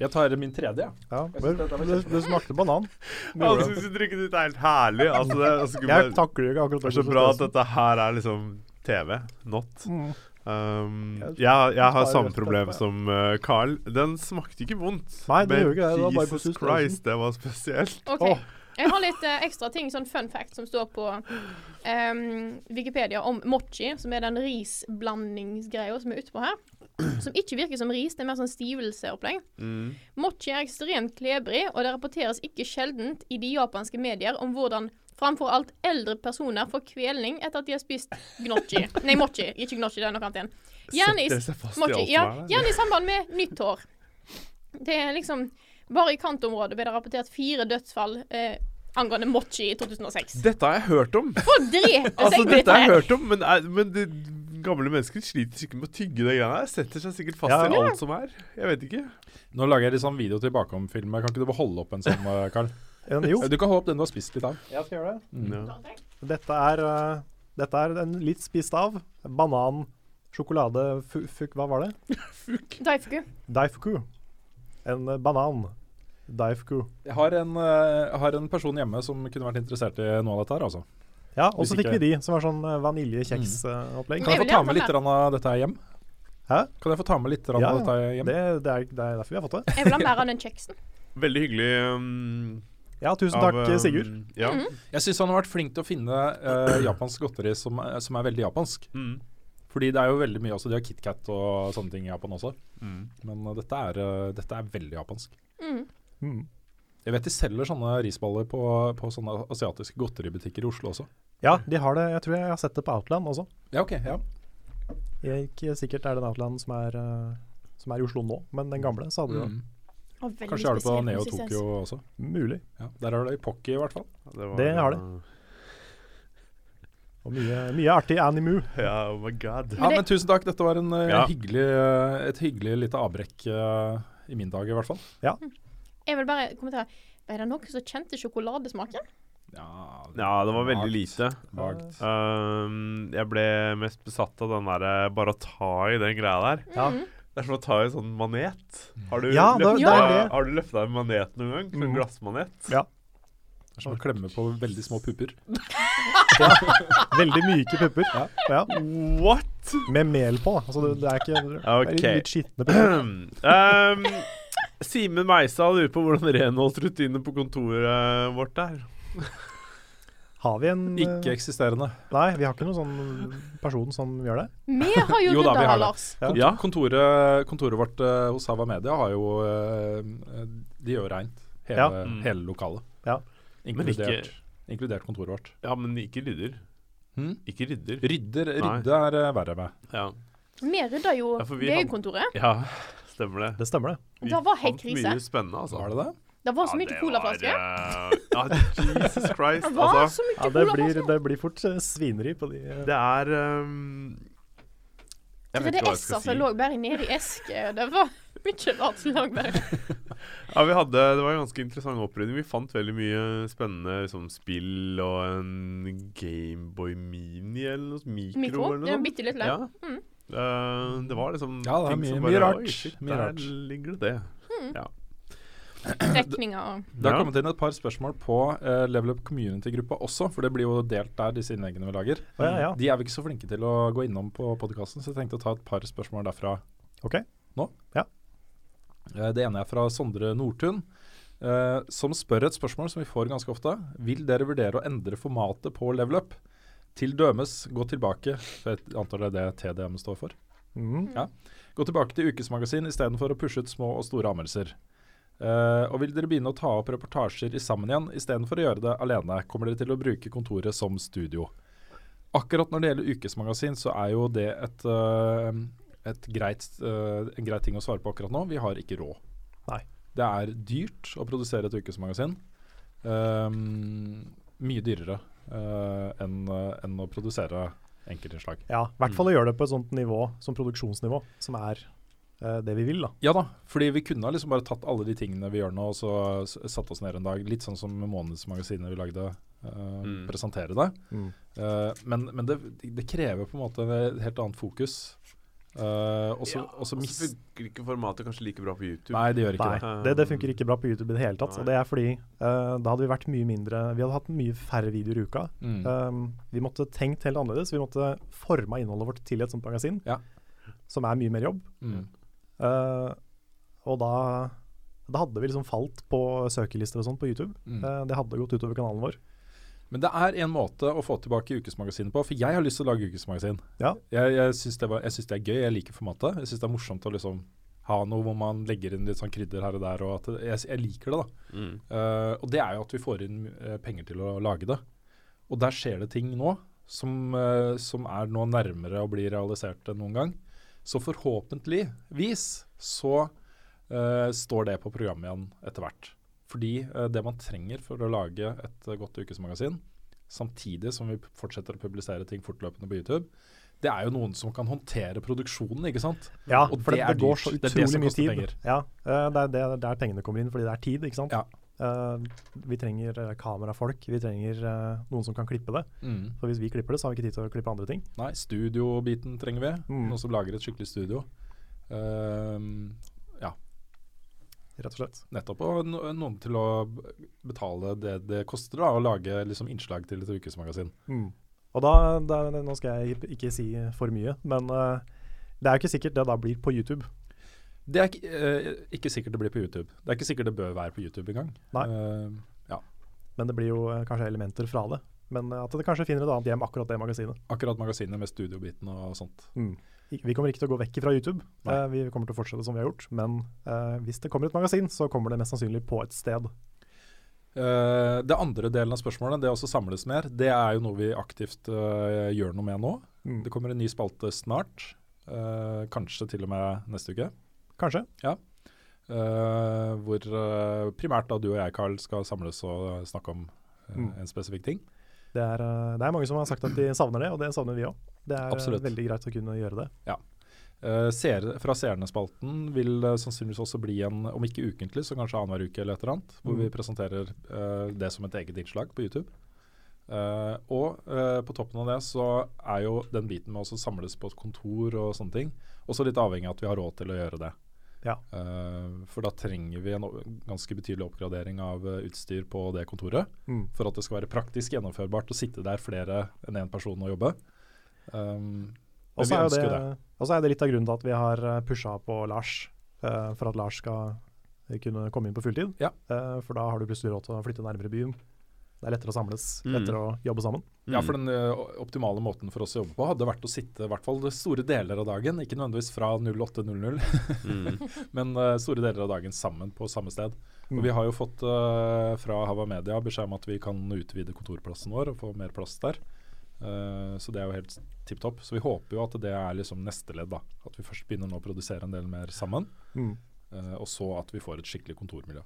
S4: Jeg tar min tredje, jeg.
S1: Ja,
S4: Jeg synes dette var
S1: du, du smakte banan.
S2: Jeg syns drikket ditt er helt herlig. Altså, det, altså, skulle
S1: Jeg
S2: bare-
S1: takler jo ikke akkurat
S2: Det er så bra at dette her er liksom TV, not.
S1: Mm.
S2: Um,
S1: Jeg-
S2: jeg, jeg har
S1: tar
S2: samme
S1: rett
S2: problem
S1: etterpå.
S2: som uh, Carl. Den smakte ikke vondt.
S1: Nei, det
S2: men
S1: gjorde ikke det. Det var bare på
S2: Jesus
S1: suspensen.
S2: Christ, det var spesielt.
S3: OK.
S1: Åh.
S3: Jeg har litt eh, ekstra ting, sånn fun fact, som står på ehm, Wikipedia om mochi, som er den risblandingsgreia som er utpå her. Som ikke virker som ris, det er mer sånn stivelseopplegg. Mochi er ekstremt klebrig, og det rapporteres ikke sjeldent i de japanske medier om hvordan framfor alt eldre personer får kvelning etter at de har spist gnocchi.
S2: (laughs)
S3: Nei, mochi. Ikke gnocchi, det er noe annet igjen. Gjerne i
S2: Setter seg fast i
S3: Mochi,
S2: alt
S3: ja,
S2: som er der.
S3: gjerne i samband med nytt hår. Det er liksom Bare i kantområdet ble det rapportert fire dødsfall eh, angående mochi i 2006.
S2: (laughs) Dette har jeg hørt om.
S3: Få drete
S2: Altså,
S3: seg
S2: dette
S3: litt
S2: har jeg
S3: her!
S2: hørt om, men, er- men de gamle mennesker sliter sikkert med å tygge det greiene her. Setter seg sikkert fast
S1: Ja.
S2: i alt som er. Jeg vet ikke.
S4: Nå lager jeg litt sånn video til bakom-film. Kan ikke du bare holde opp en sånn, eh, Carl?
S1: En, (laughs)
S4: (laughs)
S1: jo,
S4: Du kan holde opp den du har spist litt av.
S1: jeg skal gjøre det.
S2: Ja.
S1: Dette er, eh, dette er en litt spist av. Banan, sjokolade, fu, fuk, hva var det?
S3: Daifuku.
S1: Daifuku. En eh, banan. Daifuku.
S4: Jeg har en, eh, jeg har en person hjemme som kunne vært interessert i noe av dette her, altså.
S1: Ja, og
S4: Hvis
S1: så fikk
S4: ikke-
S1: vi de, som var sånn eh, vaniljekjeksopplegg.
S3: Mm. Jeg
S4: Kan jeg få
S3: vil
S4: ta
S3: gjerne
S4: med litt
S3: være.
S4: grann av dette her hjem?
S1: Hæ?
S4: Kan jeg få ta med litt grann
S1: Ja,
S4: av dette her hjem?
S1: Det, det, er, det er derfor vi har fått det.
S3: Jeg vil ha mer av den kjeksen.
S2: Veldig hyggelig. Um,
S1: Ja, tusen
S2: av,
S1: takk, eh,
S2: um,
S1: Sigurd.
S2: Ja.
S3: Mm.
S4: Jeg syns han har vært flink til å finne eh, japansk godteri som, er- som er veldig japansk.
S2: Mm.
S4: Fordi det er jo veldig mye også, de har KitKat og sånne ting i Japan også.
S2: Mm.
S4: Men eh, dette, er, eh, dette er veldig japansk.
S3: Mm.
S1: Mm.
S4: Jeg vet de selger sånne risballer på, på sånne asiatiske godteributikker i Oslo også.
S1: Ja, de har det. Jeg tror jeg har sett det på Outland også.
S4: Ja, ok. Ja.
S1: Jeg er ikke sikkert det er den Outland som er, eh, som er i Oslo nå, men den gamle så hadde de det.
S4: Mm.
S3: Og veldig
S4: Kanskje har det på
S3: spesiell
S4: Neo
S3: konsistens.
S4: Tokyo også.
S1: Mulig.
S4: Ja, der har du det i Pocky i hvert fall.
S2: var-
S1: Det har det. Og mye, mye artig Animu.
S2: Ja, oh my god.
S4: Ja,
S3: det-
S4: men tusen takk. Dette var en, eh,
S2: Ja.
S4: hyggelig, eh, et hyggelig lite avbrekk eh, i min dag i hvert fall.
S3: Jeg vil bare kommentere. Ble det noen som kjente sjokoladesmaken?
S4: Ja,
S2: Ja, det var veldig lite.
S4: Vagt.
S2: Um, jeg ble mest besatt av den derre bare å ta i den greia der.
S1: Ja.
S2: Det er som å ta i en sånn manet. Har du
S1: Ja, det-
S2: løfta,
S1: det er det.
S2: Har du løfta en manet noen gang? En
S1: Mm.
S2: glassmanet?
S1: Ja.
S4: Det er som å klemme på veldig små pupper.
S1: Veldig myke pupper. Ja.
S2: What?! (clears throat)
S1: Med mel på, da. Altså, det, det er ikke det er litt,
S2: Ok.
S1: litt skitne pupper.
S2: um, Simen Meisa lurer på hvordan renholdsrutinene på kontoret vårt er.
S1: Har vi en eh,
S4: Ikke-eksisterende.
S1: Nei, vi har ikke noen sånn person som gjør det.
S2: (laughs)
S3: Vi har jo
S4: Jo da, vi
S3: rydda,
S4: har det.
S3: Lars.
S1: Ja.
S2: Ja.
S4: Kontoret, kontoret vårt eh, hos Hava Media har jo eh, De gjør reint hele,
S1: Ja.
S2: Mm.
S4: hele lokalet.
S1: Ja.
S2: Men ikke-
S4: Inkludert, inkludert kontoret vårt.
S2: Ja, men ikke rydder.
S4: Hm?
S2: Ikke rydder.
S4: Rydder, rydde er eh, verre med.
S2: Ja,
S3: Vi rydda jo
S2: Ja, for vi hadde-
S3: VG-kontoret.
S2: ja stemmer det.
S1: Det stemmer, det.
S2: Vi
S3: Det var helt
S2: fant
S3: krise.
S2: Mye spennende, altså.
S4: Var det det?
S3: Det var så mye
S2: det
S3: colaflasker.
S2: var, eh, Ja, Jesus
S3: (laughs)
S2: Christ.
S3: Det var
S2: Altså,
S3: så mye
S1: Ja, det blir, det blir fort eh, svineri på de eh,
S2: det er um, ehm, Jeg vet ikke hva jeg
S3: 3DS-er
S2: skal
S3: som
S2: si.
S3: lå bare nede i eske. Det var (laughs) mye rart som lå bare
S2: Ja, vi hadde, Det var en ganske interessant opprydning. Vi fant veldig mye spennende liksom, spill og en Gameboy Mini eller noe mikro.
S3: mikro.
S2: eller noe
S3: Det var
S2: sånt.
S3: bitte litt
S2: Ja.
S3: løp. Mm.
S2: Eh, det var liksom
S4: Ja, det er
S2: ting
S4: mye-
S2: som
S4: mye
S2: bare,
S4: rart.
S2: Oi, shit,
S4: Mye
S2: der
S4: rart.
S2: ligger det det.
S3: Trekninger og
S4: Det har
S2: Ja.
S4: kommet inn et par spørsmål på eh, Level Up Community-gruppa også, for det blir jo delt der, disse innleggene vi lager.
S1: Å, ja, ja.
S4: De er vi ikke så flinke til å gå innom på podkasten, så jeg tenkte å ta et par spørsmål derfra
S1: Ok.
S4: nå.
S1: Ja.
S4: Eh, Det ene er fra Sondre Nordtun, eh, som spør et spørsmål som vi får ganske ofte. Vil dere vurdere å endre formatet på level up? Til dømes gå tilbake for Jeg antar det er det TDM står for.
S1: Mm.
S4: Mhm. Gå tilbake til ukesmagasin istedenfor å pushe ut små og store anmeldelser. Eh, og vil dere begynne å ta opp reportasjer i sammen igjen istedenfor å gjøre det alene? Kommer dere til å bruke kontoret som studio? Akkurat når det gjelder ukesmagasin, så er jo det et, eh, et greit, eh, en grei ting å svare på akkurat nå. Vi har ikke råd.
S1: Nei.
S4: Det er dyrt å produsere et ukesmagasin. Ehm, mye dyrere eh, enn eh, enn å produsere enkeltinnslag.
S1: Ja, i hvert fall å gjøre det på et sånt nivå, som produksjonsnivå, som er eh, det vi vil, da.
S4: Ja da, fordi vi kunne ha liksom bare tatt alle de tingene vi gjør nå, og så s- satt oss ned en dag. Litt sånn som månedsmagasinet vi lagde, eh,
S2: Mm.
S4: presentere det. Eh, men men det, det krever på en måte et helt annet fokus. Eh, og så
S2: Ja,
S4: og så
S2: og
S4: mis...
S2: så funker ikke formatet kanskje like bra på YouTube.
S4: Nei, det gjør ikke
S1: Nei,
S4: det.
S1: det, det funker ikke bra på YouTube i det hele tatt. Og det er fordi eh, da hadde vi vært mye mindre Vi hadde hatt mye færre videoer i uka.
S4: Mm.
S1: Um, vi måtte tenkt helt annerledes. Vi måtte forma innholdet vårt til et sånt magasin,
S4: Ja.
S1: som er mye mer jobb.
S4: Mm.
S1: Eh, og da, da hadde vi liksom falt på søkelister og sånt på YouTube.
S4: Mm.
S1: Eh, det hadde gått utover kanalen vår.
S4: Men det er en måte å få tilbake ukesmagasinet på, for jeg har lyst til å lage ukesmagasin.
S1: Ja.
S4: Jeg, jeg syns det, var- jeg syns det er gøy, jeg liker formatet. Jeg syns det er morsomt å liksom ha noe hvor man legger inn litt sånn krydder her og der, og at det- jeg, jeg liker det, da.
S2: Mm.
S4: Eh, og det er jo at vi får inn eh, penger til å lage det. Og der skjer det ting nå som, eh, som er nå nærmere å bli realisert enn noen gang. Så forhåpentligvis så eh, står det på programmet igjen etter hvert. Fordi eh, det man trenger for å lage et eh, godt ukesmagasin, samtidig som vi p- fortsetter å publisere ting fortløpende på YouTube, det er jo noen som kan håndtere produksjonen, ikke sant?
S1: Ja,
S4: Og
S1: for det,
S4: det
S1: det,
S4: er
S1: går
S4: dyrt.
S1: så
S4: Det er det
S1: utrolig
S4: som
S1: mye
S4: koster
S1: tid.
S4: penger.
S1: Ja, eh, det er det, det er der pengene kommer inn, fordi det er tid, ikke sant.
S4: Ja.
S1: Eh, vi trenger eh, kamerafolk, vi trenger eh, noen som kan klippe det.
S4: Mm.
S1: For hvis vi klipper det, så har vi ikke tid til å klippe andre ting.
S4: Nei, studiobiten trenger vi.
S1: Mm.
S4: Noen som lager et skikkelig studio. Ehm,
S1: rett og slett.
S4: nettopp. Og no noen til å b- betale det det koster da, å lage liksom, innslag til et ukesmagasin.
S1: Og da, da, Nå skal jeg ikke si for mye, men eh, det er jo ikke sikkert det da blir på YouTube.
S4: Det er ikke, eh, ikke sikkert det blir på YouTube. Det er ikke sikkert det bør være på YouTube engang.
S1: Nei.
S4: Ehm,
S1: Men det blir jo eh, kanskje elementer fra det. Men eh, at det kanskje finner et annet hjem, akkurat det magasinet.
S4: akkurat magasinet med studiobiten og sånt.
S1: I- Vi kommer ikke til å gå vekk fra YouTube,
S4: Mm. Nei.
S1: Eh, vi kommer til å fortsette som vi har gjort. Men eh, hvis det kommer et magasin, så kommer det mest sannsynlig på et sted.
S4: Eh, det andre delen av spørsmålet, det å også samles mer, det er jo noe vi aktivt eh, gjør noe med nå.
S1: Mm.
S4: Det kommer en ny spalte snart. eh, kanskje til og med neste uke.
S1: Kanskje.
S4: Eh, hvor eh, primært da du og jeg, Carl, skal samles og eh, snakke om eh,
S1: Mm.
S4: en spesifikk ting.
S1: Det er, eh, det er mange som har sagt at de savner det, og det savner vi òg. Det er eh,
S4: Absolutt.
S1: veldig greit å kunne gjøre det.
S4: Eh, seere- fra seerne-spalten vil eh, sannsynligvis også bli en, om ikke ukentlig, så kanskje annenhver uke eller et eller annet, hvor
S1: Mm.
S4: vi presenterer eh, det som et eget innslag på YouTube. Eh, og eh, på toppen av det så er jo den biten med å samles på et kontor og sånne ting, også litt avhengig av at vi har råd til å gjøre det.
S1: Ja.
S4: Eh, for da trenger vi en o- ganske betydelig oppgradering av eh, utstyr på det kontoret. for at det skal være praktisk gjennomførbart å sitte der flere enn én person og jobbe. Um,
S1: Og
S4: men
S1: så
S4: vi
S1: er, jo
S4: ønsker
S1: det,
S4: det.
S1: og så er det litt av grunnen til at vi har pusha på Lars, eh, for at Lars skal eh, kunne komme inn på fulltid.
S4: Ja.
S1: Eh, for da har du plutselig råd til å flytte nærmere byen. Det er lettere å samles,
S2: Mm.
S1: lettere å jobbe sammen.
S4: Ja, for den eh, optimale måten for oss å jobbe på hadde vært å sitte i hvert fall store deler av dagen, ikke nødvendigvis fra 08.00,
S2: Mm.
S4: (laughs) men eh, store deler av dagen sammen på samme sted.
S1: Mm.
S4: Og vi har jo fått eh, fra Hava Media beskjed om at vi kan utvide kontorplassen vår og få mer plass der. Eh, så det er jo helt tipp topp. Så vi håper jo at det er liksom neste ledd, da. At vi først begynner nå å produsere en del mer sammen,
S1: Mm.
S4: eh, og så at vi får et skikkelig kontormiljø.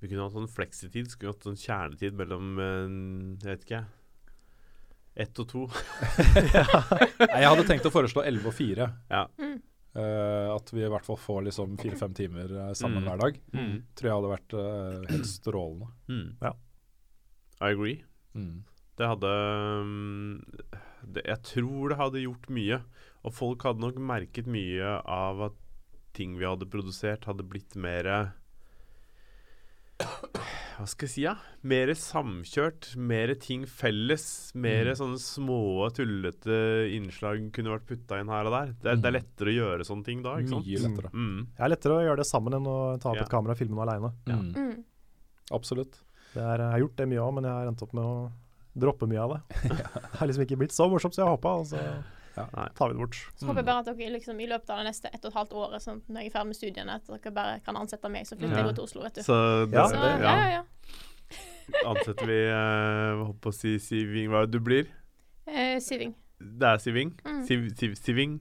S2: Vi kunne hatt sånn fleksitid, skulle hatt sånn kjernetid mellom eh, Jeg vet ikke, jeg. Ett og to.
S4: Nei, jeg hadde tenkt å foreslå 11 og 4.
S2: Ja.
S3: Mm.
S4: Eh, at vi i hvert fall får liksom fire-fem timer eh, sammen
S2: Mm.
S4: hver dag.
S2: Mm.
S4: Tror jeg hadde vært eh, helt strålende.
S2: Mm.
S1: Ja.
S2: I agree.
S4: Mm.
S2: Det hadde um, det, Jeg tror det hadde gjort mye. Og folk hadde nok merket mye av at ting vi hadde produsert, hadde blitt mer Hva skal jeg si, ja? Mer samkjørt. Mer ting felles.
S1: Hmm.
S2: Mer
S4: Mm.
S2: sånne små, tullete innslag kunne vært putta inn her og der. Det, er-
S1: Hmm.
S2: det er lettere å gjøre sånne ting da, ikke sant?
S4: Mye lettere.
S2: Mm.
S1: Det er lettere å gjøre det sammen enn å ta opp
S2: Ja.
S1: et kamera og filme noe aleine.
S2: Ja.
S4: Mm.
S3: Mm.
S4: Absolutt.
S1: Jeg har gjort det mye òg, men jeg har endt opp med å droppe mye av det.
S4: (laughs)
S1: Det har liksom ikke blitt så morsomt som jeg håpa, og så
S4: Ja.
S2: Nei.
S1: tar vi det bort.
S3: Så
S2: Mm.
S3: håper jeg bare at dere liksom, i løpet av det neste ett og et halvt året, sånn, når jeg er ferdig med studiene, at dere bare kan ansette meg, så flytter
S2: Ja.
S3: jeg jo til Oslo, vet du. Så,
S2: Så det,
S1: Ja,
S2: det,
S3: ja, ja, ja.
S2: ansetter vi eh, Hva holdt på å si Siving, hva er det du blir?
S3: Eh, siving.
S2: Det er Siving.
S3: Mm.
S2: Siv, siv, siving.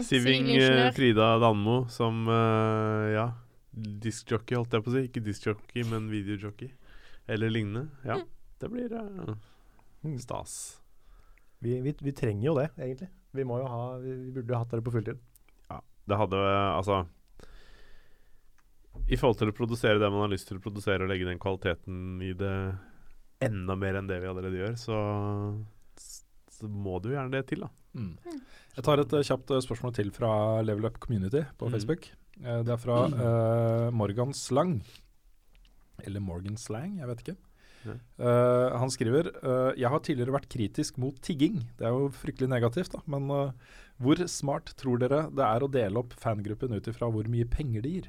S2: Siving eh,
S3: Sivilingeniør.
S2: Frida Danmo som eh, ja, diskjockey, holdt jeg på å si. Ikke diskjockey, men videojockey. Eller lignende. Ja, det blir eh,
S1: Mm.
S2: stas.
S1: Vi, vi, vi trenger jo det, egentlig. Vi, må jo ha, vi vi burde jo hatt dere på fulltid.
S2: Det hadde eh, altså I forhold til å produsere det man har lyst til å produsere, og legge den kvaliteten i det enda mer enn det vi allerede gjør, så, så må du gjerne det til, da.
S4: Mm. Jeg tar et eh, kjapt eh, spørsmål til fra Level Up Community på
S2: Mm.
S4: Facebook. Eh, det er fra
S1: Mm.
S4: eh, Morgan Slang. Eller Morgan Slang, jeg vet ikke.
S2: Ja.
S4: Eh, han skriver eh, Jeg har tidligere vært kritisk mot tigging. Det er jo fryktelig negativt, da. Men eh, hvor smart tror dere det er å dele opp fangruppen ut ifra hvor mye penger de gir?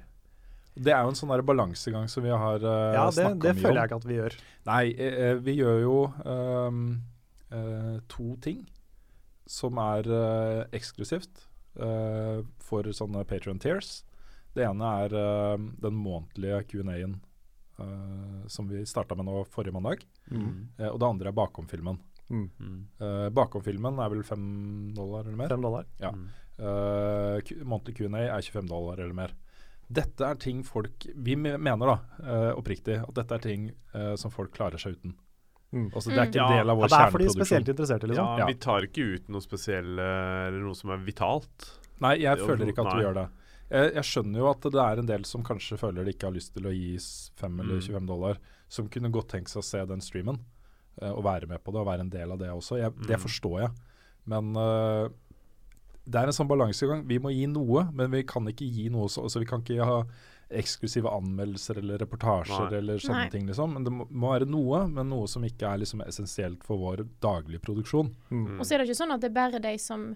S4: Det er jo en sånn der balansegang som vi har uh,
S1: Ja, det,
S4: snakka
S1: det
S4: mye
S1: føler
S4: om.
S1: jeg ikke at vi gjør.
S4: Nei, eh, eh, vi gjør jo ehm, eh, to ting som er eh, eksklusivt eh, for sånne Patreon Tears. Det ene er eh, den månedlige Q&A-en eh, som vi starta med nå forrige mandag. Eh, og det andre er bakom-filmen.
S1: Mm.
S2: Mm.
S4: Eh, bakom-filmen er vel fem dollar eller mer?
S1: Fem dollar.
S4: Ja.
S2: Mm.
S4: Eh, Q- månedlig Q&A er 25 dollar eller mer. Dette er ting folk Vi me- mener da, eh, oppriktig, at dette er ting eh, som folk klarer seg uten.
S1: Mm.
S4: Altså, det er ikke
S2: Mm.
S4: en del av
S1: Ja,
S4: vår
S1: det er for de spesielt
S4: kjerneproduksjon.
S1: interesserte, liksom.
S2: Ja,
S4: Ja.
S2: sånn. vi tar ikke ut noe spesielt eh, eller noe som er vitalt.
S4: Nei, jeg
S2: Det er
S4: føler ikke at
S2: nei.
S4: vi gjør det. Jeg, jeg skjønner jo at det er en del som kanskje føler de ikke har lyst til å gi 5 eller
S2: Mm.
S4: 25 dollar, som kunne godt tenkt seg å se den streamen eh, og være med på det og være en del av det også. Jeg, Det
S2: Mm.
S4: forstår jeg. Men eh, det er en sånn balansegang. Vi må gi noe, men vi kan ikke gi noe så altså, Vi kan ikke ha eksklusive anmeldelser eller reportasjer
S2: Nei.
S4: eller sånne
S3: Nei.
S4: ting. liksom. Men det må, må være noe, men noe som ikke er liksom essensielt for vår daglige produksjon.
S1: Mm.
S3: Og så er det ikke sånn at det er bare de som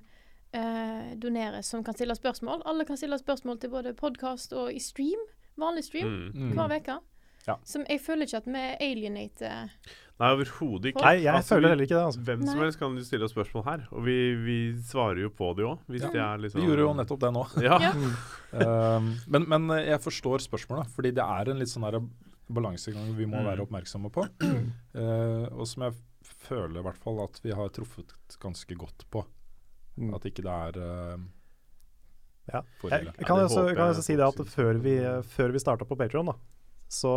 S3: eh, donerer, som kan stille spørsmål. Alle kan stille spørsmål til både podkast og i stream. Vanlig stream
S2: Mm.
S4: Mm.
S3: hver uke.
S4: Ja.
S3: Som jeg føler ikke at vi alienater
S2: Nei, overhodet ikke.
S1: Nei, jeg
S2: Altså, vi-
S1: føler heller ikke det. Altså.
S2: Hvem som
S3: Nei.
S2: helst kan jo stille oss spørsmål her, og vi, vi svarer jo på det òg. Hvis
S4: Ja.
S2: det er liksom
S4: Vi gjorde jo nettopp det nå.
S2: Ja.
S3: Ja.
S1: Mm.
S4: Um, (laughs) men, men jeg forstår spørsmålet, fordi det er en litt sånn der balansegang vi må
S2: Mm.
S4: være oppmerksomme
S1: (clears throat)
S4: på. Eh, og som jeg føler i hvert fall at vi har truffet ganske godt på.
S1: Mm.
S4: At ikke det er eh,
S1: Ja.
S4: fordeler.
S1: Jeg, jeg kan
S2: Ja, det
S1: også,
S2: håper
S1: jeg kan
S2: jeg
S1: også si
S2: folk
S1: det at
S2: synes.
S1: før vi, før vi starta på Patreon da, så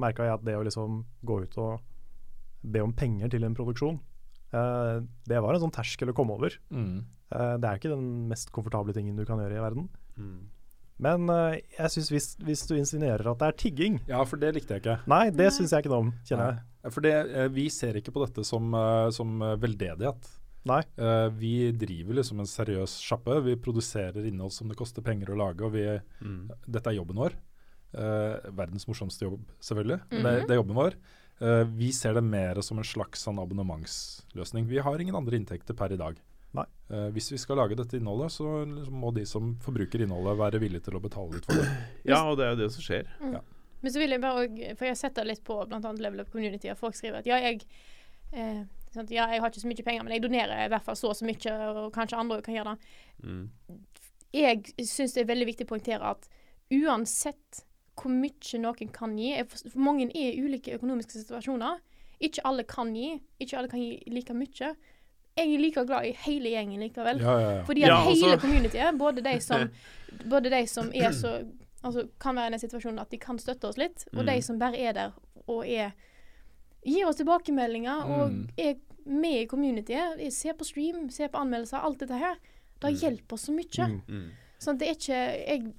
S1: merka jeg at det å liksom gå ut og be om penger til en produksjon, eh, det var en sånn terskel å komme over.
S4: Mm.
S1: Eh, det er ikke den mest komfortable tingen du kan gjøre i verden.
S2: Mm.
S1: Men eh, jeg synes hvis, hvis du insinuerer at det er tigging
S4: ja, for det likte jeg ikke.
S1: Nei, det
S3: Nei.
S1: syns jeg ikke noe om, kjenner jeg.
S4: Nei. For det, eh, vi ser ikke på dette som, eh, som eh, veldedighet.
S1: Nei.
S4: Eh, vi driver liksom en seriøs sjappe. Vi produserer innhold som det koster penger å lage, og vi
S2: Mm.
S4: Dette er jobben vår. Eh, verdens morsomste jobb, selvfølgelig. Men
S3: Mhm.
S4: det, det er jobben vår. Eh, vi ser det mer som en slags sånn abonnementsløsning. Vi har ingen andre inntekter per i dag.
S1: Nei.
S4: Eh, hvis vi skal lage dette innholdet, så liksom må de som forbruker innholdet, være villige til å betale litt for det.
S2: ja, og det er jo det som skjer.
S3: Men så vil jeg bare òg For jeg setter litt på bl.a. Level Up Community, og folk skriver at ja, jeg eh, sant, ja, jeg har ikke så mye penger, men jeg donerer i hvert fall så og så mye, og kanskje andre kan gjøre det.
S2: Mm.
S3: jeg syns det er veldig viktig å poengtere at uansett hvor mye noen kan gi jeg forst- for Mange er i ulike økonomiske situasjoner. Ikke alle kan gi. Ikke alle kan gi like mye. Jeg er like glad i hele gjengen likevel.
S4: Ja, ja, ja.
S3: Fordi at
S2: Ja, og så-
S3: hele communityet, både de
S2: (laughs)
S3: som, både de som er så altså, kan være i den situasjonen at de kan støtte oss litt, og de
S2: Mm.
S3: som bare er der og er Gir oss tilbakemeldinger og
S4: Mm.
S3: er med i communityet. Se på stream, se på anmeldelser, alt dette her. Det
S2: Mm.
S3: hjelper så mye.
S4: Mm.
S2: Mm.
S3: Sånn, det er ikke Jeg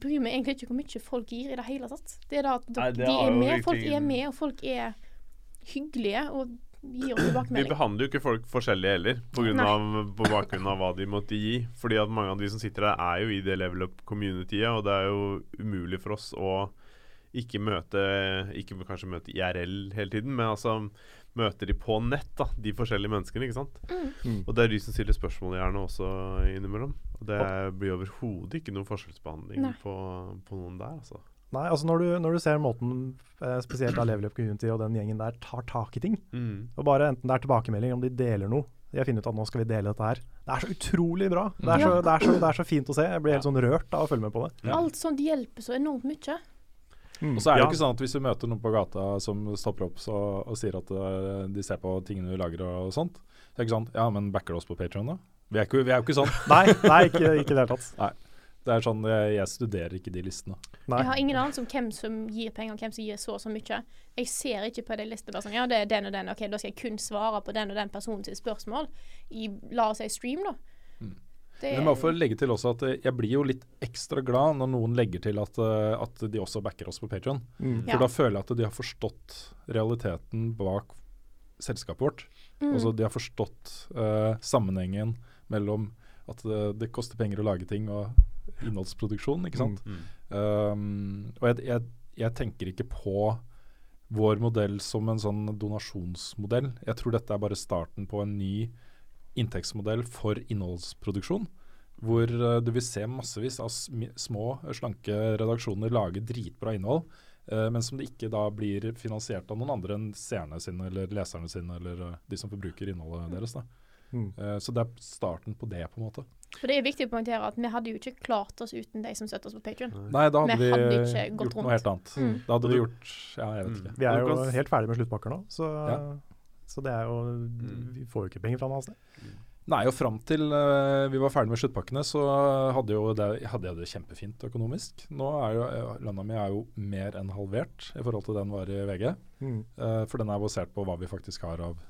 S3: bryr meg egentlig ikke hvor mye folk gir i det hele tatt. Det er da at
S2: Nei, det
S3: de
S2: har
S3: er
S2: jo
S3: med,
S2: virkelig-
S3: folk er med, og folk er hyggelige og gir oss
S2: Vi
S3: tilbakemelding.
S2: behandler jo ikke folk forskjellig heller, på, grunn
S3: Nei.
S2: av, på bakgrunn av hva de måtte gi. Fordi at mange av de som sitter der, er jo i det level up-communityet, og det er jo umulig for oss å ikke møte Ikke kanskje møte IRL hele tiden, men altså møter de på nett, da, de forskjellige menneskene, ikke sant.
S4: Mm.
S2: Og det er de som stiller spørsmål gjerne også innimellom. Og det blir overhodet ikke noen forskjellsbehandling
S3: Nei.
S2: på, på noen der, altså.
S1: Nei, altså når du, når du ser måten eh, spesielt av Level Up Community og den gjengen der tar tak i ting,
S2: Mm.
S1: og bare enten det er tilbakemelding, om de deler noe De har funnet ut at nå skal vi dele dette her. Det er så utrolig bra. Det er så, det er så, det er så fint å se. Jeg blir helt sånn rørt av å følge med på det.
S4: Ja.
S3: Alt sånt hjelper så enormt mye.
S1: Mm.
S4: Og så er det
S2: Ja.
S4: jo ikke sånn at hvis du møter noen på gata som stopper opp så, og sier at eh, de ser på tingene du lager og, og sånt, så er det ikke sånn Ja, men backer du oss på Patreon da? Vi er, ikke, vi er jo ikke
S1: (laughs)
S4: sånn.
S1: Nei, nei, ikke ikke i det hele
S3: (laughs)
S1: tatt.
S4: Det er sånn Jeg, jeg studerer ikke de listene.
S1: Nei.
S3: Jeg har ingen anelse om hvem som gir penger, og hvem som gir så og så mye. Jeg ser ikke på de listene bare sånn Ja, det er den og den. OK, da skal jeg kun svare på den og den personens spørsmål i la oss si stream, da. Det
S4: Mm. Men jeg må også legge til også at eh, jeg blir jo litt ekstra glad når noen legger til at, eh, at de også backer oss på Patreon.
S1: Mm.
S3: Ja.
S4: For da føler jeg at de har forstått realiteten bak selskapet vårt.
S3: Mm.
S4: Altså, de har forstått eh, sammenhengen mellom at det, det koster penger å lage ting og innholdsproduksjon, ikke sant.
S2: Mm.
S4: Um, og jeg, jeg, jeg tenker ikke på vår modell som en sånn donasjonsmodell. Jeg tror dette er bare starten på en ny inntektsmodell for innholdsproduksjon. Hvor eh, du vil se massevis av smi- små, slanke redaksjoner lage dritbra innhold. eh, men som det ikke da blir finansiert av noen andre enn seerne sine eller leserne sine eller eh, de som forbruker innholdet deres. da.
S1: Mm.
S4: Eh, så det er starten på det, på en måte.
S3: For det er viktig å poengtere at vi hadde jo ikke klart oss uten de som støtter oss på Patreon.
S4: Nei, da hadde
S3: Vi
S4: vi
S3: hadde ikke
S4: gjort
S3: gått rundt.
S4: noe helt annet.
S3: Mm.
S4: Da hadde vi
S2: Og
S4: gjort Ja, jeg vet
S2: Mm.
S4: ikke.
S1: Vi er
S2: Du
S1: jo
S2: kan s-
S1: helt ferdig med sluttpakker nå, så,
S4: Ja. Mm.
S1: så det er jo Vi får jo ikke penger fra noe annet sted.
S4: Nei, og fram til eh, vi var ferdig med sluttpakkene, så hadde, jo det, hadde jeg det kjempefint økonomisk. Nå er jo eh, lønna mi er jo mer enn halvert i forhold til den var i VG.
S1: Mm.
S4: eh, for den er basert på hva vi faktisk har av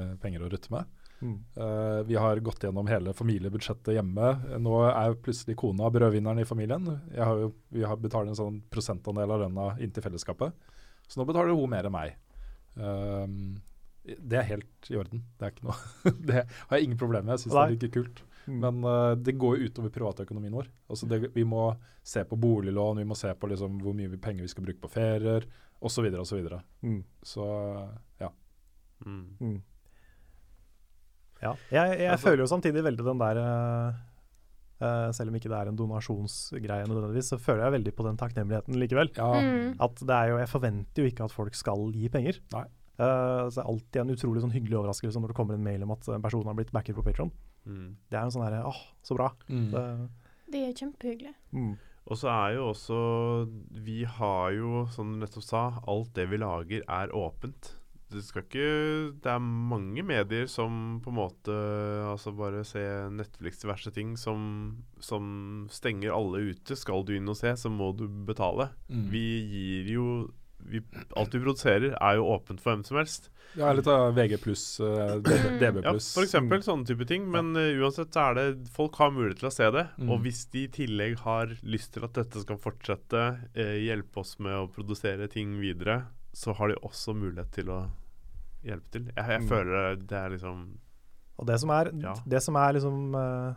S4: eh, penger å rutte med.
S1: Mm.
S4: Eh, vi har gått gjennom hele familiebudsjettet hjemme. Nå er plutselig kona brødvinneren i familien. Jeg har jo, vi har betaler en sånn prosentandel av lønna inn til fellesskapet. Så nå betaler hun mer enn meg. Um, det er helt i orden. Det er ikke noe (laughs) Det har jeg ingen problemer med. Jeg syns det er
S1: Nei.
S4: like kult.
S1: Mm.
S4: Men eh, det går jo utover privatøkonomien vår. Altså det, vi må se på boliglån, vi må se på liksom hvor mye vi- penger vi skal bruke på ferier osv. osv. Så, videre.
S1: Mm.
S4: så ja.
S2: Mm.
S1: Mm. Ja. Jeg, jeg
S2: Altså-
S1: føler jo samtidig veldig den der eh, eh, Selv om ikke det er en donasjonsgreie nødvendigvis, så føler jeg veldig på den takknemligheten likevel.
S4: ja
S3: Mm.
S1: At det er jo, Jeg forventer jo ikke at folk skal gi penger.
S4: Nei.
S1: Eh, så det er alltid en utrolig sånn hyggelig overraskelse når det kommer en mail om at en person har blitt backer på Patron.
S2: Mm.
S1: Det er jo en sånn herre Åh, så bra.
S4: Mm.
S1: Det,
S3: Det er kjempehyggelig.
S1: mm.
S2: Og så er jo også Vi har jo, som du nettopp sa, alt det vi lager er åpent. Det skal ikke Det er mange medier som på en måte Altså bare se Netflix diverse ting som, som stenger alle ute. Skal du inn og se, så må du betale.
S4: Mm.
S2: Vi gir jo vi, Alt vi produserer, er jo åpent for hvem som helst.
S4: Ja, litt av VG pluss, eh, DB, DB
S2: Ja,
S4: pluss.
S2: for eksempel sånne type ting. Men eh, uansett så er det Folk har mulighet til å se det.
S4: Mm.
S2: Og hvis de i tillegg har lyst til at dette skal fortsette, eh, hjelpe oss med å produsere ting videre, så har de også mulighet til å hjelpe til. Jeg, jeg
S1: Mm.
S2: føler det er liksom
S1: Og det som er,
S2: Ja.
S1: det som er liksom eh,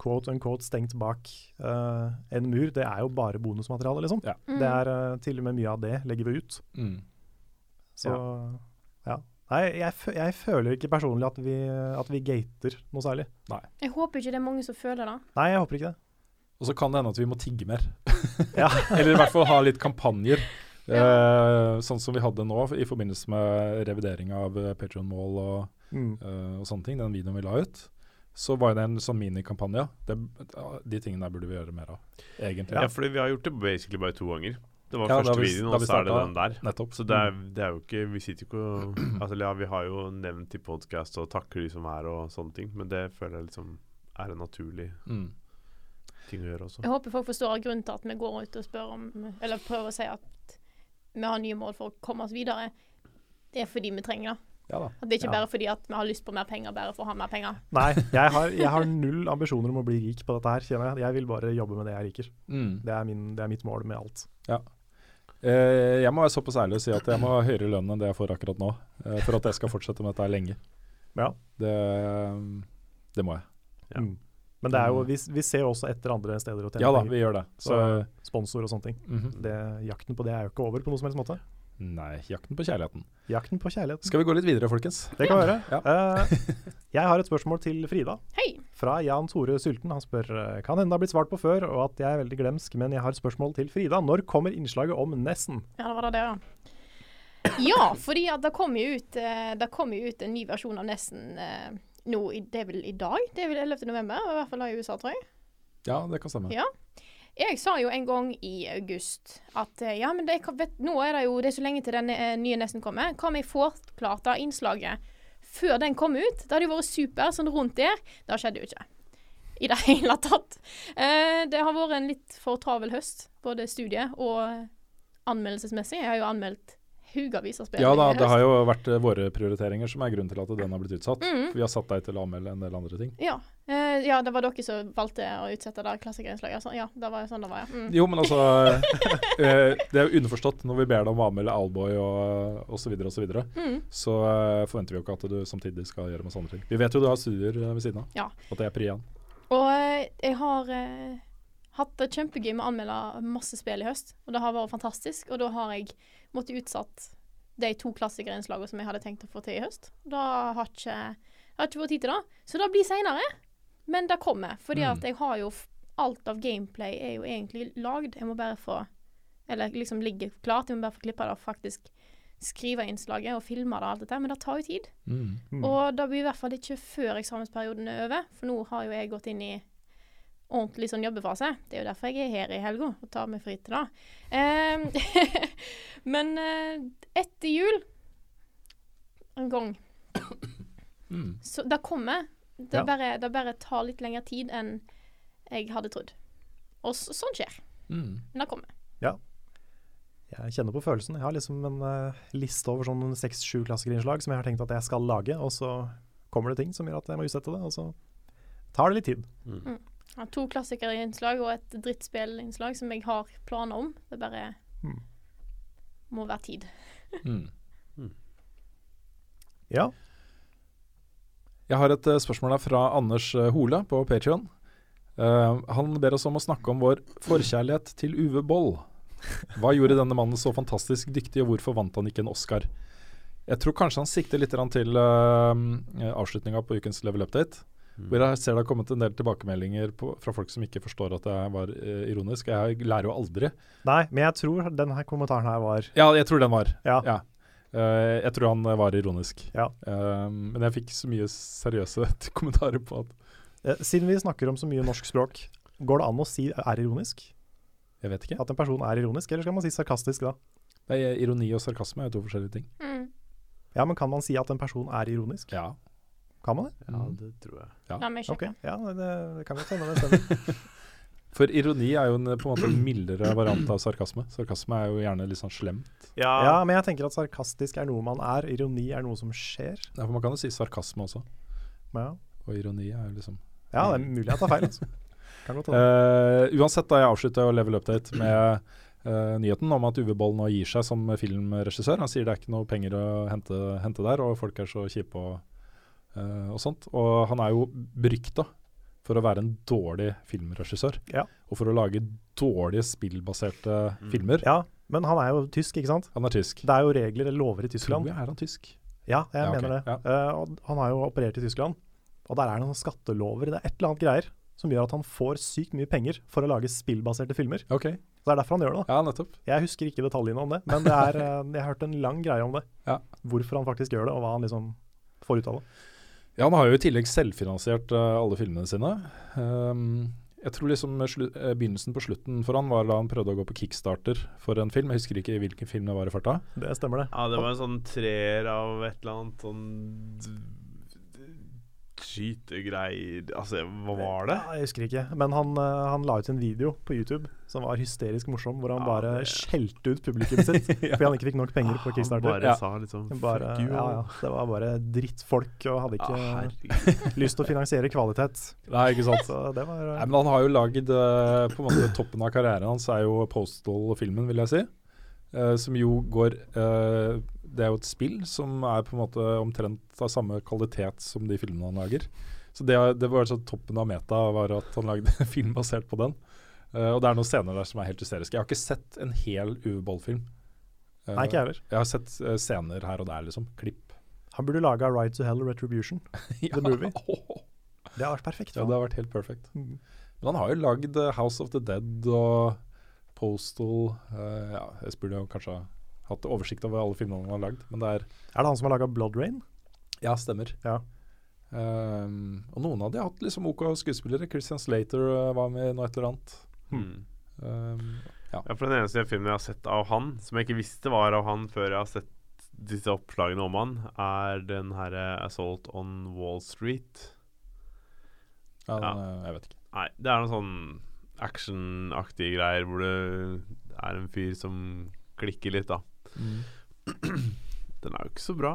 S1: quote unquote stengt bak eh, en mur, det er jo bare bonusmateriale, liksom.
S3: Mm.
S1: Det er eh, til og med mye av det legger vi ut.
S4: Mm.
S1: Så ja. Nei, jeg, fø- jeg føler ikke personlig at vi, at vi gater noe særlig.
S3: Jeg håper ikke det er mange som føler det.
S1: Nei, jeg håper ikke det.
S4: Og så kan det hende at vi må
S2: (laughs)
S4: tigge mer.
S1: Ja.
S4: (laughs) Eller i hvert fall ha litt kampanjer. Eh, sånn som vi hadde nå i forbindelse med revidering av Patreon mål og,
S1: Mm.
S4: eh, og sånne ting, den videoen vi la ut. Så var det en sånn minikampanje. Det- ja, De tingene der burde vi gjøre mer av, egentlig.
S2: ja. fordi vi har gjort det basically bare to ganger. Det var
S4: Ja, da
S2: første
S4: vi-
S2: videoen,
S4: da
S2: og
S4: vi
S2: så er det
S4: starta.
S2: den der.
S4: Nettopp.
S2: Så det er, det er jo ikke Vi sitter jo ikke og (clears throat) Altså ja, vi har jo nevnt i podkast og takker de som er og sånne ting, men det føler jeg liksom er en naturlig
S4: Mm.
S2: ting å gjøre også.
S3: Jeg håper folk forstår grunnen til at vi går ut og spør om Eller prøver å si at vi har nye mål for å komme oss videre. Det er fordi vi trenger det.
S4: Ja da.
S3: At det ikke
S1: Ja.
S3: bare er fordi at vi har lyst på mer penger, bare for å ha mer penger.
S1: Nei, jeg har, jeg har null ambisjoner om å bli rik på dette her, kjenner jeg. Jeg vil bare jobbe med det jeg liker.
S4: Mm.
S1: Det er, min, det er mitt mål med alt.
S4: Eh, jeg må være såpass ærlig og si at jeg må ha høyere lønn enn det jeg får akkurat nå, eh, for at jeg skal fortsette med dette her lenge.
S1: Ja.
S4: Det, eh, det må jeg.
S2: Ja.
S1: Mm. Men det er jo, vi, vi ser jo også etter andre steder å tjene
S4: Ja da,
S1: penger.
S4: vi gjør det. Så,
S1: Så- Sponsor og sånne ting.
S4: mhm.
S1: Det, jakten på det er jo ikke over på noen som helst måte.
S4: Nei, jakten på kjærligheten.
S1: Jakten på kjærligheten.
S4: Skal vi gå litt videre, folkens?
S1: Det kan vi gjøre.
S4: Ja.
S1: Eh, jeg har et spørsmål til Frida.
S3: Hei!
S1: Fra Jan Tore Sylten. Han spør eh, kan hende det har blitt svart på før, og at jeg er veldig glemsk, men jeg har et spørsmål til Frida. Når kommer innslaget om Nessen?
S3: Ja, det var det, ja. Ja, fordi at det kommer jo ut, eh, det kom jo ut en ny versjon av Nesten eh, nå, i, det er vel i dag? Det er vel 11. november, i hvert fall da i USA, tror jeg.
S4: Ja, det kan stemme.
S3: Ja. Jeg sa jo en gang i august at eh, ja, men det, kan- vet, nå er det jo det er så lenge til den eh, nye Nesten kommer. Hva om jeg får klart det innslaget før den kom ut? Det hadde jo vært super sånn rundt der. Det skjedde jo ikke. I det (laughs) hele tatt. Eh, det har vært en litt for travel høst, både studie og anmeldelsesmessig. Jeg har jo anmeldt hugavis av spill.
S4: Ja da,
S3: i
S4: det
S3: høst.
S4: har jo vært eh, våre prioriteringer som er grunnen til at den har blitt utsatt.
S3: Mhm.
S4: Vi har satt deg til å anmelde en del andre ting.
S3: Mm. ja. Eh, ja, det var dere som valgte å utsette det klassikerinnslaget. Så, ja, det var jo sånn det var, ja. Mm.
S4: Jo, men altså (laughs) eh, Det er jo underforstått når vi ber deg om å anmelde Alboy og osv. Så, videre og så, videre.
S3: Mm.
S4: så eh, forventer vi jo ikke at du samtidig skal gjøre masse andre ting. Vi vet jo du har studier eh, ved siden av,
S3: Ja.
S4: at det er prian.
S3: Og eh, jeg har eh, hatt det kjempegøy med å anmelde masse spill i høst, og det har vært fantastisk. Og da har jeg måttet utsatt de to klassikerinnslagene som jeg hadde tenkt å få til i høst. Da har ikke, det har ikke vært tid til det. Så det blir seinere, men det kommer. Fordi
S4: Mm.
S3: at jeg har jo f- Alt av gameplay er jo egentlig lagd. Jeg må bare få Eller liksom ligge klart. Jeg må bare få klippa det og faktisk skrive innslaget og filme det og alt dette. Men det tar jo tid.
S1: Mm.
S3: Og det blir i hvert fall ikke før eksamensperioden er over, for nå har jo jeg gått inn i ordentlig sånn jobbefase. Det er jo derfor jeg er her i helga og tar meg fri til det. Eh, (laughs) men eh, etter jul en gang
S4: Mm.
S3: Så det kommer. Det,
S1: Ja.
S3: bare, det bare tar litt lengre tid enn jeg hadde trodd. Og så, sånn skjer.
S4: Mm.
S3: Men det kommer.
S1: Jeg kjenner på følelsen. Jeg har liksom en eh, liste over sånn seks-sju klassikerinnslag som jeg har tenkt at jeg skal lage, og så kommer det ting som gjør at jeg må utsette det, og så tar det litt tid.
S3: Jeg har to klassikerinnslag og et drittspillinnslag som jeg har planer om. Det bare
S1: Mm.
S3: må være tid.
S4: Mm.
S1: Ja.
S4: Jeg har et eh, spørsmål her fra Anders eh, Hole på Patreon. Eh, han ber oss om å snakke om vår forkjærlighet til Uwe Boll. Hva gjorde denne mannen så fantastisk dyktig, og hvorfor vant han ikke en Oscar? Jeg tror kanskje han sikter litt grann til uh, avslutninga på ukens Level Update. Hvor jeg ser det har kommet en del tilbakemeldinger på, fra folk som ikke forstår at jeg var eh, ironisk. Jeg lærer jo aldri.
S1: Nei, men jeg tror denne kommentaren her var
S4: Ja, jeg tror den var.
S1: Ja.
S4: Ja. Eh, jeg tror han eh, var ironisk.
S1: Ja.
S4: Eh, men jeg fikk så mye seriøse (laughs) kommentarer på at
S1: Eh, Siden vi snakker om så mye norsk språk, går det an å si er ironisk?
S4: Jeg vet ikke.
S1: At en person er ironisk, eller skal man si sarkastisk da?
S4: Nei, ironi og sarkasme er jo to forskjellige ting.
S3: Mm.
S1: Ja, men kan man si at en person er ironisk?
S4: Ja.
S1: Kan man det?
S2: Ja, det tror jeg.
S3: La meg
S1: Ok,
S3: sjekke.
S1: ja, det, det kan godt hende det
S4: (laughs)
S1: stemmer.
S4: For ironi er jo en, eh, på en måte en mildere variant av sarkasme. Sarkasme er jo gjerne litt sånn slem.
S1: Ja, men jeg tenker at sarkastisk er noe man er, ironi er noe som skjer.
S4: Ja, for man kan jo si sarkasme også,
S1: Men ja,
S4: og ironi er jo liksom
S1: ja det er mulig jeg tar feil,
S4: (laughs)
S1: altså. Kan godt hende.
S4: Eh, Uansett, da jeg avslutta jo Level Update med eh, nyheten om at Uwe Boll nå gir seg som filmregissør. Han sier det er ikke noe penger å hente, hente der, og folk er så kjipe og, eh, og sånt. Og han er jo berykta for å være en dårlig filmregissør,
S1: Ja.
S4: og for å lage dårlige spillbaserte filmer.
S1: Ja, men han er jo tysk, ikke sant?
S4: Han er tysk.
S1: Det er jo regler eller lover i
S4: Tror
S1: Tyskland.
S4: jeg er han tysk.
S1: Ja, jeg
S4: Ja, ok,
S1: mener det. Eh, og han har jo operert i Tyskland, og der er det noen skattelover, det er et eller annet greier, som gjør at han får sykt mye penger for å lage spillbaserte filmer.
S4: Ok,
S1: Så det er derfor han gjør det da.
S4: ja, nettopp.
S1: Jeg husker ikke detaljene om det, men det
S4: (laughs)
S1: er, eh, jeg har hørt en lang greie om det.
S4: Ja.
S1: Hvorfor han faktisk gjør det, og hva han liksom får ut av det.
S4: Ja, Han har jo i tillegg selvfinansiert eh, alle filmene sine. Ehm, jeg tror liksom slu- eh, Begynnelsen på slutten for han var da han prøvde å gå på kickstarter for en film. Jeg husker ikke hvilken film det var i farta.
S1: Det stemmer, det.
S2: Ja, det var en sånn treer av et eller annet sånn skytegreier Altså, hva var det?
S1: Ja, jeg husker ikke. Men han, eh, han la ut en video på YouTube som var hysterisk morsom, hvor han
S2: Ja,
S1: bare
S2: det-
S1: skjelte ut publikum sitt
S2: (laughs)
S1: fordi han ikke fikk nok penger på
S2: Han
S1: Kickstarter.
S2: bare
S4: Ja.
S2: sa liksom
S1: Bare,
S2: Fuck you.
S1: ja, ja, det var bare drittfolk og hadde ikke
S2: Ah, herregud.
S1: lyst til å finansiere kvalitet.
S4: Nei, ikke sant.
S1: Så det var
S4: Nei,
S1: eh,
S4: men han har jo lagd eh, På en måte toppen av karrieren hans er jo Postal-filmen, vil jeg si. Eh, som jo går eh, Det er jo et spill som er på en måte omtrent av samme kvalitet som de filmene han lager. Så det, er- det var sånn toppen av meta var at han lagde (laughs) en film basert på den. Eh, og det er noen scener der som er helt hysteriske. Jeg har ikke sett en hel UV-ballfilm. Uh,
S1: Nei, ikke jeg heller.
S4: Jeg har sett eh, scener her og der, liksom.
S1: (laughs)
S4: Klipp.
S1: Han burde laga Ride to Hell Retribution.
S4: Ja.
S1: movie.
S4: Åh.
S1: Det har vært perfekt.
S4: (laughs) Ja,
S1: for han.
S4: det har vært helt perfekt.
S1: Mm.
S4: Men han har jo lagd eh, House of the Dead og Postal eh, ja, Jeg burde jo kanskje ha hatt oversikt over alle filmene han har lagd, men det er
S1: Er det han som har laga Blood Rain?
S4: Ja, stemmer.
S1: Ja.
S4: Ehm, og noen av de har hatt liksom OK skuespillere. Christian Slater eh, var med i noe et eller annet.
S2: Hmm.
S4: Ehm,
S2: Ja, for Den eneste filmen jeg har sett av han, som jeg ikke visste var av han før jeg har sett disse oppslagene om han, er den herre Assault on Wall Street.
S4: ja,
S2: Ja.
S4: eh, Jeg vet ikke.
S2: Nei, det er noen sånn actionaktige greier hvor det er en fyr som klikker litt, da. Den er jo ikke så bra.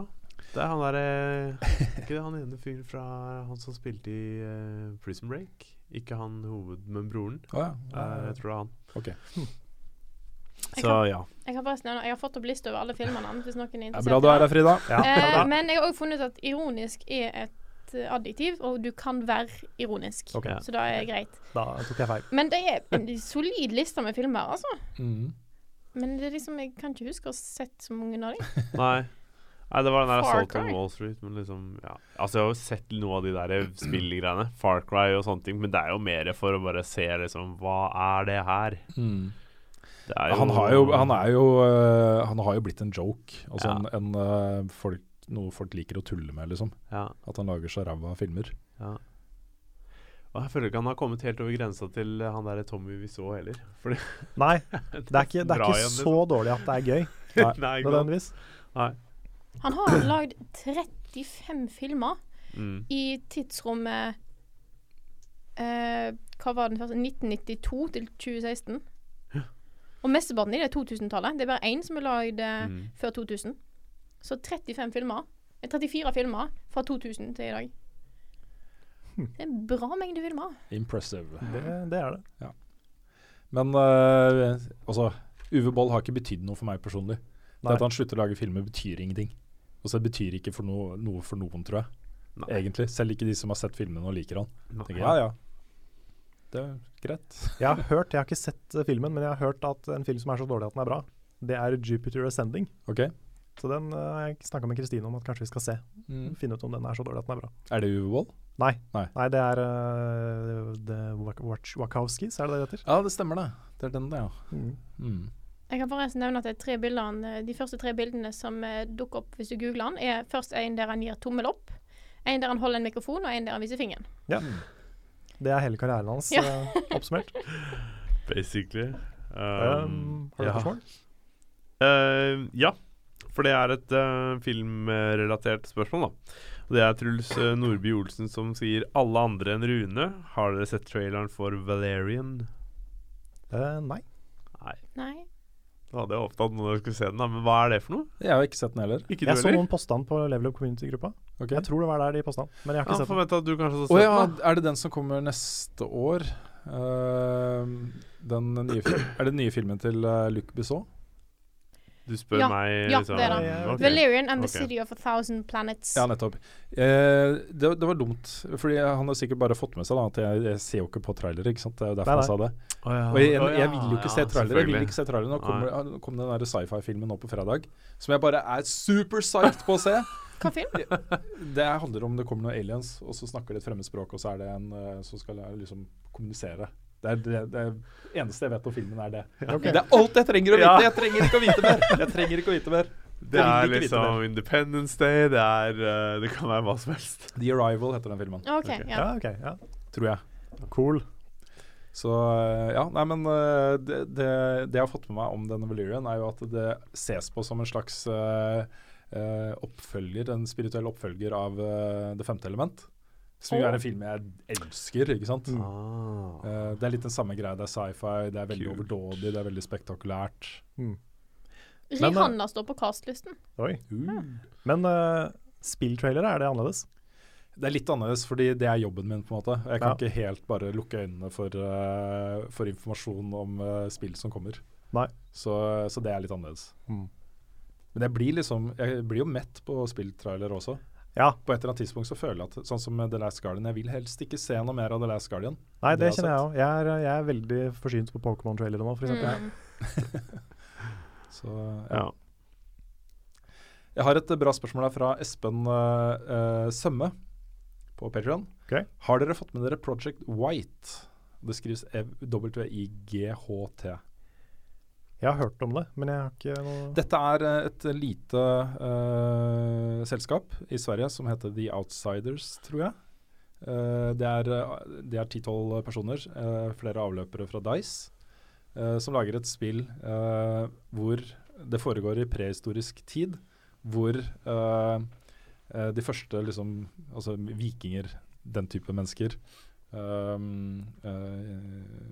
S2: Det er han derre Ikke det han ene fyren fra han som spilte i eh, Prison Break? Ikke han hoved, men broren.
S4: Å ja.
S2: Eh, jeg tror det er han.
S4: Ok.
S3: Jeg
S2: Så
S3: kan-
S2: ja.
S3: Jeg kan forresten nevne, jeg har fått opp liste over alle filmene hans, hvis noen er
S4: Det er
S3: interessert.
S4: bra du er her, Frida.
S1: (laughs)
S3: Eh,
S1: Ja.
S3: men jeg har òg funnet ut at ironisk er et eh, adjektiv, og du kan være ironisk.
S1: Ok.
S3: Så da er det greit.
S1: Da tok jeg feil.
S3: Men det er en solid liste med filmer, altså.
S4: Mm.
S3: Men det er liksom, jeg kan ikke huske å ha sett så mange av dem.
S2: Nei. Nei, det var den der
S3: Far
S2: Assault on
S3: Cry.
S2: Wall Street, men liksom ja. Altså, jeg har jo sett noe av de der spillgreiene, Far Cry og sånne ting, men det er jo mer for å bare se liksom Hva er det her?
S4: Mm.
S2: Det er
S4: Han, har jo, han, er jo, eh, han har jo blitt en joke. Altså
S2: Ja.
S4: en, en, eh, folk, noe folk liker å tulle med, liksom.
S2: ja,
S4: At han lager så ræva filmer.
S2: ja. Og jeg føler ikke han har kommet helt over grensa til eh, han derre Tommy vi så heller. Fordi
S1: (laughs) Nei, det er ikke, det er
S2: drar
S1: ikke
S2: igjen,
S1: så dårlig at det (laughs) er gøy,
S2: liksom. (laughs) Nei, ikke sant?
S1: nødvendigvis.
S2: Nei.
S3: Han har lagd 35 filmer
S2: Mm.
S3: i tidsrommet eh, Hva var den første? 1992 til 2016. Og mesteparten i det er 2000-tallet. Det er bare én som er lagd eh,
S2: Mm.
S3: før 2000. Så 35 filmer eh, 34 filmer fra 2000 til i dag.
S2: Hm.
S3: Det er en bra mengde filmer.
S4: Impressive.
S1: Det, det er det.
S4: Men eh, altså, Uwe Boll har ikke betydd noe for meg personlig. Det
S1: Nei.
S4: at han slutter å lage filmer, betyr ingenting. Og så betyr ikke for noe, noe for noen, tror jeg.
S2: Nei.
S4: Egentlig. Selv ikke de som har sett filmene og liker han. Tenker,
S2: Ja,
S4: ja,
S2: ja.
S4: ja. Det er greit.
S1: Jeg har hørt, jeg har ikke sett eh, filmen, men jeg har hørt at en film som er så dårlig at den er bra, det er Jupiter Ascending.
S4: Ok.
S1: Så den eh, har jeg snakka med Kristine om at kanskje vi skal se.
S4: Mm.
S1: Finne ut om den er så dårlig at den er bra.
S4: Er det Uwe Boll?
S1: Nei,
S4: Nei.
S1: det er eh, The Wach- Wach- Wachowskis, er det det det heter?
S4: Ja, det stemmer det. Det er den, det, ja.
S1: Mm.
S4: Mm.
S3: Jeg kan forresten nevne at det er tre bildene, eh, De første tre bildene som eh, dukker opp hvis du googler den, er først en der han gir tommel opp, en der han holder en mikrofon, og en der han viser fingeren.
S1: Det er hele karrieren hans
S3: Ja.
S1: eh, oppsummert.
S2: Basically.
S1: Um, har du
S2: ja.
S1: spørsmål?
S2: Eh, ja, for det er et eh, filmrelatert spørsmål, da. Og det er Truls eh, Nordby Olsen som sier 'Alle andre enn Rune'. Har dere sett traileren for Valerian?
S1: Eh, nei.
S2: Nei,
S3: Nei.
S2: det hadde jeg håpet at noen av dere skulle se den, da. Men hva er det for noe?
S4: Jeg har ikke sett den heller.
S2: Ikke du
S1: Jeg så
S2: heller?
S1: noen postand på Level Up Community-gruppa.
S4: Ok.
S1: Jeg tror det var der de posta den, men jeg har
S2: Ja,
S1: ikke sett den.
S2: forventa at du kanskje så
S4: Å
S2: sett
S4: ja,
S2: den. da.
S4: er det den som kommer neste år? Ehm, den nye fil- er det den nye filmen til eh, Luc Bissot?
S2: Du spør
S3: Ja,
S2: meg,
S3: ja,
S2: liksom.
S1: det er det.
S2: Ok.
S3: Valerian and the
S2: Ok.
S3: City of a Thousand Planets.
S4: Ja, nettopp. Eh, det, det var dumt, fordi han har sikkert bare fått med seg da, at jeg, jeg ser jo ikke på trailere. ikke sant? Det er jo derfor
S1: Nei,
S4: jeg sa det.
S2: Å ja.
S4: Og jeg,
S2: Å
S4: jeg,
S2: ja,
S4: vil jo ikke
S2: ja,
S4: se trailere. Jeg vil
S2: selvfølgelig.
S4: ikke se trailere. Nå kommer, ja, nå kom den der sci-fi-filmen nå på fredag, som jeg bare er super psyched på å se. (laughs)
S3: Hva film?
S4: Det handler om det kommer noen aliens, og så snakker de et fremmedspråk, og så er det en eh, som skal eh, liksom kommunisere. Det er det, det er- eneste jeg vet om filmen, er det.
S1: Ok.
S4: Det er alt jeg trenger å vite!
S2: Ja.
S4: Jeg trenger ikke å vite
S1: (laughs)
S4: mer! Jeg trenger ikke å vite mer.
S2: Det er
S4: Jeg vil ikke vite
S2: liksom Independence Day, det er eh, Det kan være hva som helst.
S4: The Arrival heter den filmen,
S3: Ah, OK.
S1: Ja,
S3: ja.
S1: ok. Ja.
S4: tror jeg.
S1: Cool.
S4: Så eh, ja, nei, men eh, det, det, det jeg har fått med meg om denne Valyrian, er jo at det ses på som en slags eh, eh, oppfølger, en spirituell oppfølger av eh, Det femte element. Som jo er en film jeg elsker, ikke sant.
S2: Ah.
S4: Eh, det er litt den samme greia. Det er sci-fi, det er veldig
S2: Kult.
S4: overdådig, det er veldig spektakulært.
S1: Men, eh,
S3: Rihanna står på castlisten.
S1: Oi.
S4: Uh.
S1: Men uh, spilltrailere, er det annerledes?
S4: Det er litt annerledes, fordi det er jobben min. på en måte. Jeg kan
S1: Ja.
S4: ikke helt bare lukke øynene for, eh, for informasjon om eh, spill som kommer.
S1: Nei.
S4: Så, så det er litt annerledes.
S1: Mm.
S4: Men jeg blir, liksom, jeg blir jo mett på spilltrailer også.
S1: Ja.
S4: På et eller annet tidspunkt så føler jeg at sånn som The Last Guardian, jeg vil helst ikke se noe mer av The Last Guardian.
S1: Nei, det,
S4: Det har
S1: kjenner jeg òg. Jeg, er- jeg er veldig forsynt på Pokémon-trailere nå, f.eks.
S3: Mm.
S4: Så, ja.
S2: Ja.
S4: Jeg har et eh, bra spørsmål her fra Espen eh, eh, Sømme på Patreon.
S1: Ok.
S4: Har dere fått med dere Project White? Det skrives E Ev- W-I-G-H-T.
S1: Jeg har hørt om det, men jeg har ikke noe
S4: Dette er eh, et lite eh, selskap i Sverige som heter The Outsiders, tror jeg. Eh, det er eh, det er ti-tolv personer, eh, flere avløpere fra Dice, eh, som lager et spill eh, hvor det foregår i prehistorisk tid, hvor eh, eh, de første liksom, altså vikinger, den type mennesker, ehm, eh,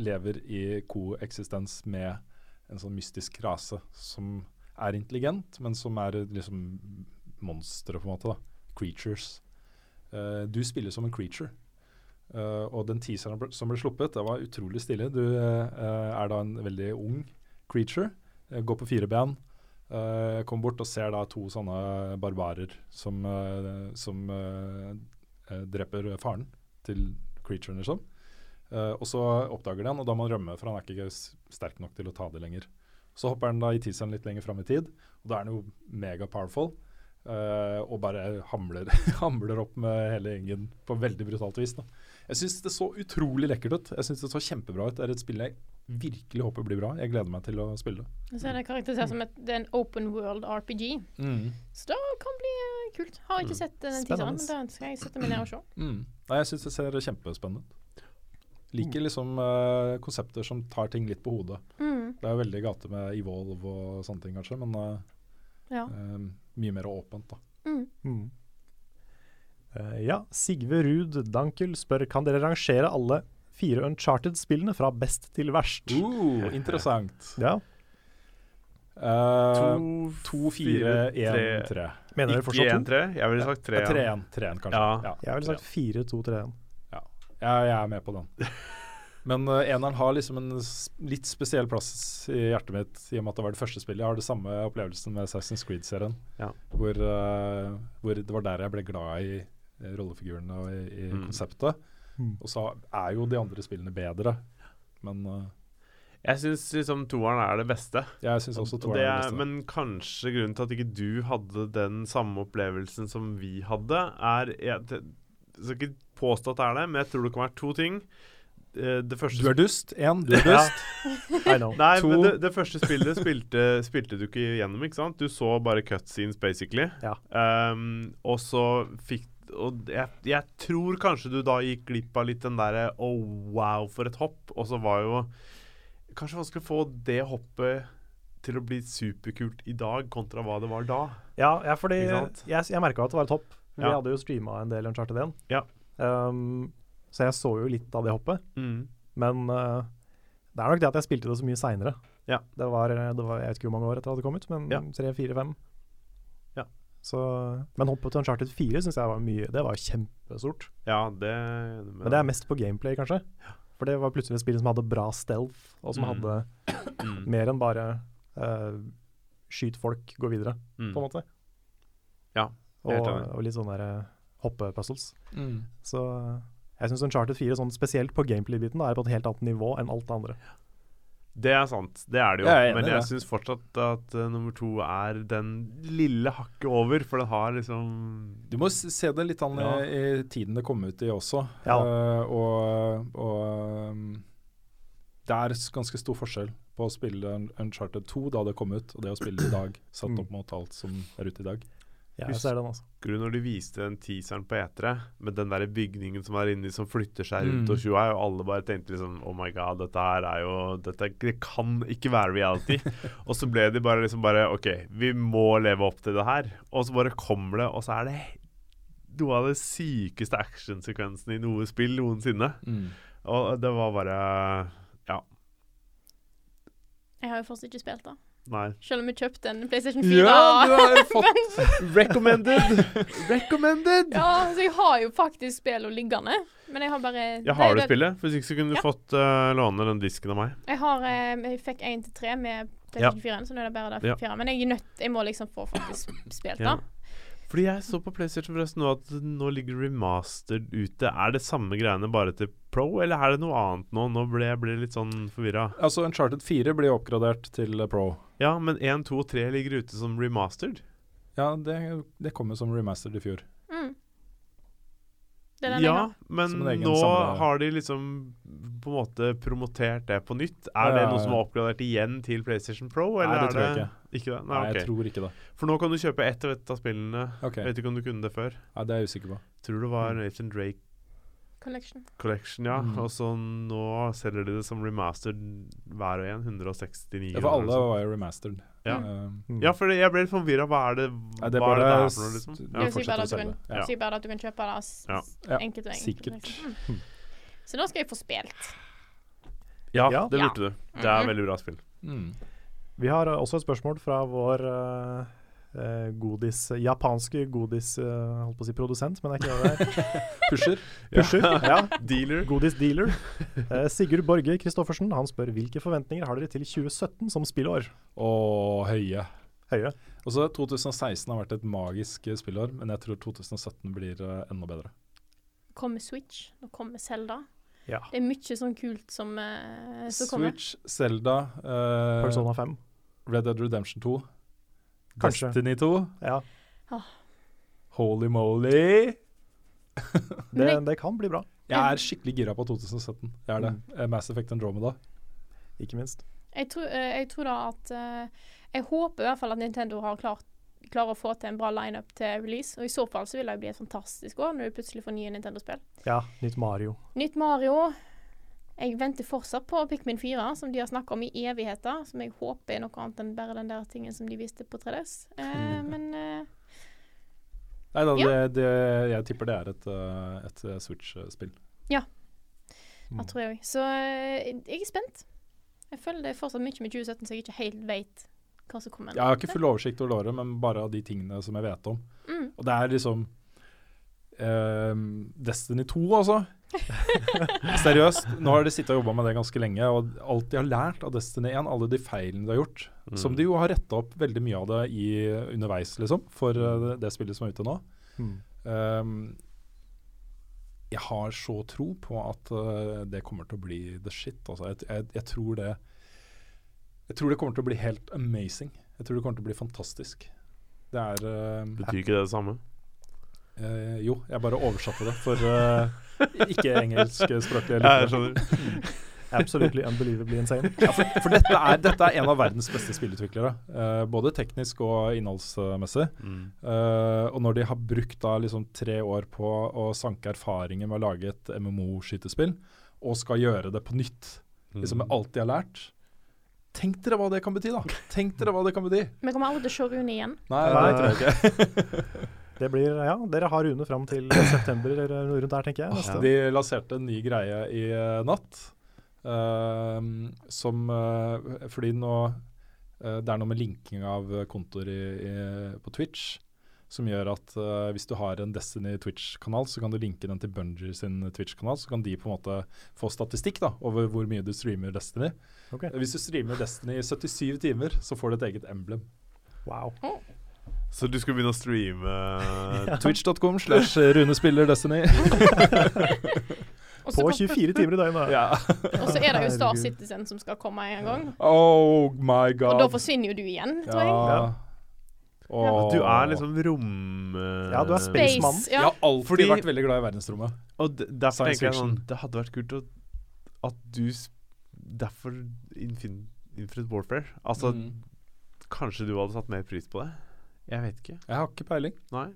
S4: lever i koeksistens med en sånn mystisk rase som er intelligent, men som er liksom monstre, på en måte. da. Creatures. Eh, du spiller som en creature. Eh, og den teaseren ble- som ble sluppet, det var utrolig stille. Du eh, er da en veldig ung creature. eh, går på fire ben. eh, kommer bort og ser da to sånne barbarer som, eh, som eh, eh, dreper faren til creaturen, liksom. Eh, og så oppdager de han, og da må han rømme, for han er ikke s- sterk nok til å ta det lenger. Så hopper han da i teaseren litt lenger fram i tid, og da er han jo mega powerful. eh, og bare hamler, (laughs) hamler opp med hele gjengen på veldig brutalt vis. Da. Jeg syns det så utrolig lekkert ut. Jeg syns det så kjempebra ut. Det er et spill jeg virkelig håper blir bra. Jeg gleder meg til å spille det.
S3: Så er det karakterisert som et, det er en open world RPG. Så det kan bli eh, kult. Har
S2: Mm.
S3: ikke sett eh, den teaseren, men da skal jeg sette meg ned og se.
S4: Mm. Nei, jeg syns det ser kjempespennende ut. Liker liksom eh, konsepter som tar ting litt på hodet.
S3: Mm.
S4: Det er jo veldig gate med Evolve og sånne ting, kanskje, men eh,
S3: Ja.
S4: eh, mye mer åpent, da.
S3: Mm.
S1: mm. Eh, Ja, Sigve Ruud Dankel spør kan dere rangere alle fire Uncharted-spillene fra best til verst.
S4: Uh, interessant.
S1: Ja,
S4: Uh,
S2: To,
S4: to, fire, én, tre.
S1: Mener dere
S2: Ikke
S1: fortsatt
S2: én,
S1: to?
S2: tre? Jeg ville sagt tre.
S4: Ja, tre, én, tre, én, kanskje.
S2: Ja.
S1: Jeg ville sagt fire, to, tre, én.
S4: Ja, jeg er med på
S2: (laughs)
S4: den. Men eh, eneren har liksom en s- litt spesiell plass i hjertet mitt, i og med at det var det første spillet. Jeg har det samme opplevelsen med Assassin's Creed-serien,
S2: Ja.
S4: hvor, eh, hvor det var der jeg ble glad i eh, rollefigurene og i, i
S2: Mm.
S4: konseptet.
S1: Mm.
S4: Og så er jo de andre spillene bedre, men eh,
S2: Jeg syns liksom toeren er det beste.
S4: jeg syns også
S2: Og
S4: toeren
S2: det
S4: er
S2: er,
S4: best.
S2: men kanskje grunnen til at ikke du hadde den samme opplevelsen som vi hadde, er Jeg det- jeg skal ikke påstå at det er det, men jeg tror det kan være to ting. Eh, Det første
S4: Du er dust. Én, du er
S2: Ja.
S4: dust.
S1: I know.
S2: Nei,
S4: To-
S2: men det, det første spillet spilte, spilte du ikke gjennom, ikke sant? Du så bare cutscenes, basically.
S1: Ja.
S2: Ehm, og så fikk Og jeg, jeg tror kanskje du da gikk glipp av litt den derre oh, wow, for et hopp. Og så var jo Kanskje vanskelig å få det hoppet til å bli superkult i dag, kontra hva det var da.
S1: Ja, ja fordi
S2: Ikke
S1: jeg,
S2: sant?
S1: jeg merka at det var et hopp. Vi
S2: Ja.
S1: hadde jo streama en del Uncharted 1.
S2: Ja.
S1: Um, så jeg så jo litt av det hoppet. Men eh, det er nok det at jeg spilte det så mye seinere.
S2: Ja.
S1: Det, var- eh, det var jeg vet ikke hvor mange år etter at det kom ut, men
S2: Ja.
S1: tre, fire, fem.
S2: Ja.
S1: Så, men hoppet til Uncharted 4 syns jeg var mye Det var kjempestort.
S2: Ja, det
S1: Men det er mest på gameplay, kanskje. For det var plutselig et spill som hadde bra stealth, og som
S2: Mm.
S1: hadde
S2: (coughs) mm,
S1: mer enn bare eh, skyt folk, gå videre,
S2: mm.
S1: på en måte.
S2: Ja, jeg er
S1: Og,
S2: helt enig.
S1: og litt sånne der, eh, hoppe-puzzles.
S4: Mm.
S1: Så jeg syns Uncharted 4, sånn, spesielt på gameplay-biten, da, er på et helt annet nivå enn alt det andre.
S2: Det er sant, det er det jo.
S4: Jeg er enig
S2: Men
S4: i
S2: jeg
S4: det.
S2: syns fortsatt at eh, nummer to er den lille hakket over, for den har liksom
S4: Du må s- se det litt an i-
S2: Ja.
S4: i tiden det kom ut i også.
S1: Ja.
S4: Eh, og og um, det er s- ganske stor forskjell på å spille Un- Uncharted 2 da det kom ut, og det å spille i
S2: (clears throat)
S4: dag, satt
S1: Mm.
S4: opp mot alt som er ute i dag.
S1: Jeg
S2: Husk-
S1: ser den, altså.
S2: Husker du når de viste den teaseren på E3, med den der bygningen som er inni, som flytter seg rundt
S4: Mm.
S2: og tjoa, og alle bare tenkte liksom Oh my god, dette her er jo dette, Det kan ikke være reality. og så ble de bare liksom bare OK, vi må leve opp til det her. Og så bare kommer det, og så er det noe av det sykeste actionsekvensen i noe spill noensinne.
S4: Mm.
S2: Og det var bare Ja,
S3: Jeg har jo fortsatt ikke spilt det.
S2: nei.
S3: Selv om jeg kjøpte en PlayStation 4.
S2: Ja, du
S4: (laughs)
S2: har jo fått recommended! Recommended!
S3: ja, så jeg har jo faktisk spillene liggende. Men jeg har bare
S2: Ja, har du
S3: det- det-
S2: spillet? Hvis ikke så kunne du
S3: Ja.
S2: fått eh, låne den disken av meg.
S3: Jeg, har, eh, jeg fikk 1 til 3 med PlayStation 4, så nå er det bare
S2: Ja.
S3: der 4. Men jeg er nødt Jeg må liksom få faktisk spilt det.
S2: Ja. Fordi jeg så på PlayStation forresten nå at nå ligger remastered ute. Er det samme greiene bare til Pro, eller er det noe annet nå? Nå ble jeg ble litt sånn forvirra.
S4: Altså, Uncharted 4 blir oppgradert til eh, Pro.
S2: Ja, men 1, 2 og 3 ligger ute som remastered.
S4: Ja, det, det kom jo som remastered i fjor.
S3: Mm. Det er den jeg
S2: ja,
S3: har.
S2: men
S4: Som en egen
S2: nå
S4: samle-
S2: har de liksom på en måte promotert det på nytt. Er
S4: Ja,
S2: det
S4: ja,
S2: noe
S4: ja.
S2: som er oppgradert igjen til PlayStation Pro, eller
S4: Nei, det
S2: er
S4: tror jeg ikke.
S2: Ikke det? Nei,
S4: Nei,
S2: ok.
S4: jeg tror ikke det.
S2: For nå kan du kjøpe ett og ett av spillene.
S4: Ok, Mm.
S2: Jeg vet ikke om du kunne det før.
S4: Nei, Det er jeg usikker på.
S2: Tror det var Nathan Drake
S3: Collection.
S2: Collection, ja.
S4: Mm.
S2: Og så nå selger de det som remastered hver og en. 169
S4: Ja,
S2: eller noe
S4: for alle
S2: sånt.
S4: var jo remastered.
S2: altså. Ja.
S4: Eh,
S1: Mm.
S2: Ja, for jeg ble litt forvirra. Hva er det
S4: Nei,
S2: hva er det det er for noe, liksom?
S4: st-
S3: Det er jo
S4: fortsetter
S3: sikkert
S4: å
S3: at du
S4: selge.
S3: kan,
S4: Ja.
S3: sikkert bare at du kan kjøpe det s-
S2: Ja.
S4: Ja,
S3: enkelt og enkelt.
S4: sikkert.
S3: Mm. Så da skal jeg få spilt.
S2: Ja,
S1: Ja.
S2: det
S3: Ja.
S2: burde du. Det er et veldig bra spill.
S4: Mm.
S1: Vi har eh, også et spørsmål fra vår eh, eh, godis, japanske godis, eh, holdt på å si produsent, men det er ikke det det er.
S4: (laughs) Pusher.
S1: Pusher. Ja.
S2: Dealer.
S1: Godis
S2: (laughs)
S1: dealer. Eh, Sigurd Borge Kristoffersen han spør hvilke forventninger har dere til 2017 som spillår?
S4: (laughs) Og høye.
S1: Høye.
S4: Og så 2016 har vært et magisk eh, spillår, men jeg tror 2017 blir eh, enda bedre.
S3: Kommer Switch, nå kommer Zelda.
S1: Ja.
S3: Det er mye sånn kult som, eh, som kommer.
S4: Switch, Zelda, eh,
S1: Persona 5.
S4: Red Dead Redemption 2,
S1: Kanskje.
S4: Destiny 2,
S1: Ja.
S4: Holy Moly.
S1: Det,
S3: Men
S1: det kan bli bra,
S4: Jeg er skikkelig gira på 2017. Jeg er det.
S1: Mm.
S4: Eh, Mass Effect Andromeda.
S1: ikke minst.
S3: Jeg tror, eh, jeg tror da at eh, Jeg håper i hvert fall at Nintendo har klart klarer å få til en bra lineup til release. Og i så fall så vil det jo bli et fantastisk år når du plutselig får nye Nintendo-spill.
S1: Ja, nytt Mario.
S3: Nytt Mario. Jeg venter fortsatt på Pikmin 4, som de har snakka om i evigheter. Som jeg håper er noe annet enn bare den der tingen som de viste på 3DS.
S1: (laughs)
S3: Eh, men eh,
S4: Nei da,
S3: Ja.
S4: det, det, jeg tipper det er et, eh, et eh, Switch-spill.
S1: Mm.
S3: det tror jeg òg. Så eh, jeg er spent. Jeg føler det er fortsatt mye med 2017 så jeg ikke helt vet hva som kommer.
S4: Jeg har ikke full oversikt over året, men bare av de tingene som jeg vet om.
S3: Mm.
S4: Og det er liksom ehm, Destiny 2,
S2: (laughs)
S4: altså. Seriøst. Nå har de sittet og jobba med det ganske lenge, og alt de har lært av Destiny 1, alle de feilene de har gjort,
S2: Mm.
S4: som de jo har retta opp veldig mye av det i, underveis, liksom, for eh, det- det spillet som er ute nå.
S1: Mm.
S4: Ehm, jeg har så tro på at eh, det kommer til å bli the shit. Altså. Jeg, jeg, jeg tror det Jeg tror det kommer til å bli helt amazing. Jeg tror det kommer til å bli fantastisk. Det er ehm,
S2: Betyr ikke det det
S4: (laughs)
S2: samme?
S4: Eh, jo, jeg bare oversatte det for eh,
S2: (laughs)
S4: ikke-engelskspråklige
S2: Ja, jeg
S4: lyttere.
S2: skjønner.
S1: eh, Absolutely unbelievably insane.
S4: Ja, for for dette, er, dette er en av verdens beste spillutviklere, eh, både teknisk og innholdsmessig.
S2: Mm.
S4: Eh, og når de har brukt da liksom tre år på å sanke erfaringer med å lage et MMO-skytespill, og skal gjøre det på nytt, liksom med alt de har lært Tenk dere hva det kan bety, da! Tenk dere hva det kan bety!
S3: Vi kommer aldri til å se Rune igjen.
S4: Nei,
S1: Nei.
S4: det tror jeg ikke.
S1: Det blir, ja, Dere har Rune fram til september eller noe rundt der, tenker jeg.
S4: Åh,
S1: Neste.
S4: De lanserte en ny greie i eh, natt. ehm, som eh, Fordi nå eh, Det er noe med linking av eh, kontoer i, i, på Twitch som gjør at eh, hvis du har en Destiny Twitch-kanal, så kan du linke den til Bungie sin Twitch-kanal. Så kan de på en måte få statistikk da, over hvor mye du streamer Destiny. Eh,
S1: Ok.
S4: Hvis du streamer Destiny i 77 timer, så får du et eget emblem.
S1: Wow.
S2: Så du skulle begynne å
S4: (laughs)
S2: streame
S4: Twitch.com slash Rune spiller Destiny.
S3: Og så
S1: På
S3: kom-
S1: 24 timer i
S2: (laughs)
S1: døgnet.
S4: (laughs) ja.
S3: Og så er det jo Star
S1: Herregud.
S3: Citizen som skal komme en gang.
S4: Oh my god.
S3: Og da forsvinner jo du igjen, tror jeg.
S1: Ja.
S4: Åh.
S2: Du er liksom rom... eh,
S1: Ja, du er space-
S3: Space,
S1: Mann.
S4: Jeg
S3: ja.
S4: har alltid
S2: Fordi-
S4: vært veldig glad i verdensrommet.
S2: Og d- derfor
S4: Science
S2: tenker jeg
S4: fiction.
S2: sånn Det hadde vært kult å, at du sp- Derfor infin, Infinite Warfare. Altså,
S4: Mm.
S2: kanskje du hadde satt mer pris på det? Jeg vet ikke.
S4: Jeg har ikke peiling.
S2: Nei.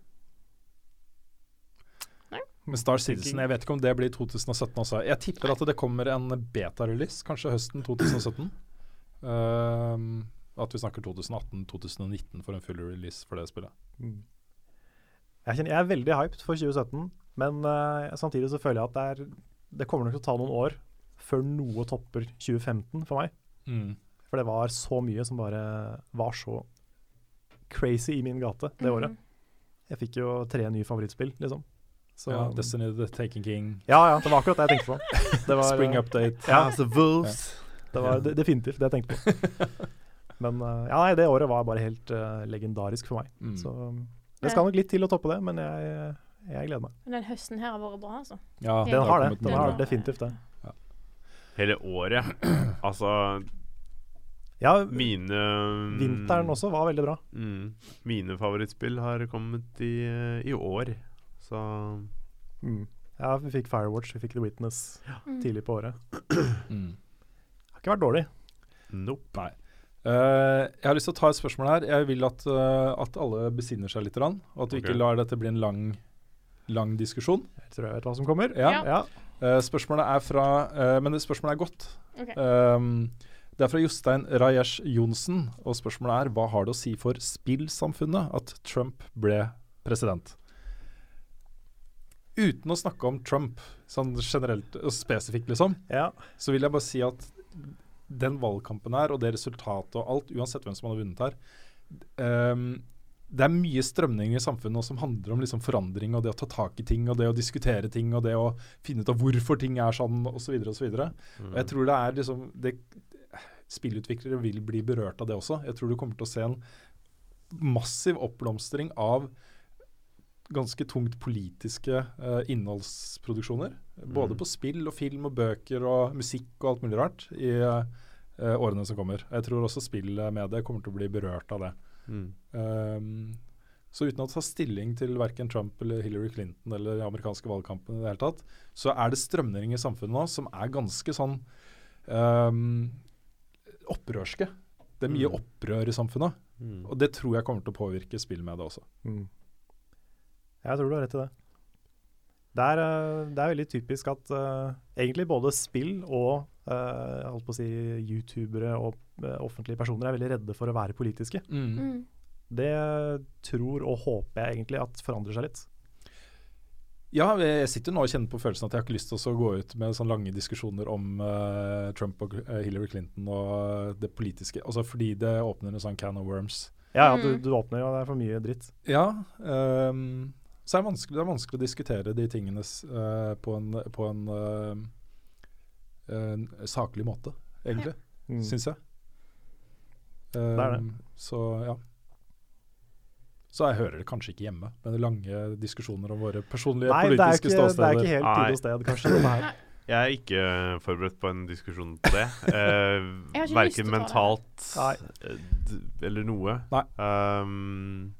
S4: Men Star Citizen, jeg vet ikke om det blir 2017 også. Jeg tipper at det kommer en beta-release, kanskje høsten 2017. Ehm, at vi snakker 2018-2019 for en full release for det spillet.
S1: Mm. Jeg, kjenner, jeg er veldig hyped for 2017, men eh, samtidig så føler jeg at det, er, det kommer nok til å ta noen år før noe topper 2015 for meg.
S4: Mm.
S1: For det var så mye som bare var så crazy i min gate det
S3: Mhm. Mm.
S1: året. Jeg fikk jo tre nye favorittspill, liksom. Så,
S4: ja, Destiny the Taken King,
S1: ja, ja, det var akkurat det jeg tenkte på. Det var,
S4: Spring Update.
S1: Ja,
S2: Altså, Wolves.
S1: Det var de- definitivt det jeg tenkte på.
S4: (laughs)
S1: Men eh, ja, nei, det året var bare helt eh, legendarisk for meg.
S4: Mm.
S1: Så um, det skal nok litt til å toppe det, men jeg, jeg gleder meg.
S3: Men den høsten her har vært bra, altså.
S4: Ja,
S3: Den
S1: Den
S4: har
S1: har det.
S4: kommet
S1: Den
S4: mye
S1: har
S4: bra.
S1: definitivt det.
S2: Hele året. Altså,
S1: Ja,
S2: mine
S1: vinteren også var veldig bra.
S2: Mm, mine favorittspill har kommet i, eh, i år. Så
S1: Mm. Ja, vi fikk Firewatch, vi fikk The Witness
S3: Mm.
S1: tidlig på året.
S4: Mm.
S1: Det har ikke vært dårlig.
S2: nope.
S4: Eh, jeg har lyst til å ta et spørsmål her. Jeg vil at, eh, at alle besinner seg litt, grann, og at vi
S2: Ok.
S4: ikke lar dette bli en lang, lang diskusjon.
S1: Jeg tror jeg vet hva som kommer.
S4: Ja.
S3: Ja.
S1: Ja.
S4: Eh, spørsmålet er fra eh, Men det spørsmålet er godt.
S3: Ok.
S4: Ehm, det er fra Jostein Rajesh Johnsen, og spørsmålet er hva har det å si for spillsamfunnet at Trump ble president? Uten å snakke om Trump sånn generelt og spesifikt, liksom,
S1: ja.
S4: så vil jeg bare si at den valgkampen her, og det resultatet og alt, uansett hvem som hadde vunnet her ehm, Det er mye strømninger i samfunnet nå som handler om liksom forandring og det å ta tak i ting og det å diskutere ting og det å finne ut av hvorfor ting er sånn osv. videre
S2: Mm,
S4: og jeg tror det er liksom det, Spillutviklere vil bli berørt av det også. Jeg tror du kommer til å se en massiv oppblomstring av ganske tungt politiske eh, innholdsproduksjoner. Både
S2: Mm.
S4: på spill og film og bøker og musikk og alt mulig rart i eh, årene som kommer. Jeg tror også spillmediet kommer til å bli berørt av det.
S2: Mm.
S4: Ehm, så uten å ta stilling til verken Trump eller Hillary Clinton eller den amerikanske valgkampen i det hele tatt, så er det strømninger i samfunnet nå som er ganske sånn ehm, opprørske. Det er mye
S2: Mm.
S4: opprør i samfunnet,
S2: Mm.
S4: og det tror jeg kommer til å påvirke spillmediet også.
S1: Mm. Jeg tror du har rett i det. Det er, eh, det er veldig typisk at eh, egentlig både spill og eh, jeg holdt på å si youtubere og eh, offentlige personer er veldig redde for å være politiske.
S3: Mm.
S1: Det tror og håper jeg egentlig at forandrer seg litt.
S4: Ja, jeg sitter jo nå og kjenner på følelsen at jeg har ikke lyst til å så gå ut med sånne lange diskusjoner om eh, Trump og eh, Hillary Clinton og det politiske, altså fordi det åpner en sånn can of worms.
S1: Ja, ja, du,
S3: Mm.
S1: du åpner jo, det er for mye dritt.
S4: Ja. ehm, så er det, vanskelig, det er vanskelig å diskutere de tingene s- eh, på en, på en, eh, en saklig måte, egentlig,
S1: Mm.
S4: syns jeg.
S1: er det.
S4: Ehm, Så ja. Så jeg hører det kanskje ikke hjemme, men lange diskusjoner om våre personlige
S1: Nei, det er,
S4: politiske
S1: ikke, det er
S4: ståsteder.
S1: ikke helt
S2: Nei.
S1: tid og sted, kanskje. dette her.
S2: Jeg er ikke forberedt på en diskusjon på det. Eh,
S3: Jeg har ikke lyst til
S2: Verken
S3: å ta det.
S2: mentalt
S1: Nei.
S2: eh, d- eller noe.
S4: Nei.
S2: Um,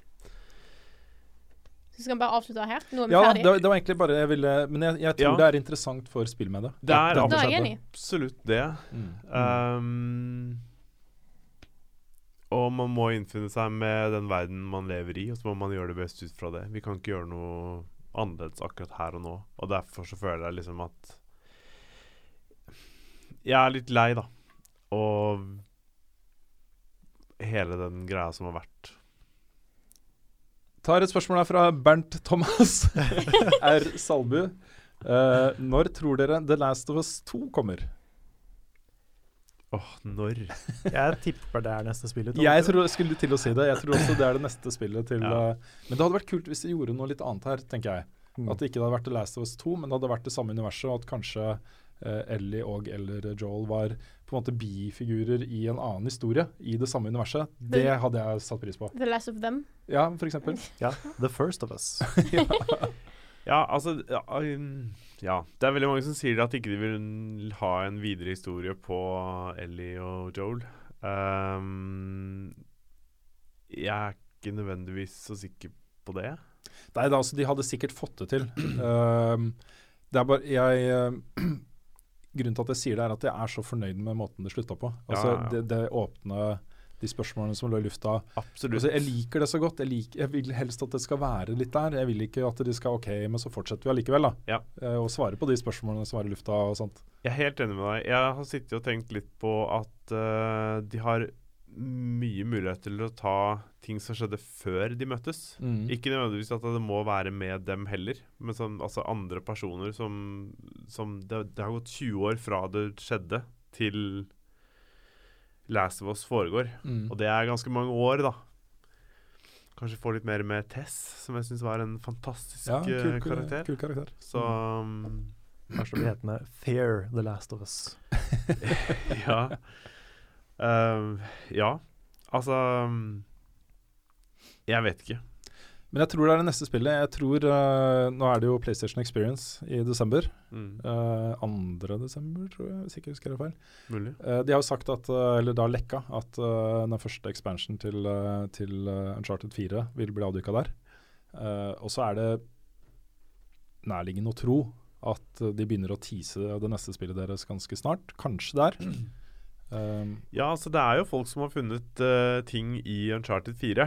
S3: Så skal vi bare avslutte her? Nå er vi
S4: ja, det,
S3: ferdige.
S4: var- det var egentlig bare jeg ville Men jeg, jeg tror
S2: Ja.
S4: det er interessant for spillmediet.
S2: Det er
S4: at dette
S3: Da er jeg
S4: skjedde.
S3: enig.
S2: absolutt det.
S4: Mm.
S1: Eh,
S2: Um, og man må innfinne seg med den verden man lever i, og så må man gjøre det best ut fra det. Vi kan ikke gjøre noe annerledes akkurat her og nå. Og derfor så føler jeg liksom at Jeg er litt lei, da. Og hele den greia som har vært.
S4: Tar et spørsmål her fra Bernt (laughs) Thomas R. Salbu. Eh, når tror dere The Last of Us 2 kommer?
S2: Åh, når?
S1: Jeg tipper det er neste spillet.
S4: Jeg tror, skulle til å si det. Jeg tror også det er det neste spillet til
S2: Ja.
S4: eh, Men det hadde vært kult hvis de gjorde noe litt annet her, tenker jeg.
S1: Mm.
S4: At det ikke hadde vært The Last of Us 2, men det hadde vært det samme universet, og at kanskje eh, Ellie og eller Joel var på en måte bifigurer i en annen historie i det samme universet. Det hadde jeg satt pris på.
S3: The last of them.
S4: Ja, for eksempel.
S1: ja, Mm. The First of Us.
S2: Ja, altså ja, um, ja. Det er veldig mange som sier at ikke de vil ha en videre historie på Ellie og Joel. Um, jeg er ikke nødvendigvis så sikker på det.
S4: Nei, da, altså, de hadde sikkert fått det til. (clears throat) Ehm, det er bare jeg ehm, (clears throat) Grunnen til at jeg sier det, er at jeg er så fornøyd med måten det slutta på. Altså,
S2: Ja, ja, ja.
S4: Det, det åpne de spørsmålene som lå i lufta.
S2: Absolutt.
S4: Altså, jeg liker det så godt. Jeg, liker, jeg vil helst at det skal være litt der. Jeg vil ikke at de skal OK, men så fortsetter vi allikevel, da.
S2: Ja.
S4: Eh, og svare på de spørsmålene som er i lufta og sånt.
S2: Jeg er helt enig med deg. Jeg har sittet og tenkt litt på at eh, de har mye mulighet til å ta ting som skjedde før de møttes.
S4: Mm.
S2: Ikke nødvendigvis at det må være med dem heller, men som, altså andre personer som, som det, det har gått 20 år fra det skjedde, til Last of Us foregår.
S4: Mm.
S2: Og det er ganske mange år, da. Kanskje få litt mer med Tess, som jeg syns var en fantastisk
S4: ja,
S2: eh,
S4: kul, kul,
S2: karakter.
S4: kul karakter.
S2: Så um,
S1: Kanskje det blir hetende Fear the Last of Us.
S2: (laughs) ja. Um, ja. Altså um, Jeg vet ikke.
S4: Men jeg tror det er det neste spillet. Jeg tror, eh, Nå er det jo PlayStation Experience i desember.
S2: Mm,
S4: Eh, 2. desember, tror jeg, hvis jeg ikke husker det feil.
S2: mulig.
S4: Eh, de har jo sagt at, eh, eller da lekka, at eh, den første expansion til, eh, til eh, Uncharted 4 vil bli avduka der. Eh, og så er det nærliggende å tro at eh, de begynner å tease det neste spillet deres ganske snart. Kanskje der. Um,
S2: Ja, altså det er jo folk som har funnet eh, ting i Uncharted 4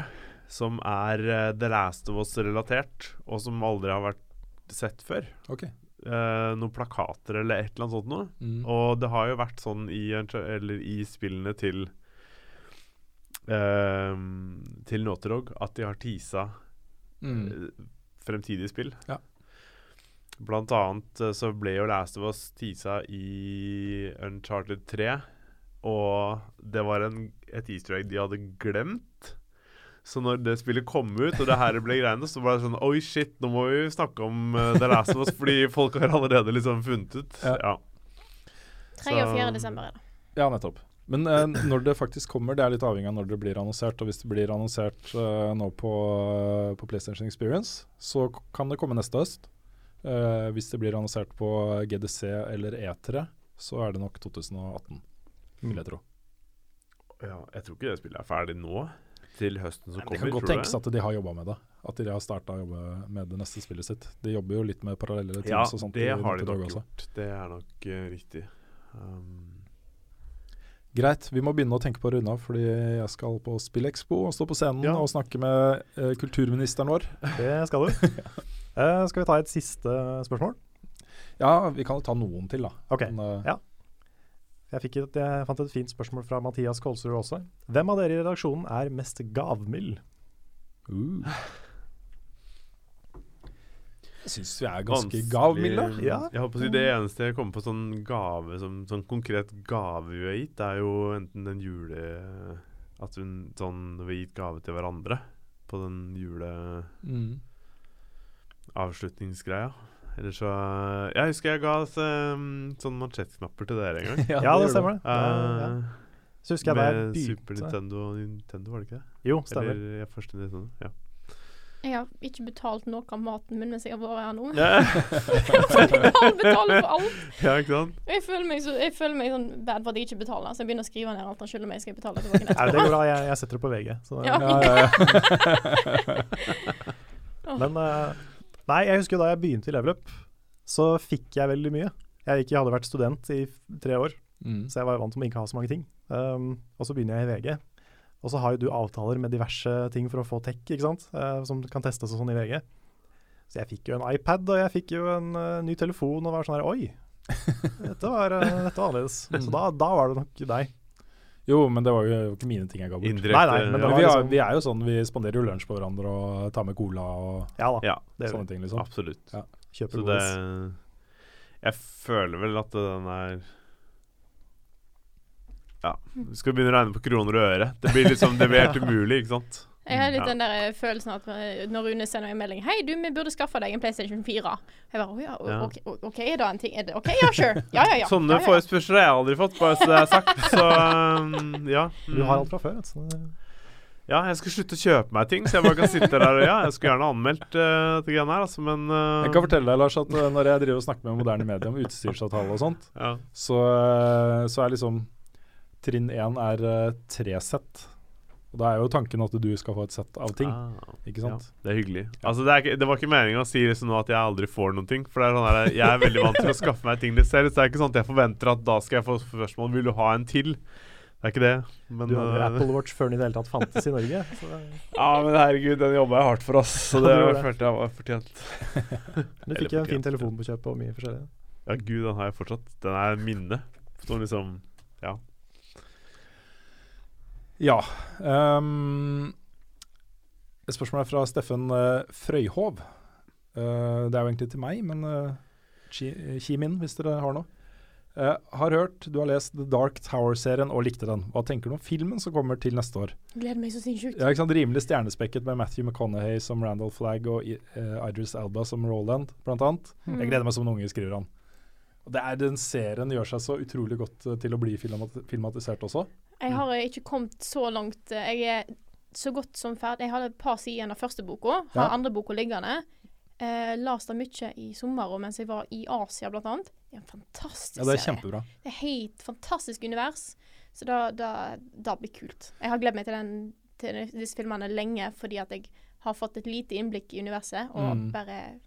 S2: som er eh, The Last of Us-relatert, og som aldri har vært sett før.
S4: OK.
S2: Eh, noen plakater eller et eller annet sånt noe.
S4: Mm.
S2: Og det har jo vært sånn i, Unch- eller i spillene til ehm, Til Naughty Dog at de har teasa
S4: Mm.
S2: eh, fremtidige spill.
S4: Ja.
S2: Blant annet eh, så ble jo Last of Us teasa i Uncharted 3, og det var en, et easter egg de hadde glemt. Så når det spillet kom ut, og det her ble greiene, så var det sånn Oi, shit, nå må vi snakke om eh, The Last of Us, fordi folk har allerede liksom funnet ut.
S4: Ja.
S2: ja.
S3: 3. og 4.
S2: Så-
S3: desember er det.
S4: Ja, nettopp. Men eh, når det faktisk kommer, det er litt avhengig av når det blir annonsert. Og hvis det blir annonsert eh, nå på, eh, på PlayStation Experience, så k- kan det komme neste høst. Eh, hvis det blir annonsert på GDC eller E3, så er det nok 2018, vil jeg tro.
S2: Ja, jeg tror ikke det spillet er ferdig nå, til høsten som
S4: Det
S2: kommer.
S4: kan godt
S2: tror du
S4: tenkes
S2: det?
S4: at de har jobba med det. At de har starta å jobbe med det neste spillet sitt. De jobber jo litt med parallelle teams
S2: Ja,
S4: og sånt.
S2: det
S4: i
S2: har
S4: Naughty
S2: de
S4: Dog
S2: nok
S4: sånn også.
S2: gjort. Det er nok eh, riktig. Um,
S4: Greit, vi må begynne å tenke på å runde av, fordi jeg skal på Spillekspo og stå på scenen
S1: Ja.
S4: og snakke med eh, kulturministeren vår.
S1: Det skal du. Eh, skal vi ta et siste spørsmål?
S4: Ja, vi kan jo ta noen til, da.
S1: Ok.
S4: Men, eh,
S1: Ja. Jeg, fikk et, jeg fant et fint spørsmål fra Mathias Kolsrud også. Hvem av dere i redaksjonen er mest gavmild?
S4: Uh. Jeg syns vi er ganske
S2: vanskelig-
S4: gavmilde.
S1: Ja.
S2: Jeg holdt på å si Det eneste jeg kommer på sånn gave som sånn konkret gave vi har gitt, er jo enten den jule... At hun sånn vi har gitt gave til hverandre på den
S4: Mm.
S2: juleavslutningsgreia. Eller så Jeg husker jeg ga um, sånn mansjettknapper til dere
S1: (laughs)
S2: en gang.
S1: (laughs) Ja, det
S4: gjør
S1: stemmer det. Eh, ja.
S2: Eh,
S1: Så husker jeg da jeg
S2: med Super
S1: begynte
S2: Nintendo og Nintendo, var det ikke det?
S1: Jo, stemmer.
S2: Eller ja, første Nintendo. Ja.
S3: (laughs) Jeg har ikke betalt noe av maten min mens jeg har vært her nå.
S2: Ja,
S3: (laughs) Jeg kan betale for alt.
S2: ikke sant?
S3: Og Jeg føler meg, så, jeg føler meg sånn bad for at jeg ikke betaler, så jeg begynner å skrive ned alt han skylder meg. Skal jeg betale tilbake
S1: Nei,
S3: neste
S1: det
S3: år?
S1: går bra, jeg, jeg setter det på VG. Så,
S3: Ja.
S4: Ja, ja,
S1: (laughs)
S4: ja.
S1: Men eh, Nei, jeg husker jo da jeg begynte i Level Up, så fikk jeg veldig mye. Jeg, gikk, jeg hadde vært student i f- tre år,
S4: Mm.
S1: så jeg var vant til å ikke ha så mange ting. Um, og så begynner jeg i VG, og så har jo du avtaler med diverse ting for å få tech, ikke sant? Eh, som kan testes og sånn i VG. Så jeg fikk jo en iPad, og jeg fikk jo en eh, ny telefon, og var sånn her
S2: (laughs)
S1: Oi, dette var, eh, dette var annerledes.
S2: Mm.
S1: Så da, da var det nok deg.
S4: Jo, men det var jo ikke mine ting jeg ga bort.
S2: Indirekte.
S1: Nei, nei, men det
S4: Men
S2: ja.
S1: var
S4: vi, har,
S1: liksom-
S4: vi er jo sånn, vi spanderer jo lunsj på hverandre og tar med cola og
S1: Ja da,
S2: ja,
S1: det gjør
S4: sånne
S1: vi.
S4: ting, liksom.
S2: absolutt.
S1: Kjøper
S2: Så det
S1: godis.
S2: Jeg føler vel at den er Ja, vi skal begynne å regne på kroner og øre. Det blir liksom det blir helt umulig, ikke sant?
S3: Jeg har litt
S2: Ja.
S3: den der eh, følelsen at eh, når Rune sender meg en melding 'Hei, du, vi burde skaffe deg en PlayStation 4.' Jeg bare 'Å ja, o-
S2: Ja.
S3: ok, o- OK, er det en ting? Er det OK? Ja, sure. Ja, ja, ja.
S2: Sånne
S3: ja, ja, ja.
S2: forespørsler har jeg aldri fått, bare så det er sagt. Så um, ja.
S1: Du har alt fra før. altså. vet du, Så det-
S2: Ja, jeg skal slutte å kjøpe meg ting, så jeg bare kan sitte der og ja, jeg skulle gjerne anmeldt uh, dette greiene her, altså, men eh,
S4: Jeg kan fortelle deg, Lars, at eh, når jeg driver og snakker med moderne medier om utstyrsavtale og sånt,
S2: ja.
S4: så, eh, så er liksom trinn én er eh, tre sett. Og da er jo tanken at du skal få et sett av ting,
S2: Ah.
S4: ikke sant?
S2: Ja, det er hyggelig. Altså, det, er ikke, det var ikke meningen å si liksom nå at jeg aldri får noen ting. For det er sånn her, jeg er veldig vant til å skaffe meg ting litt selv, så det er ikke sånn at jeg forventer at da skal jeg få spørsmål Vil du ha en til. Det er ikke det. Men,
S1: Du hadde
S2: øh,
S1: Apple Watch før den i det hele tatt fantes i Norge.
S2: (laughs)
S1: Så det,
S2: ja, men herregud, den jobba jeg hardt for, ass. Så
S1: Ja,
S2: det
S1: du gjorde det.
S2: følte jeg var fortjent.
S1: du fikk
S2: Eller
S1: en fin
S2: fortjent, ja.
S1: telefon på kjøpet og mye forskjellig.
S2: Ja, gud, den har jeg fortsatt. Den er minne. Som liksom
S4: Ja. ehm, et spørsmål er fra Steffen eh, Frøyhov. Eh, det er jo egentlig til meg, men eh, ki- eh, kim inn hvis dere har noe. Eh, har hørt du har lest The Dark Tower-serien og likte den. Hva tenker du om filmen som kommer til neste år?
S3: Gleder meg så sinnssykt.
S4: Ja, ikke sant? Rimelig stjernespekket med Matthew McConaughey som Randall Flagg og I- eh, Idris Alba som Roland, blant annet.
S3: Mm.
S4: Jeg gleder meg som en unge, skriver han. Og det er Den serien gjør seg så utrolig godt eh, til å bli filmat filmatisert også.
S3: Jeg har eh, ikke kommet så langt. eh, Jeg er så godt som ferdig. Jeg hadde et par sider igjen av første boka. Har
S4: Ja.
S3: andre boka liggende. Eh, las det mye i sommer og mens jeg var i Asia, blant annet. Det er en fantastisk
S4: Ja, Det er
S3: serie.
S4: kjempebra.
S3: Det er helt fantastisk univers. Så da, da, da blir det kult. Jeg har gledet meg til, den, til disse filmene lenge fordi at jeg har fått et lite innblikk i universet, og
S4: Mm.
S3: bare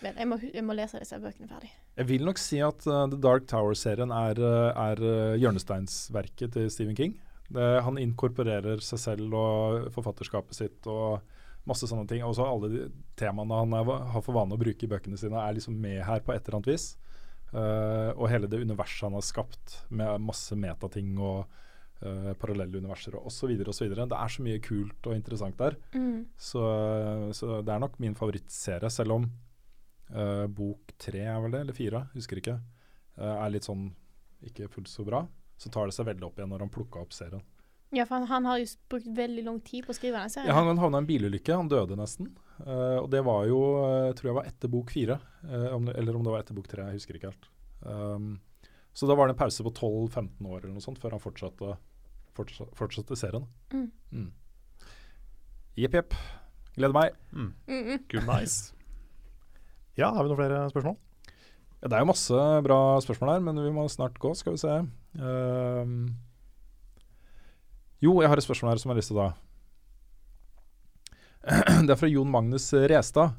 S3: Vel, jeg må, jeg må lese disse bøkene ferdig.
S4: Jeg vil nok si at eh, The Dark Tower-serien er, eh, er eh, hjørnesteinsverket til Stephen King. Det, han inkorporerer seg selv og forfatterskapet sitt og masse sånne ting. Også alle de temaene han er, har for vane å bruke i bøkene sine, er liksom med her på et eller annet vis. Eh, og hele det universet han har skapt med masse metating og eh, parallelle universer og osv. osv. Det er så mye kult og interessant der.
S3: Mm.
S4: Så, så det er nok min favorittserie, selv om eh, bok tre er vel det, eller fire, husker ikke, eh, er litt sånn ikke fullt så bra. Så tar det seg veldig opp igjen når han plukka opp serien.
S3: Ja, for han, han har jo s- brukt veldig lang tid på å skrive den serien.
S4: Ja, han havna i en bilulykke, han døde nesten. Eh, og det var jo, eh, tror jeg var etter bok fire, eh, om det, eller om det var etter bok tre, jeg husker ikke helt. Um, så da var det en pause på 12-15 år eller noe sånt før han fortsatte, fortsatte, fortsatte serien.
S3: Mm.
S4: Mm. Jepp, jepp. Gleder meg.
S3: Mm -mm.
S1: Nice. Ja, har vi noen flere spørsmål?
S4: Ja, det er jo masse bra spørsmål her, men vi må snart gå, skal vi se. Ehm, jo, jeg har et spørsmål her som jeg har lyst til å ta. (clears throat) Det er fra Jon Magnus Restad.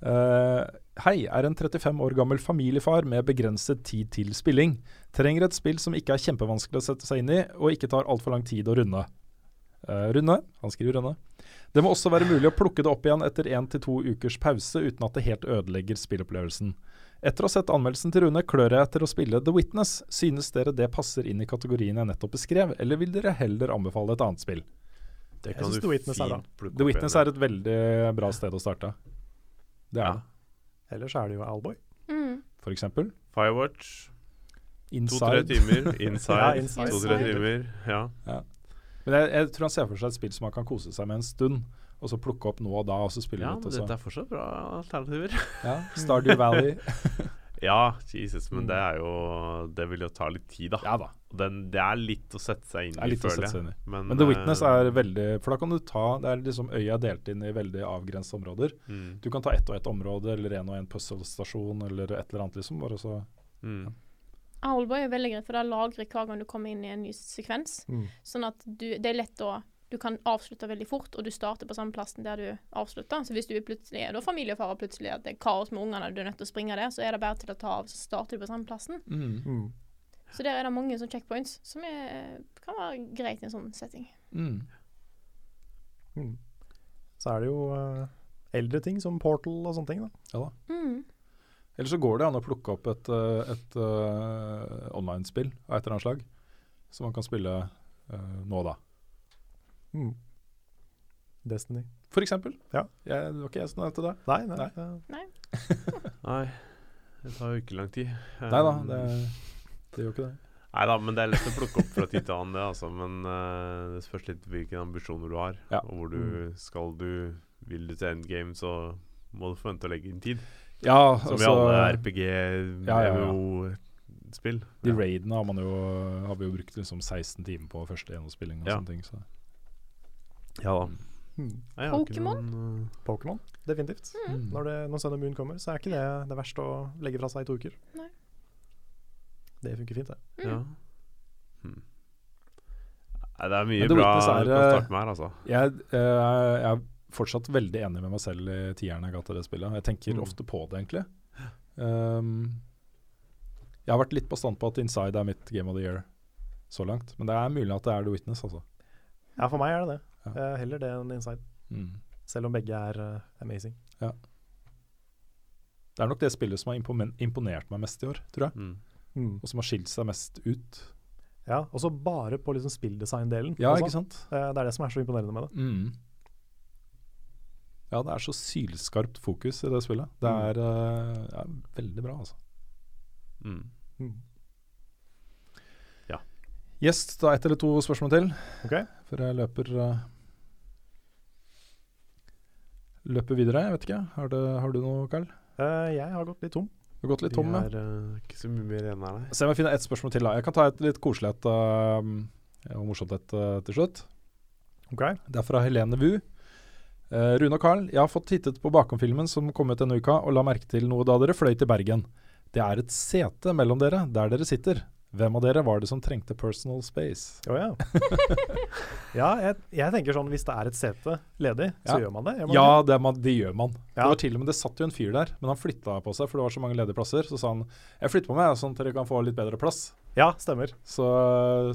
S4: Eh, hei, er en 35 år gammel familiefar med begrenset tid til spilling. Trenger et spill som ikke er kjempevanskelig å sette seg inn i, og ikke tar altfor lang tid å runde. Eh, runde, han skriver runde. Det må også være mulig å plukke det opp igjen etter én til to ukers pause, uten at det helt ødelegger spillopplevelsen. Etter å ha sett anmeldelsen til Rune, klør jeg etter å spille The Witness. Synes dere det passer inn i kategorien jeg nettopp beskrev, eller vil dere heller anbefale et annet spill?
S2: Det
S1: synes The Witness er bra.
S2: plukke
S4: The
S2: opp
S4: Witness
S2: igjen.
S4: er et veldig bra sted å starte. Det
S2: ja.
S4: er det,
S1: Ellers er det jo Alboy.
S3: Mm.
S4: for eksempel.
S2: Firewatch. To-tre
S4: Inside.
S2: timer. Inside.
S1: (laughs) Ja, Inside.
S2: To-tre
S3: Inside.
S2: timer. Ja.
S4: Men jeg, jeg tror han ser for seg et spill som han kan kose seg med en stund, og så plukke opp nå og da, og så spille
S2: ja,
S4: litt.
S2: men
S4: Og så.
S2: dette er fortsatt bra alternativer.
S4: Ja, Stardew
S2: (laughs)
S4: Valley.
S2: Ja, Jesus, men
S4: Mm.
S2: det er jo Det vil jo ta litt tid, da.
S4: ja da.
S2: Og Den, det er litt å sette seg inn
S4: Det
S2: i,
S4: er litt å
S2: føler
S4: sette seg
S2: jeg.
S4: inn i.
S2: Men,
S4: Men The Witness
S2: eh,
S4: er veldig For da kan du ta Det er liksom øya er delt inn i veldig avgrensede områder.
S2: mm,
S4: Du kan ta ett og ett område, eller en og en puzzle-stasjon, eller et eller annet, liksom. Bare så
S2: mm.
S3: Owlboy er veldig greit, for det lagrer hver gang du kommer inn i en ny sekvens.
S1: Mm.
S3: Sånn at du, det er lett å Du kan avslutte veldig fort, og du starter på samme plassen der du avslutta. Så hvis du er plutselig er da familiefar og plutselig at det er kaos med ungene, og du er nødt til å springe der, så er det bare til å ta av, så starter du på samme plassen.
S1: Mm.
S3: Så der er det mange sånne checkpoints som er, kan være greit i en sånn setting.
S4: Mm.
S1: Mm. Så er det jo eh, eldre ting som Portal og sånne ting. da.
S3: Mm.
S4: Eller så går det an å plukke opp et, eh, et eh, online-spill av et eller annet slag, som man kan spille eh, nå og da.
S1: Mm. Destiny.
S4: For eksempel.
S1: Ja.
S4: Jeg, det var ikke jeg som nevnte det.
S1: Nei, nei. eh,
S4: Nei.
S1: det-
S2: Nei, det tar jo ikke lang tid.
S4: Nei da, det, det gjør ikke det.
S2: Nei da, men det er lett å plukke opp fra tid til annen, det, altså. Men eh, det spørs litt hvilke ambisjoner du har.
S4: Ja. Mm.
S2: Og hvor du skal du Vil du til endgame, så må du forvente å legge inn tid.
S4: Ja,
S2: Som i
S4: altså,
S2: alle RPG,
S4: Ja, ja, ja.
S2: MMO-spill.
S4: de raidene har, man jo, har vi jo brukt liksom 16 timer på første gjennomspilling og
S2: Ja.
S4: sånne ting. Så.
S2: Ja da.
S1: Mm.
S2: Nei, jeg har ikke
S3: Pokémon?
S2: noen, eh,
S1: Pokémon, definitivt.
S4: Mm.
S1: Når, det, når Sun and Moon kommer, så er ikke det det verste å legge fra seg i to uker.
S3: Nei.
S1: Det funker fint, det.
S3: Mm.
S2: Ja. Hm. Nei, det er mye
S4: Men The
S2: bra
S4: Witness er,
S2: du kan starte med her, altså.
S4: Jeg, eh, jeg er fortsatt veldig enig med meg selv i tieren jeg ga til det spillet. Jeg tenker
S1: Mm.
S4: ofte på det, egentlig. Um, jeg har vært litt bastant på at Inside er mitt Game of the Year så langt. Men det er mulig at det er The Witness, altså.
S1: Ja, for meg er det det. Eh, heller det enn Inside.
S4: Mm.
S1: Selv om begge er eh, amazing.
S4: Det er nok
S2: Hmm.
S4: det spillet som har impomen- imponert meg mest i år, tror jeg.
S2: Mm.
S1: Mm.
S4: Og som har skilt seg mest ut.
S1: Ja, og så bare på liksom spilldesign-delen.
S4: Ja,
S1: også.
S4: ikke sant?
S1: Eh, Det er det som er så imponerende med det.
S4: Mm. Ja, det er så sylskarpt fokus i det spillet. Det
S1: Mm.
S4: er eh, ja, veldig bra, altså.
S2: Mm.
S1: Mm.
S4: Yes, da ett eller to spørsmål til.
S1: Ok.
S4: Før jeg løper eh, Løper videre, jeg vet ikke. Har, det, har du noe, Karl?
S1: Eh, jeg har gått litt tom.
S4: Du har gått litt tom, ja.
S2: Det er eh, ikke så mye mer igjen her, nei.
S4: Se om jeg finner ett spørsmål til. da. Jeg kan ta et litt koselig et eh, og morsomt et eh, til slutt.
S1: Ok.
S4: Det er fra Helene Wu. Eh, Rune og Carl, jeg har fått tittet på Bakom-filmen som kom ut denne uka, og la merke til noe da dere fløy til Bergen. Det er et sete mellom dere, der dere sitter. Hvem av dere var det som trengte personal space?
S1: Å
S4: (laughs)
S1: ja. ja, jeg, jeg tenker sånn hvis det er et sete ledig, så
S4: Ja.
S1: gjør man det. Gjør man
S4: Ja, det, er man, det gjør man.
S1: Ja.
S4: Det var til og med, det satt jo en fyr der, men han flytta på seg, for det var så mange ledige plasser. Så sa han jeg flytter på meg, sånn at dere kan få litt bedre plass.
S1: det? ja, stemmer.
S4: Så,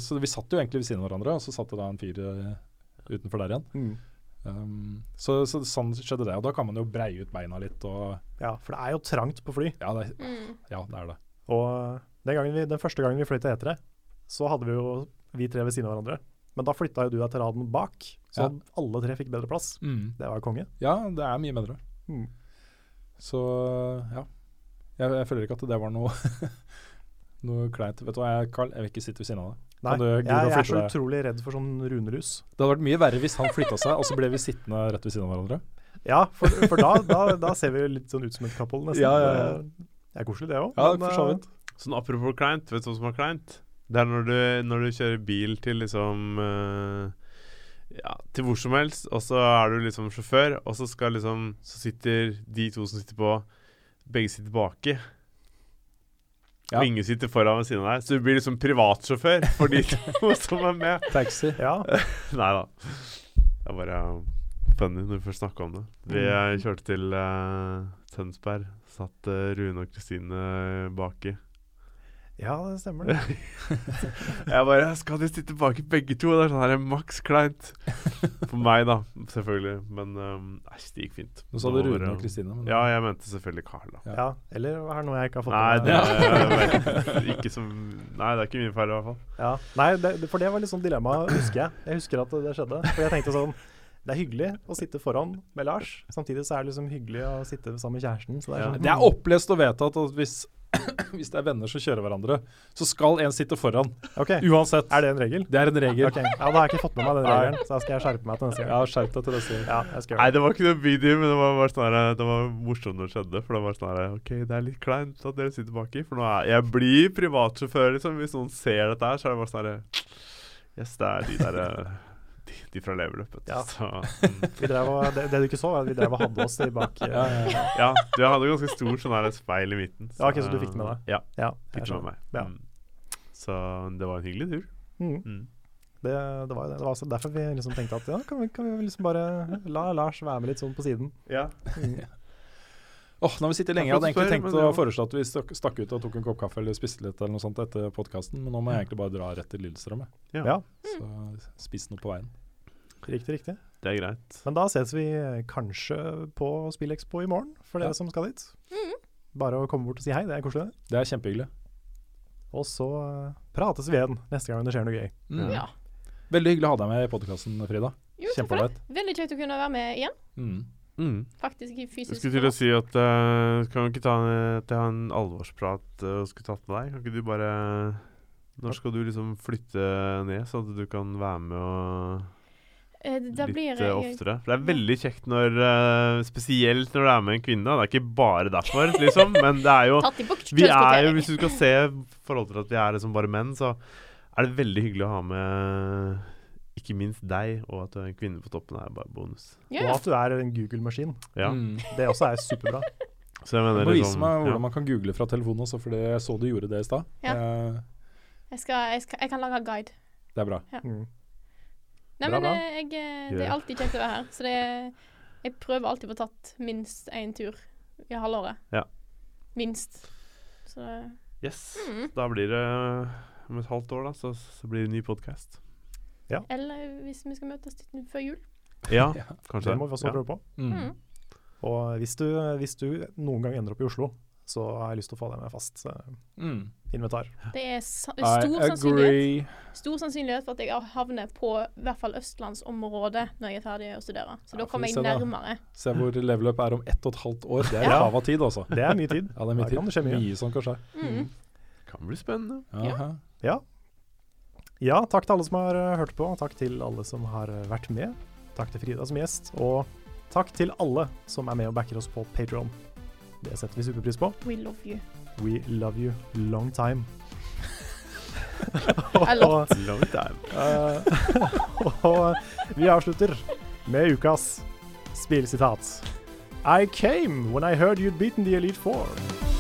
S4: så vi satt jo egentlig ved siden av hverandre, og så satt det da en fyr eh, utenfor der igjen.
S1: Mm.
S4: Um, så, så sånn skjedde det. Og da kan man jo breie ut beina litt og
S1: Ja, for det er jo trangt på fly.
S4: Ja, det,
S3: Mm.
S4: ja, det er det.
S1: Og den, gangen vi, den første gangen vi fløy til Etere, så hadde vi jo vi tre ved siden av hverandre. Men da flytta jo du deg til raden bak, så
S4: Ja.
S1: alle tre fikk bedre plass. Det var jo konge.
S4: Ja, det er mye bedre.
S1: Mm.
S4: Så ja. Jeg, jeg føler ikke at det var noe (laughs) noe kleint. Vet du hva, jeg, Carl, jeg vil ikke sitte ved siden av deg.
S1: Nei,
S4: Kan du
S1: jeg,
S4: gidde å
S1: jeg er
S4: flytte
S1: så
S4: deg?
S1: utrolig redd for sånn runerus.
S4: Det hadde vært mye verre hvis han flytta seg, og så ble vi sittende rett ved siden av hverandre.
S1: Ja, for, for da, da, da ser vi jo litt sånn ut som et couple, nesten.
S4: Ja, ja, ja.
S1: Det det er koselig, det òg.
S4: Ja, for så vidt.
S2: Sånn apropos kleint, vet du hva som er kleint? Det er når du, når du kjører bil til liksom eh, Ja, til hvor som helst, og så er du liksom sjåfør, og så skal liksom Så sitter de to som sitter på, begge sitter baki.
S4: Ja.
S2: Og ingen sitter foran ved siden av deg, så du blir liksom privatsjåfør for de to som er med.
S4: Taxi.
S1: eh, Ja,
S2: (laughs) Nei da. Det er bare um, funny når vi først snakka om det. Vi
S4: Mm.
S2: eh, kjørte til eh, Tønsberg. Satt eh, Rune og Kristine eh, baki. (laughs)
S1: ja, det stemmer.
S4: (laughs)
S1: det.
S2: jeg bare Skal de sitte baki begge to? Det er sånn her maks kleint. For meg, da. Selvfølgelig. Men um, æsj, det gikk fint.
S4: Nå sa du
S2: Det var
S4: Rune
S2: bare-
S4: og Kristine. men-
S2: Ja, jeg mente selvfølgelig Carl, da.
S1: Ja, Eller er det noe jeg ikke har fått
S2: Nei,
S1: med
S2: det
S1: meg?
S2: er ikke som Nei, det er ikke min feil, i hvert fall.
S1: Ja. Nei, det, det- for det var litt sånn dilemma, husker jeg. Jeg husker at det skjedde. For jeg tenkte sånn Det er hyggelig å sitte foran med Lars, samtidig så er det liksom hyggelig å sitte sammen med kjæresten. Så det er
S2: Ja,
S1: sånn,
S4: Det er opplest og vedtatt at hvis, (clears throat) hvis det er venner som kjører hverandre, så skal en sitte foran.
S1: hmm, OK, er
S4: Uansett.
S1: det en regel?
S4: Det er en regel.
S1: Ok, Ja, da har jeg ikke fått med meg den regelen, så da skal jeg skjerpe meg til neste gang.
S4: Ja, skjerp deg til neste gang.
S1: Ja, jeg skal
S2: Nei,
S1: gjøre det.
S2: det var ikke noe big deal, men det var bare sånn her, Det var morsomt når det skjedde. For det var sånn her OK, det er litt kleint at dere sitter baki. For nå er Jeg blir privatsjåfør, liksom. Hvis noen ser dette her, så er det bare sånn her Yes, det er de der eh, De, de fra Leverløp, vet du.
S1: Ja.
S2: Så, mm.
S1: Vi drev og, det, det du ikke så, var at vi drev og hadde oss i bak eh,
S4: Ja, ja, ja.
S2: ja, du hadde ganske stor sånn her speil i midten.
S1: Ja, ok, så du fikk det med deg.
S2: Ja,
S1: Ja, jeg
S2: fikk det
S1: skjønner.
S2: med meg.
S1: Ja.
S2: Mm. Så det var en hyggelig tur.
S1: Mm,
S2: Mm.
S1: det, det var jo det. Det var altså derfor vi liksom tenkte at ja, kan vi, kan vi liksom bare la Lars være med litt sånn på siden.
S2: Ja.
S1: Mm.
S4: Åh, nå har vi sittet lenge. Jeg hadde egentlig tenkt å foreslå at vi stakk, stakk ut og tok en kopp kaffe eller spiste litt eller noe sånt etter podkasten, men nå må jeg egentlig bare dra rett til Lillestrøm. jeg.
S1: Ja,
S4: Så spis noe på veien.
S1: riktig, riktig.
S2: Det er greit.
S1: Men da ses vi kanskje på Spillexpo i morgen, for dere
S4: Ja.
S1: som skal dit. Bare å komme bort og si hei, det er koselig. det.
S4: Det er kjempehyggelig.
S1: Og så eh, prates vi igjen neste gang det skjer noe gøy.
S4: Mm.
S3: Ja.
S4: Veldig hyggelig å ha deg med i podkasten, Frida.
S3: Jo, takk for det.
S4: Kjempeålreit.
S3: Veldig kjekt å kunne være med igjen.
S4: Mm.
S2: Mm.
S3: Faktisk i fysisk
S2: Jeg skulle til å si at eh, Kan vi ikke ta en, ta en alvorsprat eh, og skulle tatt med deg? Kan ikke du bare Når skal du liksom flytte ned, sånn at du kan være med og
S3: Eh, Da blir
S2: litt
S3: jeg,
S2: eh, oftere? For det er veldig kjekt når eh, Spesielt når du er med en kvinne. da. Det er ikke bare derfor,
S3: (laughs)
S2: liksom, men det er jo
S3: tatt i bok
S2: Vi er jo, hvis du skal se i forhold til at vi er liksom bare menn, så er det veldig hyggelig å ha med ikke minst deg, og at du er en kvinne på toppen, er bare bonus.
S1: Og
S3: Ja,
S1: at du er en Google-maskin.
S2: Ja.
S4: Mm.
S1: Det også er superbra.
S2: Så jeg
S4: Du
S2: mener
S4: må vise
S1: sånn,
S2: liksom-
S4: meg
S2: ja.
S4: hvordan man kan google fra telefonen også, for jeg så du gjorde det i stad.
S3: Ja.
S4: Eh,
S3: jeg, skal, jeg, skal, jeg kan lage guide.
S4: Det er bra.
S1: Mm.
S3: Nei,
S1: Bra,
S3: men
S1: bra.
S3: eh, jeg, eh, det er
S2: Gjør
S3: alltid kjekt å være her. Så det er, jeg prøver alltid å få tatt minst én tur i halvåret.
S2: Ja.
S3: Minst. Så det-
S2: Yes.
S3: Mm.
S2: Da blir det eh, om et halvt år, da, så, så blir det ny
S1: (laughs)
S2: podkast.
S3: Eller hvis vi skal møtes litt før jul.
S2: Ja,
S4: Ja.
S2: kanskje.
S1: Det må vi også
S2: ja.
S1: prøve på.
S4: Mm.
S3: Mm.
S1: Og hvis du, hvis du noen gang ender opp i Oslo, så har jeg lyst til å få det med fast eh,
S4: Mm.
S1: inventar.
S3: Det er sa- stor
S4: I
S3: sannsynlighet,
S4: agree.
S3: stor sannsynlighet for at jeg havner på i hvert fall østlandsområdet når jeg er ferdig å studere. Så da
S4: Ja, får
S3: kommer
S4: vi
S3: jeg
S4: se da.
S3: nærmere.
S4: Se hvor level up er om ett og et halvt år. Det er
S1: Ja.
S4: ræva tid, altså.
S1: Det er mye tid.
S4: Ja, det er mye
S1: Da
S4: tid.
S1: kan det skje mye.
S4: mye som kan skje.
S3: Mm.
S2: Kan bli spennende.
S3: Ja.
S4: Aha.
S1: Ja. ja, takk til alle som har eh, hørt på. Takk til alle som har eh, vært med. Takk til Frida som gjest, og takk til alle som er med og backer oss på Patron. Det setter vi superpris på.
S3: We love you.
S1: We love you long time.
S3: (laughs) A
S1: (laughs)
S3: lot.
S1: Og,
S2: Long time.
S1: eh, (laughs) og vi avslutter med ukas spillsitat. I came when I heard you'd beaten the Elite Four.